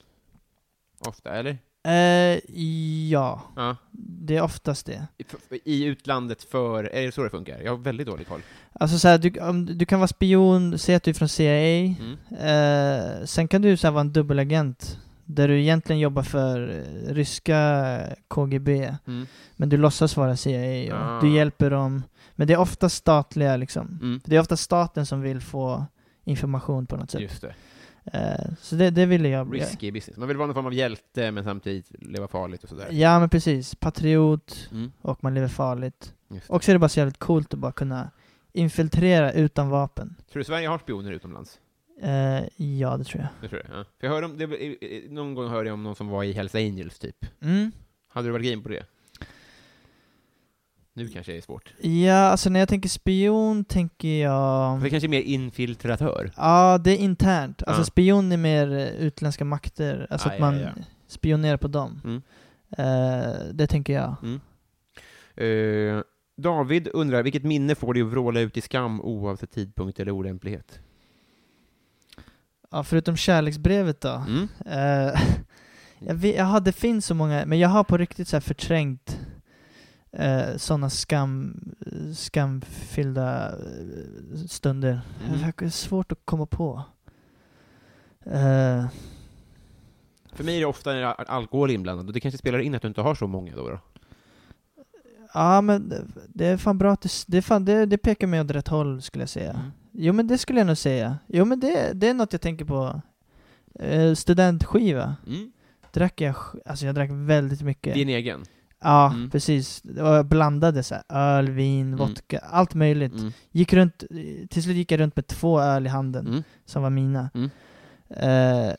S2: Ofta, eller?
S3: Eh, ja,
S2: Ja.
S3: det är oftast det.
S2: I, I utlandet för, är det så det funkar? Jag har väldigt dålig koll.
S3: Alltså så här, du, om, du kan vara spion, säg att du är från CIA.
S2: Mm.
S3: Eh, sen kan du så här, vara en dubbelagent. Där du egentligen jobbar för eh, ryska KGB.
S2: Mm.
S3: Men du låtsas vara CIA och
S2: Ah.
S3: du hjälper dem. Men det är ofta statliga liksom.
S2: Mm.
S3: För det är ofta staten som vill få information på något sätt.
S2: Just det.
S3: Eh, så det, det ville jag bli.
S2: Risky business. Man vill vara någon form av hjälte, men samtidigt leva farligt och sådär.
S3: Ja men precis. Patriot
S2: Mm.
S3: och man lever farligt.
S2: Just det.
S3: Och så är det bara så jävligt coolt att bara kunna infiltrera utan vapen.
S2: Tror du Sverige har spioner utomlands?
S3: Eh, ja, det tror jag.
S2: Det tror jag. Ja. För jag hörde om, det, eh, eh, någon gång hörde jag om någon som var i Hells Angels, typ.
S3: Mm.
S2: Hade du varit game på det? Nu kanske det är svårt.
S3: Ja, alltså när jag tänker spion tänker jag...
S2: Det kanske är mer infiltratör.
S3: Ja, det är internt. Alltså
S2: Ja. Ah,
S3: spion är mer eh, utländska makter. Alltså
S2: Ja,
S3: att
S2: ja,
S3: man
S2: ja.
S3: spionerar på dem.
S2: Mm.
S3: Eh, det tänker jag.
S2: Eh, David undrar, vilket minne får dig att vråla ut i skam oavsett tidpunkt eller olämplighet?
S3: Ja, förutom kärleksbrevet då.
S2: Mm.
S3: Eh, jag vet, jaha, det finns så många, men jag har på riktigt så här förträngt eh, sådana skam, skamfyllda eh, stunder.
S2: Mm.
S3: Det är svårt att komma på. Eh,
S2: För mig är det ofta när al- alkohol är inblandad, och det kanske spelar in att du inte har så många då. då.
S3: Ja men det- det är fan bra att du, s- det, är fan, det, det pekar mig åt rätt håll skulle jag säga.
S2: Mm.
S3: Jo men det skulle jag nog säga. Jo men det, det är något jag tänker på. Eh, studentskiva.
S2: Mm.
S3: Drack jag, sk- alltså jag drack väldigt mycket.
S2: Din egen?
S3: Ja,
S2: Mm.
S3: precis. Och jag blandade så här, öl, vin,
S2: Mm.
S3: vodka, allt möjligt.
S2: Mm.
S3: Gick runt, till slut gick jag runt med två öl i handen
S2: Mm.
S3: som var mina.
S2: Mm.
S3: Eh,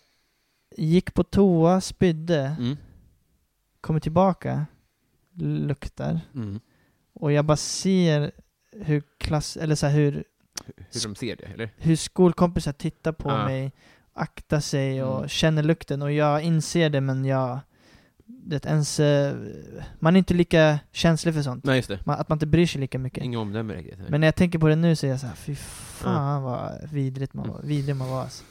S3: gick på toa, spydde,
S2: Mm.
S3: kommer tillbaka, luktar.
S2: Mm.
S3: Och jag bara ser hur klass, eller så här, hur,
S2: Hur de ser det, eller?
S3: hur skolkompisar tittar på
S2: Ja.
S3: mig, aktar sig och
S2: Mm.
S3: känner lukten. Och jag inser det men jag, det ens, eh, man är inte lika känslig för sånt.
S2: Nej, just det.
S3: Man, att man inte bryr sig lika mycket.
S2: Inga omdömen riktigt.
S3: Men när jag tänker på det nu så är jag så här, fy fan vad vidrigt
S2: Mm.
S3: man var, vidrig man var alltså.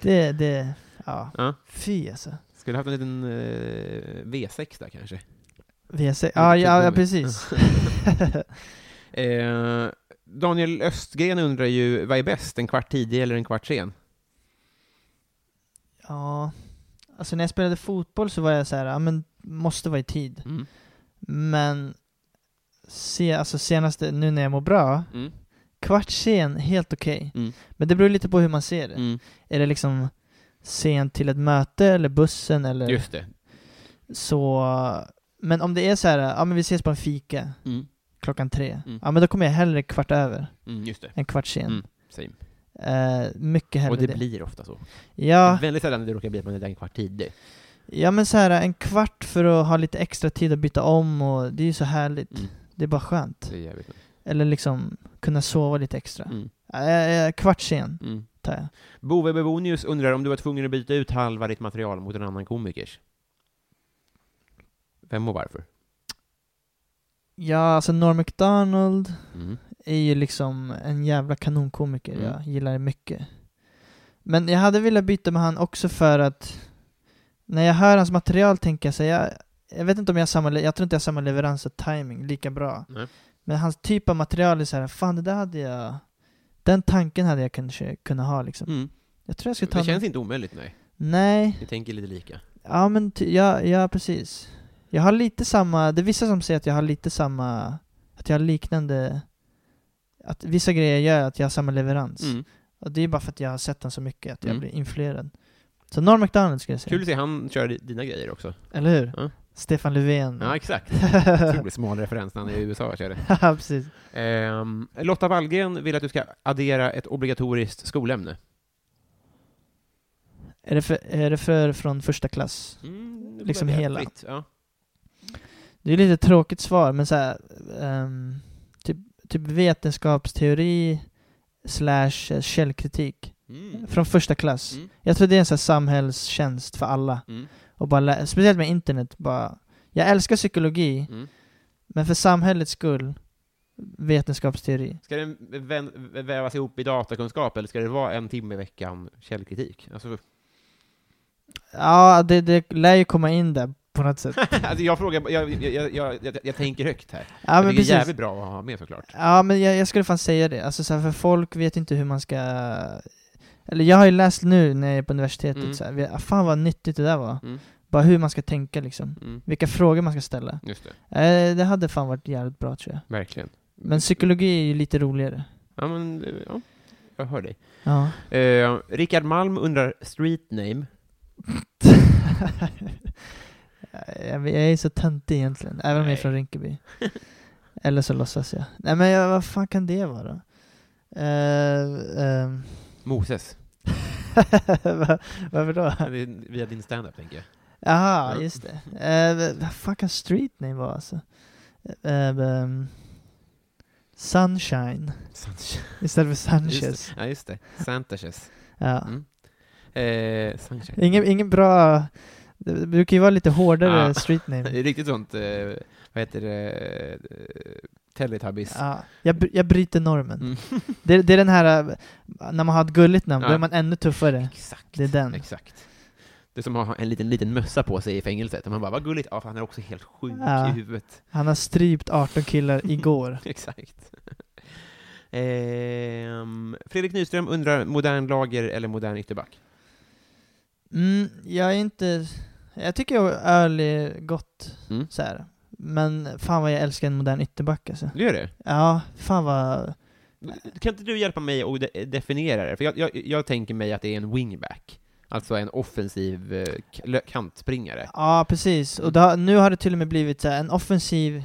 S3: Det, det, ja.
S2: Ja.
S3: Fy alltså.
S2: Skulle haft en liten eh, V6 där kanske.
S3: VC,
S2: Ja,
S3: ja,
S2: typ
S3: ja, ja
S2: nummer.
S3: precis.
S2: Eh, Daniel Östgren undrar ju, vad är bäst? En kvart tidig eller en kvart sen?
S3: ja. Alltså när jag spelade fotboll så var jag så här, ja men måste vara i tid.
S2: Mm.
S3: Men, se, alltså senaste, nu när jag mår bra,
S2: Mm.
S3: kvart sen, helt okej.
S2: Mm.
S3: Men det beror lite på hur man ser det.
S2: Mm.
S3: Är det liksom sent till ett möte eller bussen eller
S2: Just det.
S3: så. Men om det är så här, ja men vi ses på en fika
S2: Mm.
S3: klockan tre.
S2: Mm.
S3: Ja men då kommer jag hellre kvart över
S2: Mm, just det.
S3: än kvart sen.
S2: Mm. Same.
S3: Eh, mycket hellre
S2: Och det blir ofta så.
S3: Ja,
S2: Väldigt sällan det råkar bli att man är där en kvart tidig.
S3: ja men så här en kvart för att ha lite extra tid att byta om och det är ju så härligt.
S2: Mm.
S3: Det är bara skönt.
S2: Det är jävligt nice.
S3: Eller liksom kunna sova lite extra.
S2: mm.
S3: Eh, eh, kvart sen
S2: Mm.
S3: tar jag.
S2: Bove Bebonius undrar om du var tvungen att byta ut halva ditt material mot en annan komikers? Vem och varför?
S3: Ja, alltså Norm MacDonald
S2: Mm.
S3: är ju liksom en jävla kanonkomiker.
S2: Mm.
S3: Jag gillar det mycket. Men jag hade velat byta med han också för att när jag hör hans material tänker jag så här, jag, jag vet inte om jag har samma, le- jag tror inte jag har samma leverans och timing lika bra.
S2: Nej.
S3: Men hans typ av material är så här, fan det där hade jag, den tanken hade jag kanske kunnat ha liksom.
S2: Mm.
S3: Jag tror jag ska ta
S2: Det
S3: någon-
S2: känns inte omöjligt, nej.
S3: Nej,
S2: Vi tänker lite lika.
S3: ja men ty, ja, ja precis. Jag har lite samma, det är vissa som säger att jag har lite samma, att jag har liknande, att vissa grejer gör att jag har samma leverans.
S2: Mm.
S3: Och det är bara för att jag har sett den så mycket att jag
S2: Mm.
S3: blir influerad. Så Norm MacDonald skulle jag säga.
S2: Kul att se han kör dina grejer också.
S3: Eller hur?
S2: Ja.
S3: Stefan Löfven.
S2: Ja, exakt. Otroligt smal referens när han är i USA och kör det.
S3: Ja, precis.
S2: Ehm, Lotta Wallgren vill att du ska addera ett obligatoriskt skolämne.
S3: Är det, för, är det för från första klass?
S2: Mm, det
S3: Liksom
S2: börjar
S3: hela.
S2: fritt, Ja.
S3: Det är lite tråkigt svar, men så här, ehm, typ, typ vetenskapsteori slash eh, källkritik.
S2: Mm.
S3: Från första klass.
S2: Mm.
S3: Jag tror det är en sån här samhällstjänst för alla.
S2: Mm.
S3: Och bara lä- speciellt med internet. Bara, jag älskar psykologi,
S2: Mm.
S3: men för samhällets skull, vetenskapsteori.
S2: Ska den vän- vävas ihop i datakunskap eller ska det vara en timme i veckan källkritik? Alltså,
S3: Ja, det, det lär ju komma in där på något sätt.
S2: alltså jag frågar, jag, jag, jag, jag, jag, jag tänker högt här.
S3: Ja,
S2: jag tycker det
S3: men
S2: är
S3: precis.
S2: jävligt bra att ha med såklart.
S3: Ja, men jag, jag skulle fan säga det. Alltså, så här, för folk vet inte hur man ska... Eller jag har ju läst nu när jag är på universitetet,
S2: Mm.
S3: så här, vi- ah, fan vad nyttigt det där var.
S2: Mm.
S3: Bara hur man ska tänka liksom.
S2: Mm.
S3: Vilka frågor man ska ställa.
S2: Just det,
S3: Eh, det hade fan varit jävligt bra tror jag.
S2: verkligen.
S3: Men psykologi är ju lite roligare.
S2: Ja, men, eh, ja. Jag hör dig.
S3: Ja.
S2: Eh, Rickard Malm undrar street name.
S3: jag, jag är så töntig egentligen, även om jag
S2: Nej.
S3: är från Rinkeby. Eller så låtsas jag. Nej men jag, vad fan kan det vara? Eh, ehm,
S2: Moses.
S3: Va- Varför då?
S2: Det är Via din standup, tänker jag.
S3: Jaha,
S2: Ja.
S3: just det. Eh, v- vad fan kan street name vara alltså? Eh, ehm, sunshine
S2: Sanchez.
S3: istället för
S2: Just
S3: Sanchez.
S2: det. Ja, just det. Sanchez.
S3: Ja.
S2: Mm. Eh, Sanchez.
S3: Ingen, ingen bra... Det det brukar ju vara lite hårdare
S2: Ja.
S3: street name.
S2: Det är Riktigt sånt, eh, vad heter det, eh, Teletubbies.
S3: Ja, jag, br- jag bryter normen.
S2: Mm.
S3: Det, det är den här, äh, när man har ett gulligt namn, då
S2: Ja.
S3: är man ännu tuffare.
S2: Exakt.
S3: Det är den.
S2: Exakt. Det är som att ha en liten, liten mössa på sig i fängelset. Och man bara, vad gulligt. Ja, för han är också helt sjuk
S3: Ja.
S2: i huvudet.
S3: Han har strypt 18 killar igår.
S2: Exakt. Ehm, Fredrik Nyström undrar, modern lager eller modern ytterback?
S3: Mm, jag är inte... Jag tycker öl är gott,
S2: Mm.
S3: så här. Men fan vad jag älskar en modern ytterback alltså.
S2: Du gör det?
S3: Ja, fan vad...
S2: Kan inte du hjälpa mig att de- definiera det? För jag, jag, jag tänker mig att det är en wingback. Alltså en offensiv eh, k- lö- kantspringare.
S3: Ja, precis. Och det har, nu har det till och med blivit så här, en offensiv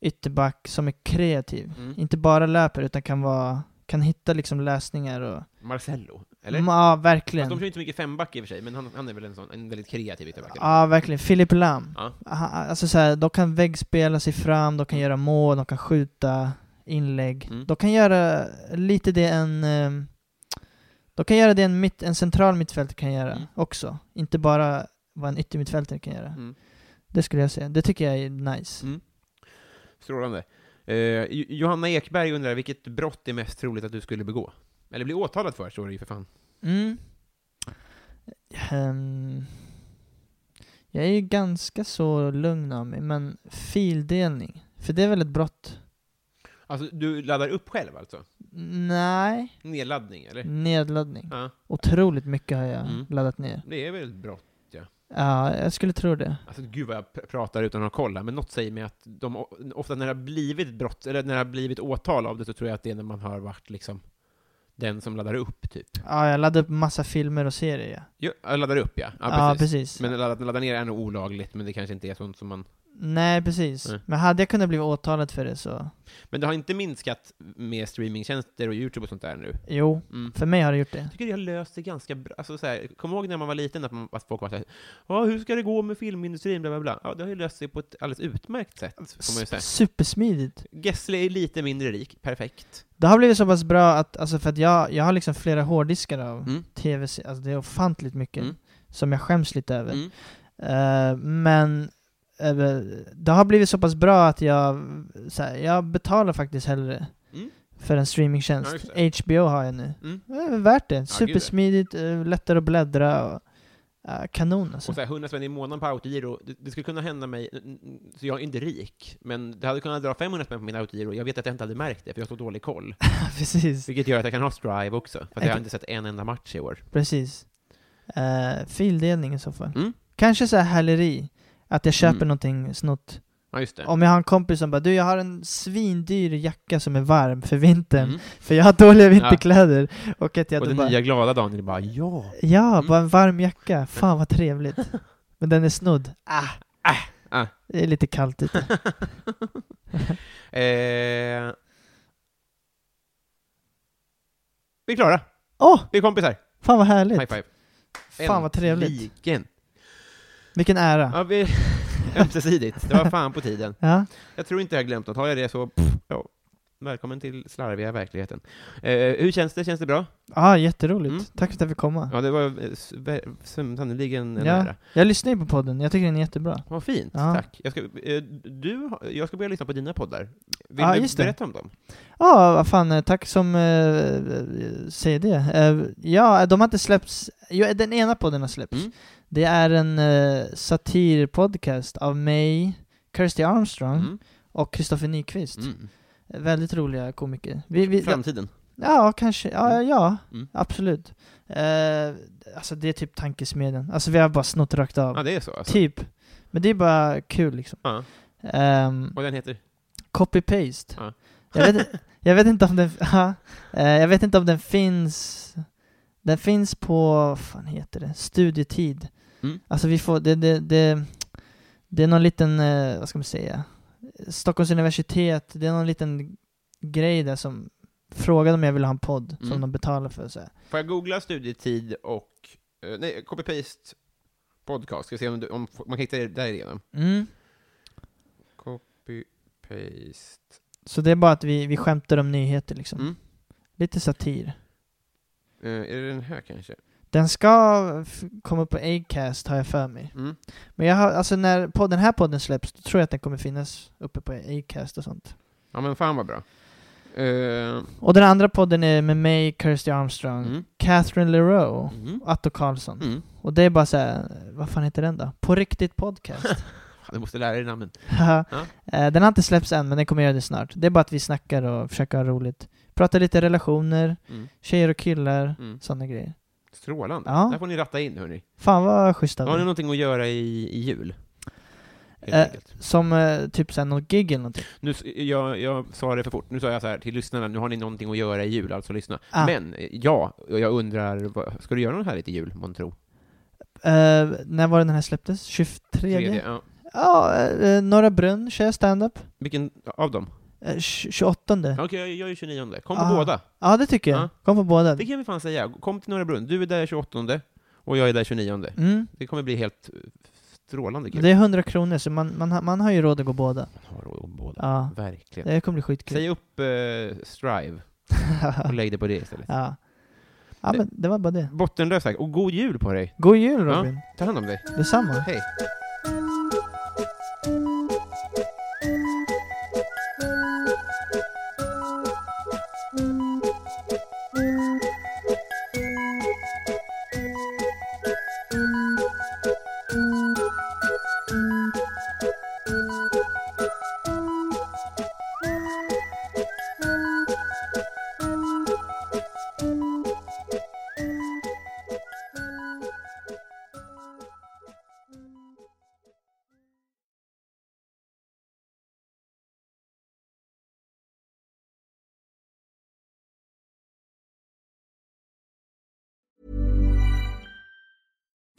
S3: ytterback som är kreativ.
S2: Mm.
S3: Inte bara löper, utan kan vara... Kan hitta liksom lösningar och...
S2: Marcello, eller?
S3: Mm, Ja,
S2: Fast de
S3: verkligen.
S2: kör inte så mycket femback i och för sig, men han, han är väl en, sån, en väldigt kreativ ytterback? eller?
S3: Ja, verkligen. Filip Lam.
S2: Ja.
S3: Han- Alltså så här, de kan väggspela sig fram, de kan göra mål, de kan skjuta inlägg.
S2: Mm.
S3: De kan göra lite det en... ehm, De kan göra det en, mitt, en central mittfältare kan göra
S2: Mm.
S3: också. Inte bara vad en yttermittfältare kan göra.
S2: Mm.
S3: Det skulle jag säga. Det tycker jag är nice.
S2: Strålande. Eh, Jo- Johanna Ekberg undrar vilket brott är mest troligt att du skulle begå? Eller bli åtalad för, står det ju för fan.
S3: Mm. Ehm, jag är ju ganska så lugn av mig, men fildelning. För det är väl ett brott?
S2: Alltså, du laddar upp själv alltså?
S3: Nej.
S2: Nedladdning, eller?
S3: Mm. Nedladdning.
S2: Ja,
S3: Otroligt mycket har jag
S2: Mm.
S3: laddat ner.
S2: det är väl ett brott?
S3: Ja, jag skulle tro det.
S2: Alltså, gud vad jag pr- pratar utan att kolla, men något säger mig att de, o- ofta när det har blivit brott, eller när det har blivit åtal av det, så tror jag att det är när man har varit liksom den som laddar upp, typ.
S3: Ja, jag laddade upp massa filmer och serier.
S2: Jo, jag laddar upp, ja. Ja,
S3: Ja,
S2: precis.
S3: precis.
S2: Men att ladda, ladda ner är nog olagligt, men det kanske inte är sånt som man...
S3: Nej, precis.
S2: Nej.
S3: Men hade jag kunnat bli åtalad för det så...
S2: Men det har inte minskat med streamingtjänster och YouTube och sånt där nu?
S3: Jo,
S2: Mm.
S3: för mig har det gjort det.
S2: Jag tycker det har löst sig ganska bra. Alltså, så här, kom ihåg när man var liten att, man, att folk var såhär ”Ja, hur ska det gå med filmindustrin?” bla, bla, bla. Ja, det har ju löst sig på ett alldeles utmärkt sätt, får man ju säga.
S3: S- Supersmidigt.
S2: Gessle är lite mindre rik, perfekt.
S3: Det har blivit så pass bra att, alltså för att jag, jag har liksom flera hårddiskar av
S2: Mm.
S3: tv alltså det är ofantligt mycket
S2: Mm.
S3: som jag skäms lite över.
S2: Mm.
S3: Eh, men eh, det har blivit så pass bra att jag, så här, jag betalar faktiskt hellre
S2: Mm.
S3: för en
S2: Ja,
S3: streamingtjänst.
S2: just det.
S3: HBO har jag nu.
S2: Mm.
S3: Eh, värt det.
S2: gud, ja.
S3: Supersmidigt, eh, lättare att bläddra och eh, kanon alltså.
S2: Och så här, 100 spänn i månaden på autogiro, det, det skulle kunna hända mig, n- n- så jag är inte rik, men det hade kunnat dra 500 spänn på min autogiro, jag vet att jag inte hade märkt det, för jag har så dålig koll.
S3: precis,
S2: Vilket gör att jag kan ha Strive också, för att jag har
S3: Exakt.
S2: inte sett en enda match i år.
S3: precis. Eh, fildelning i så fall.
S2: Mm.
S3: Kanske så här häleri, att jag köper
S2: Mm.
S3: någonting snott.
S2: Ja, just det.
S3: Om jag har en kompis som bara du jag har en svindyr jacka som är varm för vintern,
S2: Mm.
S3: för jag har dåliga vinterkläder. Och att jag
S2: Och
S3: då
S2: den
S3: bara,
S2: nya glada Daniel bara ”Ja!”
S3: Ja,
S2: Mm.
S3: bara en varm jacka. Fan vad trevligt. Men den är snodd. Ah.
S2: Ah, ah.
S3: Det är lite kallt ute.
S2: eh... Vi är klara.
S3: Åh, oh,
S2: Vi är kompisar.
S3: fan vad härligt.
S2: High five.
S3: Fan vad trevligt.
S2: Äntligen.
S3: Vilken ära.
S2: Ja, vi... Ömsesidigt. Det var fan på tiden.
S3: Ja.
S2: Jag tror inte jag har glömt något. Har jag det så...
S3: Mm.
S2: Pff, ja. Välkommen till slarviga verkligheten. Eh, hur känns det? Känns det bra?
S3: Ja, jätteroligt.
S2: Mm.
S3: Tack för att jag fick komma.
S2: Ja, det var eh, s- ver- s- sannoliken en
S3: Ja.
S2: ära.
S3: Jag lyssnar ju på podden. Jag tycker den är jättebra.
S2: Vad fint.
S3: Ja.
S2: Tack. Jag ska, eh, du, har- jag ska börja lyssna på dina poddar. Vill
S3: Ja,
S2: du
S3: just det.
S2: berätta om dem?
S3: Ja, vad fan. eh, Tack som eh, säger det. Eh, ja, de har inte släppts. Jo, eh, den ena podden har släppts.
S2: Mm.
S3: Det är en eh, satirpodcast av mig, Kirsty Armstrong
S2: Mm.
S3: och Kristoffer Nyqvist. Eh,
S2: Mm.
S3: Väldigt roliga komiker. Vi, vi,
S2: Framtiden.
S3: Ja, kanske. Ja,
S2: Mm.
S3: ja
S2: Mm.
S3: absolut. Eh, alltså det är typ tankesmedjan. Alltså vi har bara snott rakt av.
S2: Ja, det är så alltså.
S3: Typ. Men det är bara kul liksom.
S2: Ja.
S3: Ehm,
S2: Och den heter?
S3: Copy-paste.
S2: Ja.
S3: Jag, vet, jag vet inte om den... ja. Eh, jag vet inte om den finns... Den finns på, vad fan heter det, studietid.
S2: Mm.
S3: Alltså vi får, det, det, det, det är någon liten, eh, vad ska man säga, Stockholms universitet, det är någon liten grej där som frågade om jag ville ha en podd
S2: Mm.
S3: som de betalar för. Så här.
S2: Får jag googla studietid och, eh, nej, copy-paste podcast, ska vi se om, du, om f- man kan hitta det där igenom.
S3: Mm.
S2: Copy-paste.
S3: Så det är bara att vi, vi skämtar om nyheter liksom.
S2: Mm.
S3: Lite satir.
S2: Eh, är det den här kanske?
S3: Den ska f- komma på Acast har jag för mig.
S2: Mm.
S3: Men jag har, alltså när på den här podden släpps, då tror jag att den kommer finnas uppe på Acast och sånt.
S2: Ja men fan vad bra. Eh,
S3: Och den andra podden är med mig, Kirsty Armstrong,
S2: mm.
S3: Catherine Leroux,
S2: Mm.
S3: och Atto Karlsson.
S2: Mm.
S3: Och det är bara så här, vad fan heter den då? På riktigt podcast.
S2: Fan, du måste lära dig namnen.
S3: Haha. Eh, den har inte släppts än, men den kommer göra det snart. Det är bara att vi snackar och försöker ha roligt. Prata lite relationer,
S2: Mm.
S3: tjejer och killar,
S2: Mm.
S3: sådana grejer.
S2: Strålande.
S3: Ja.
S2: Där får ni ratta in hörni.
S3: Fan vad schysst av
S2: Har ni
S3: er.
S2: någonting att göra i, i jul? helt
S3: Eh,
S2: enkelt.
S3: Som eh, typ såhär något gig eller någonting.
S2: Nu, s- jag, jag sa det för fort, nu sa jag så här till lyssnarna, nu har ni någonting att göra i jul, alltså lyssna.
S3: Ah.
S2: Men, eh, ja, och jag undrar, vad- ska du göra något härligt i jul, månntro?
S3: Eh, när var det den här släpptes? 23?
S2: Tredje, ja.
S3: Ja, eh, Norra Brunn kör jag standup.
S2: Vilken av dem?
S3: Eh, tj- 28.
S2: Okej, jag jag är 29. Kom på
S3: Ah.
S2: båda.
S3: Ja, det tycker jag.
S2: Ja.
S3: Kom på båda.
S2: Det kan vi fan säga. Kom till Norra Brunn. Du är där 28 och jag är där 29.
S3: Mm.
S2: Det kommer bli helt eh, strålande kul.
S3: Det är 100 kronor, så man, man, har- man har ju råd att gå båda.
S2: Man har råd om båda.
S3: Ja,
S2: Verkligen.
S3: det kommer bli skitkul.
S2: Säg upp eh, Strive och lägg det på det istället.
S3: ja. ja, men det var bara det.
S2: Bottenlöst tack, och god jul på dig!
S3: God jul Robin.
S2: Ta hand om dig.
S3: Detsamma.
S2: Hej!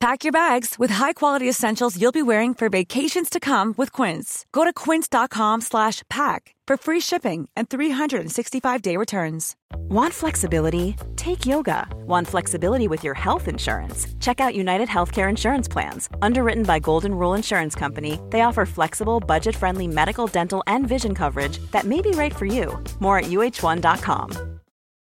S5: Pack your bags with high-quality essentials you'll be wearing for vacations to come with Quince. Go to quince.com/pack for free shipping and 365-day returns.
S6: Want flexibility? Take yoga. Want flexibility with your health insurance? Check out United Healthcare Insurance Plans. Underwritten by Golden Rule Insurance Company, they offer flexible, budget friendly medical, dental, and vision coverage that may be right for you. More at uh1.com.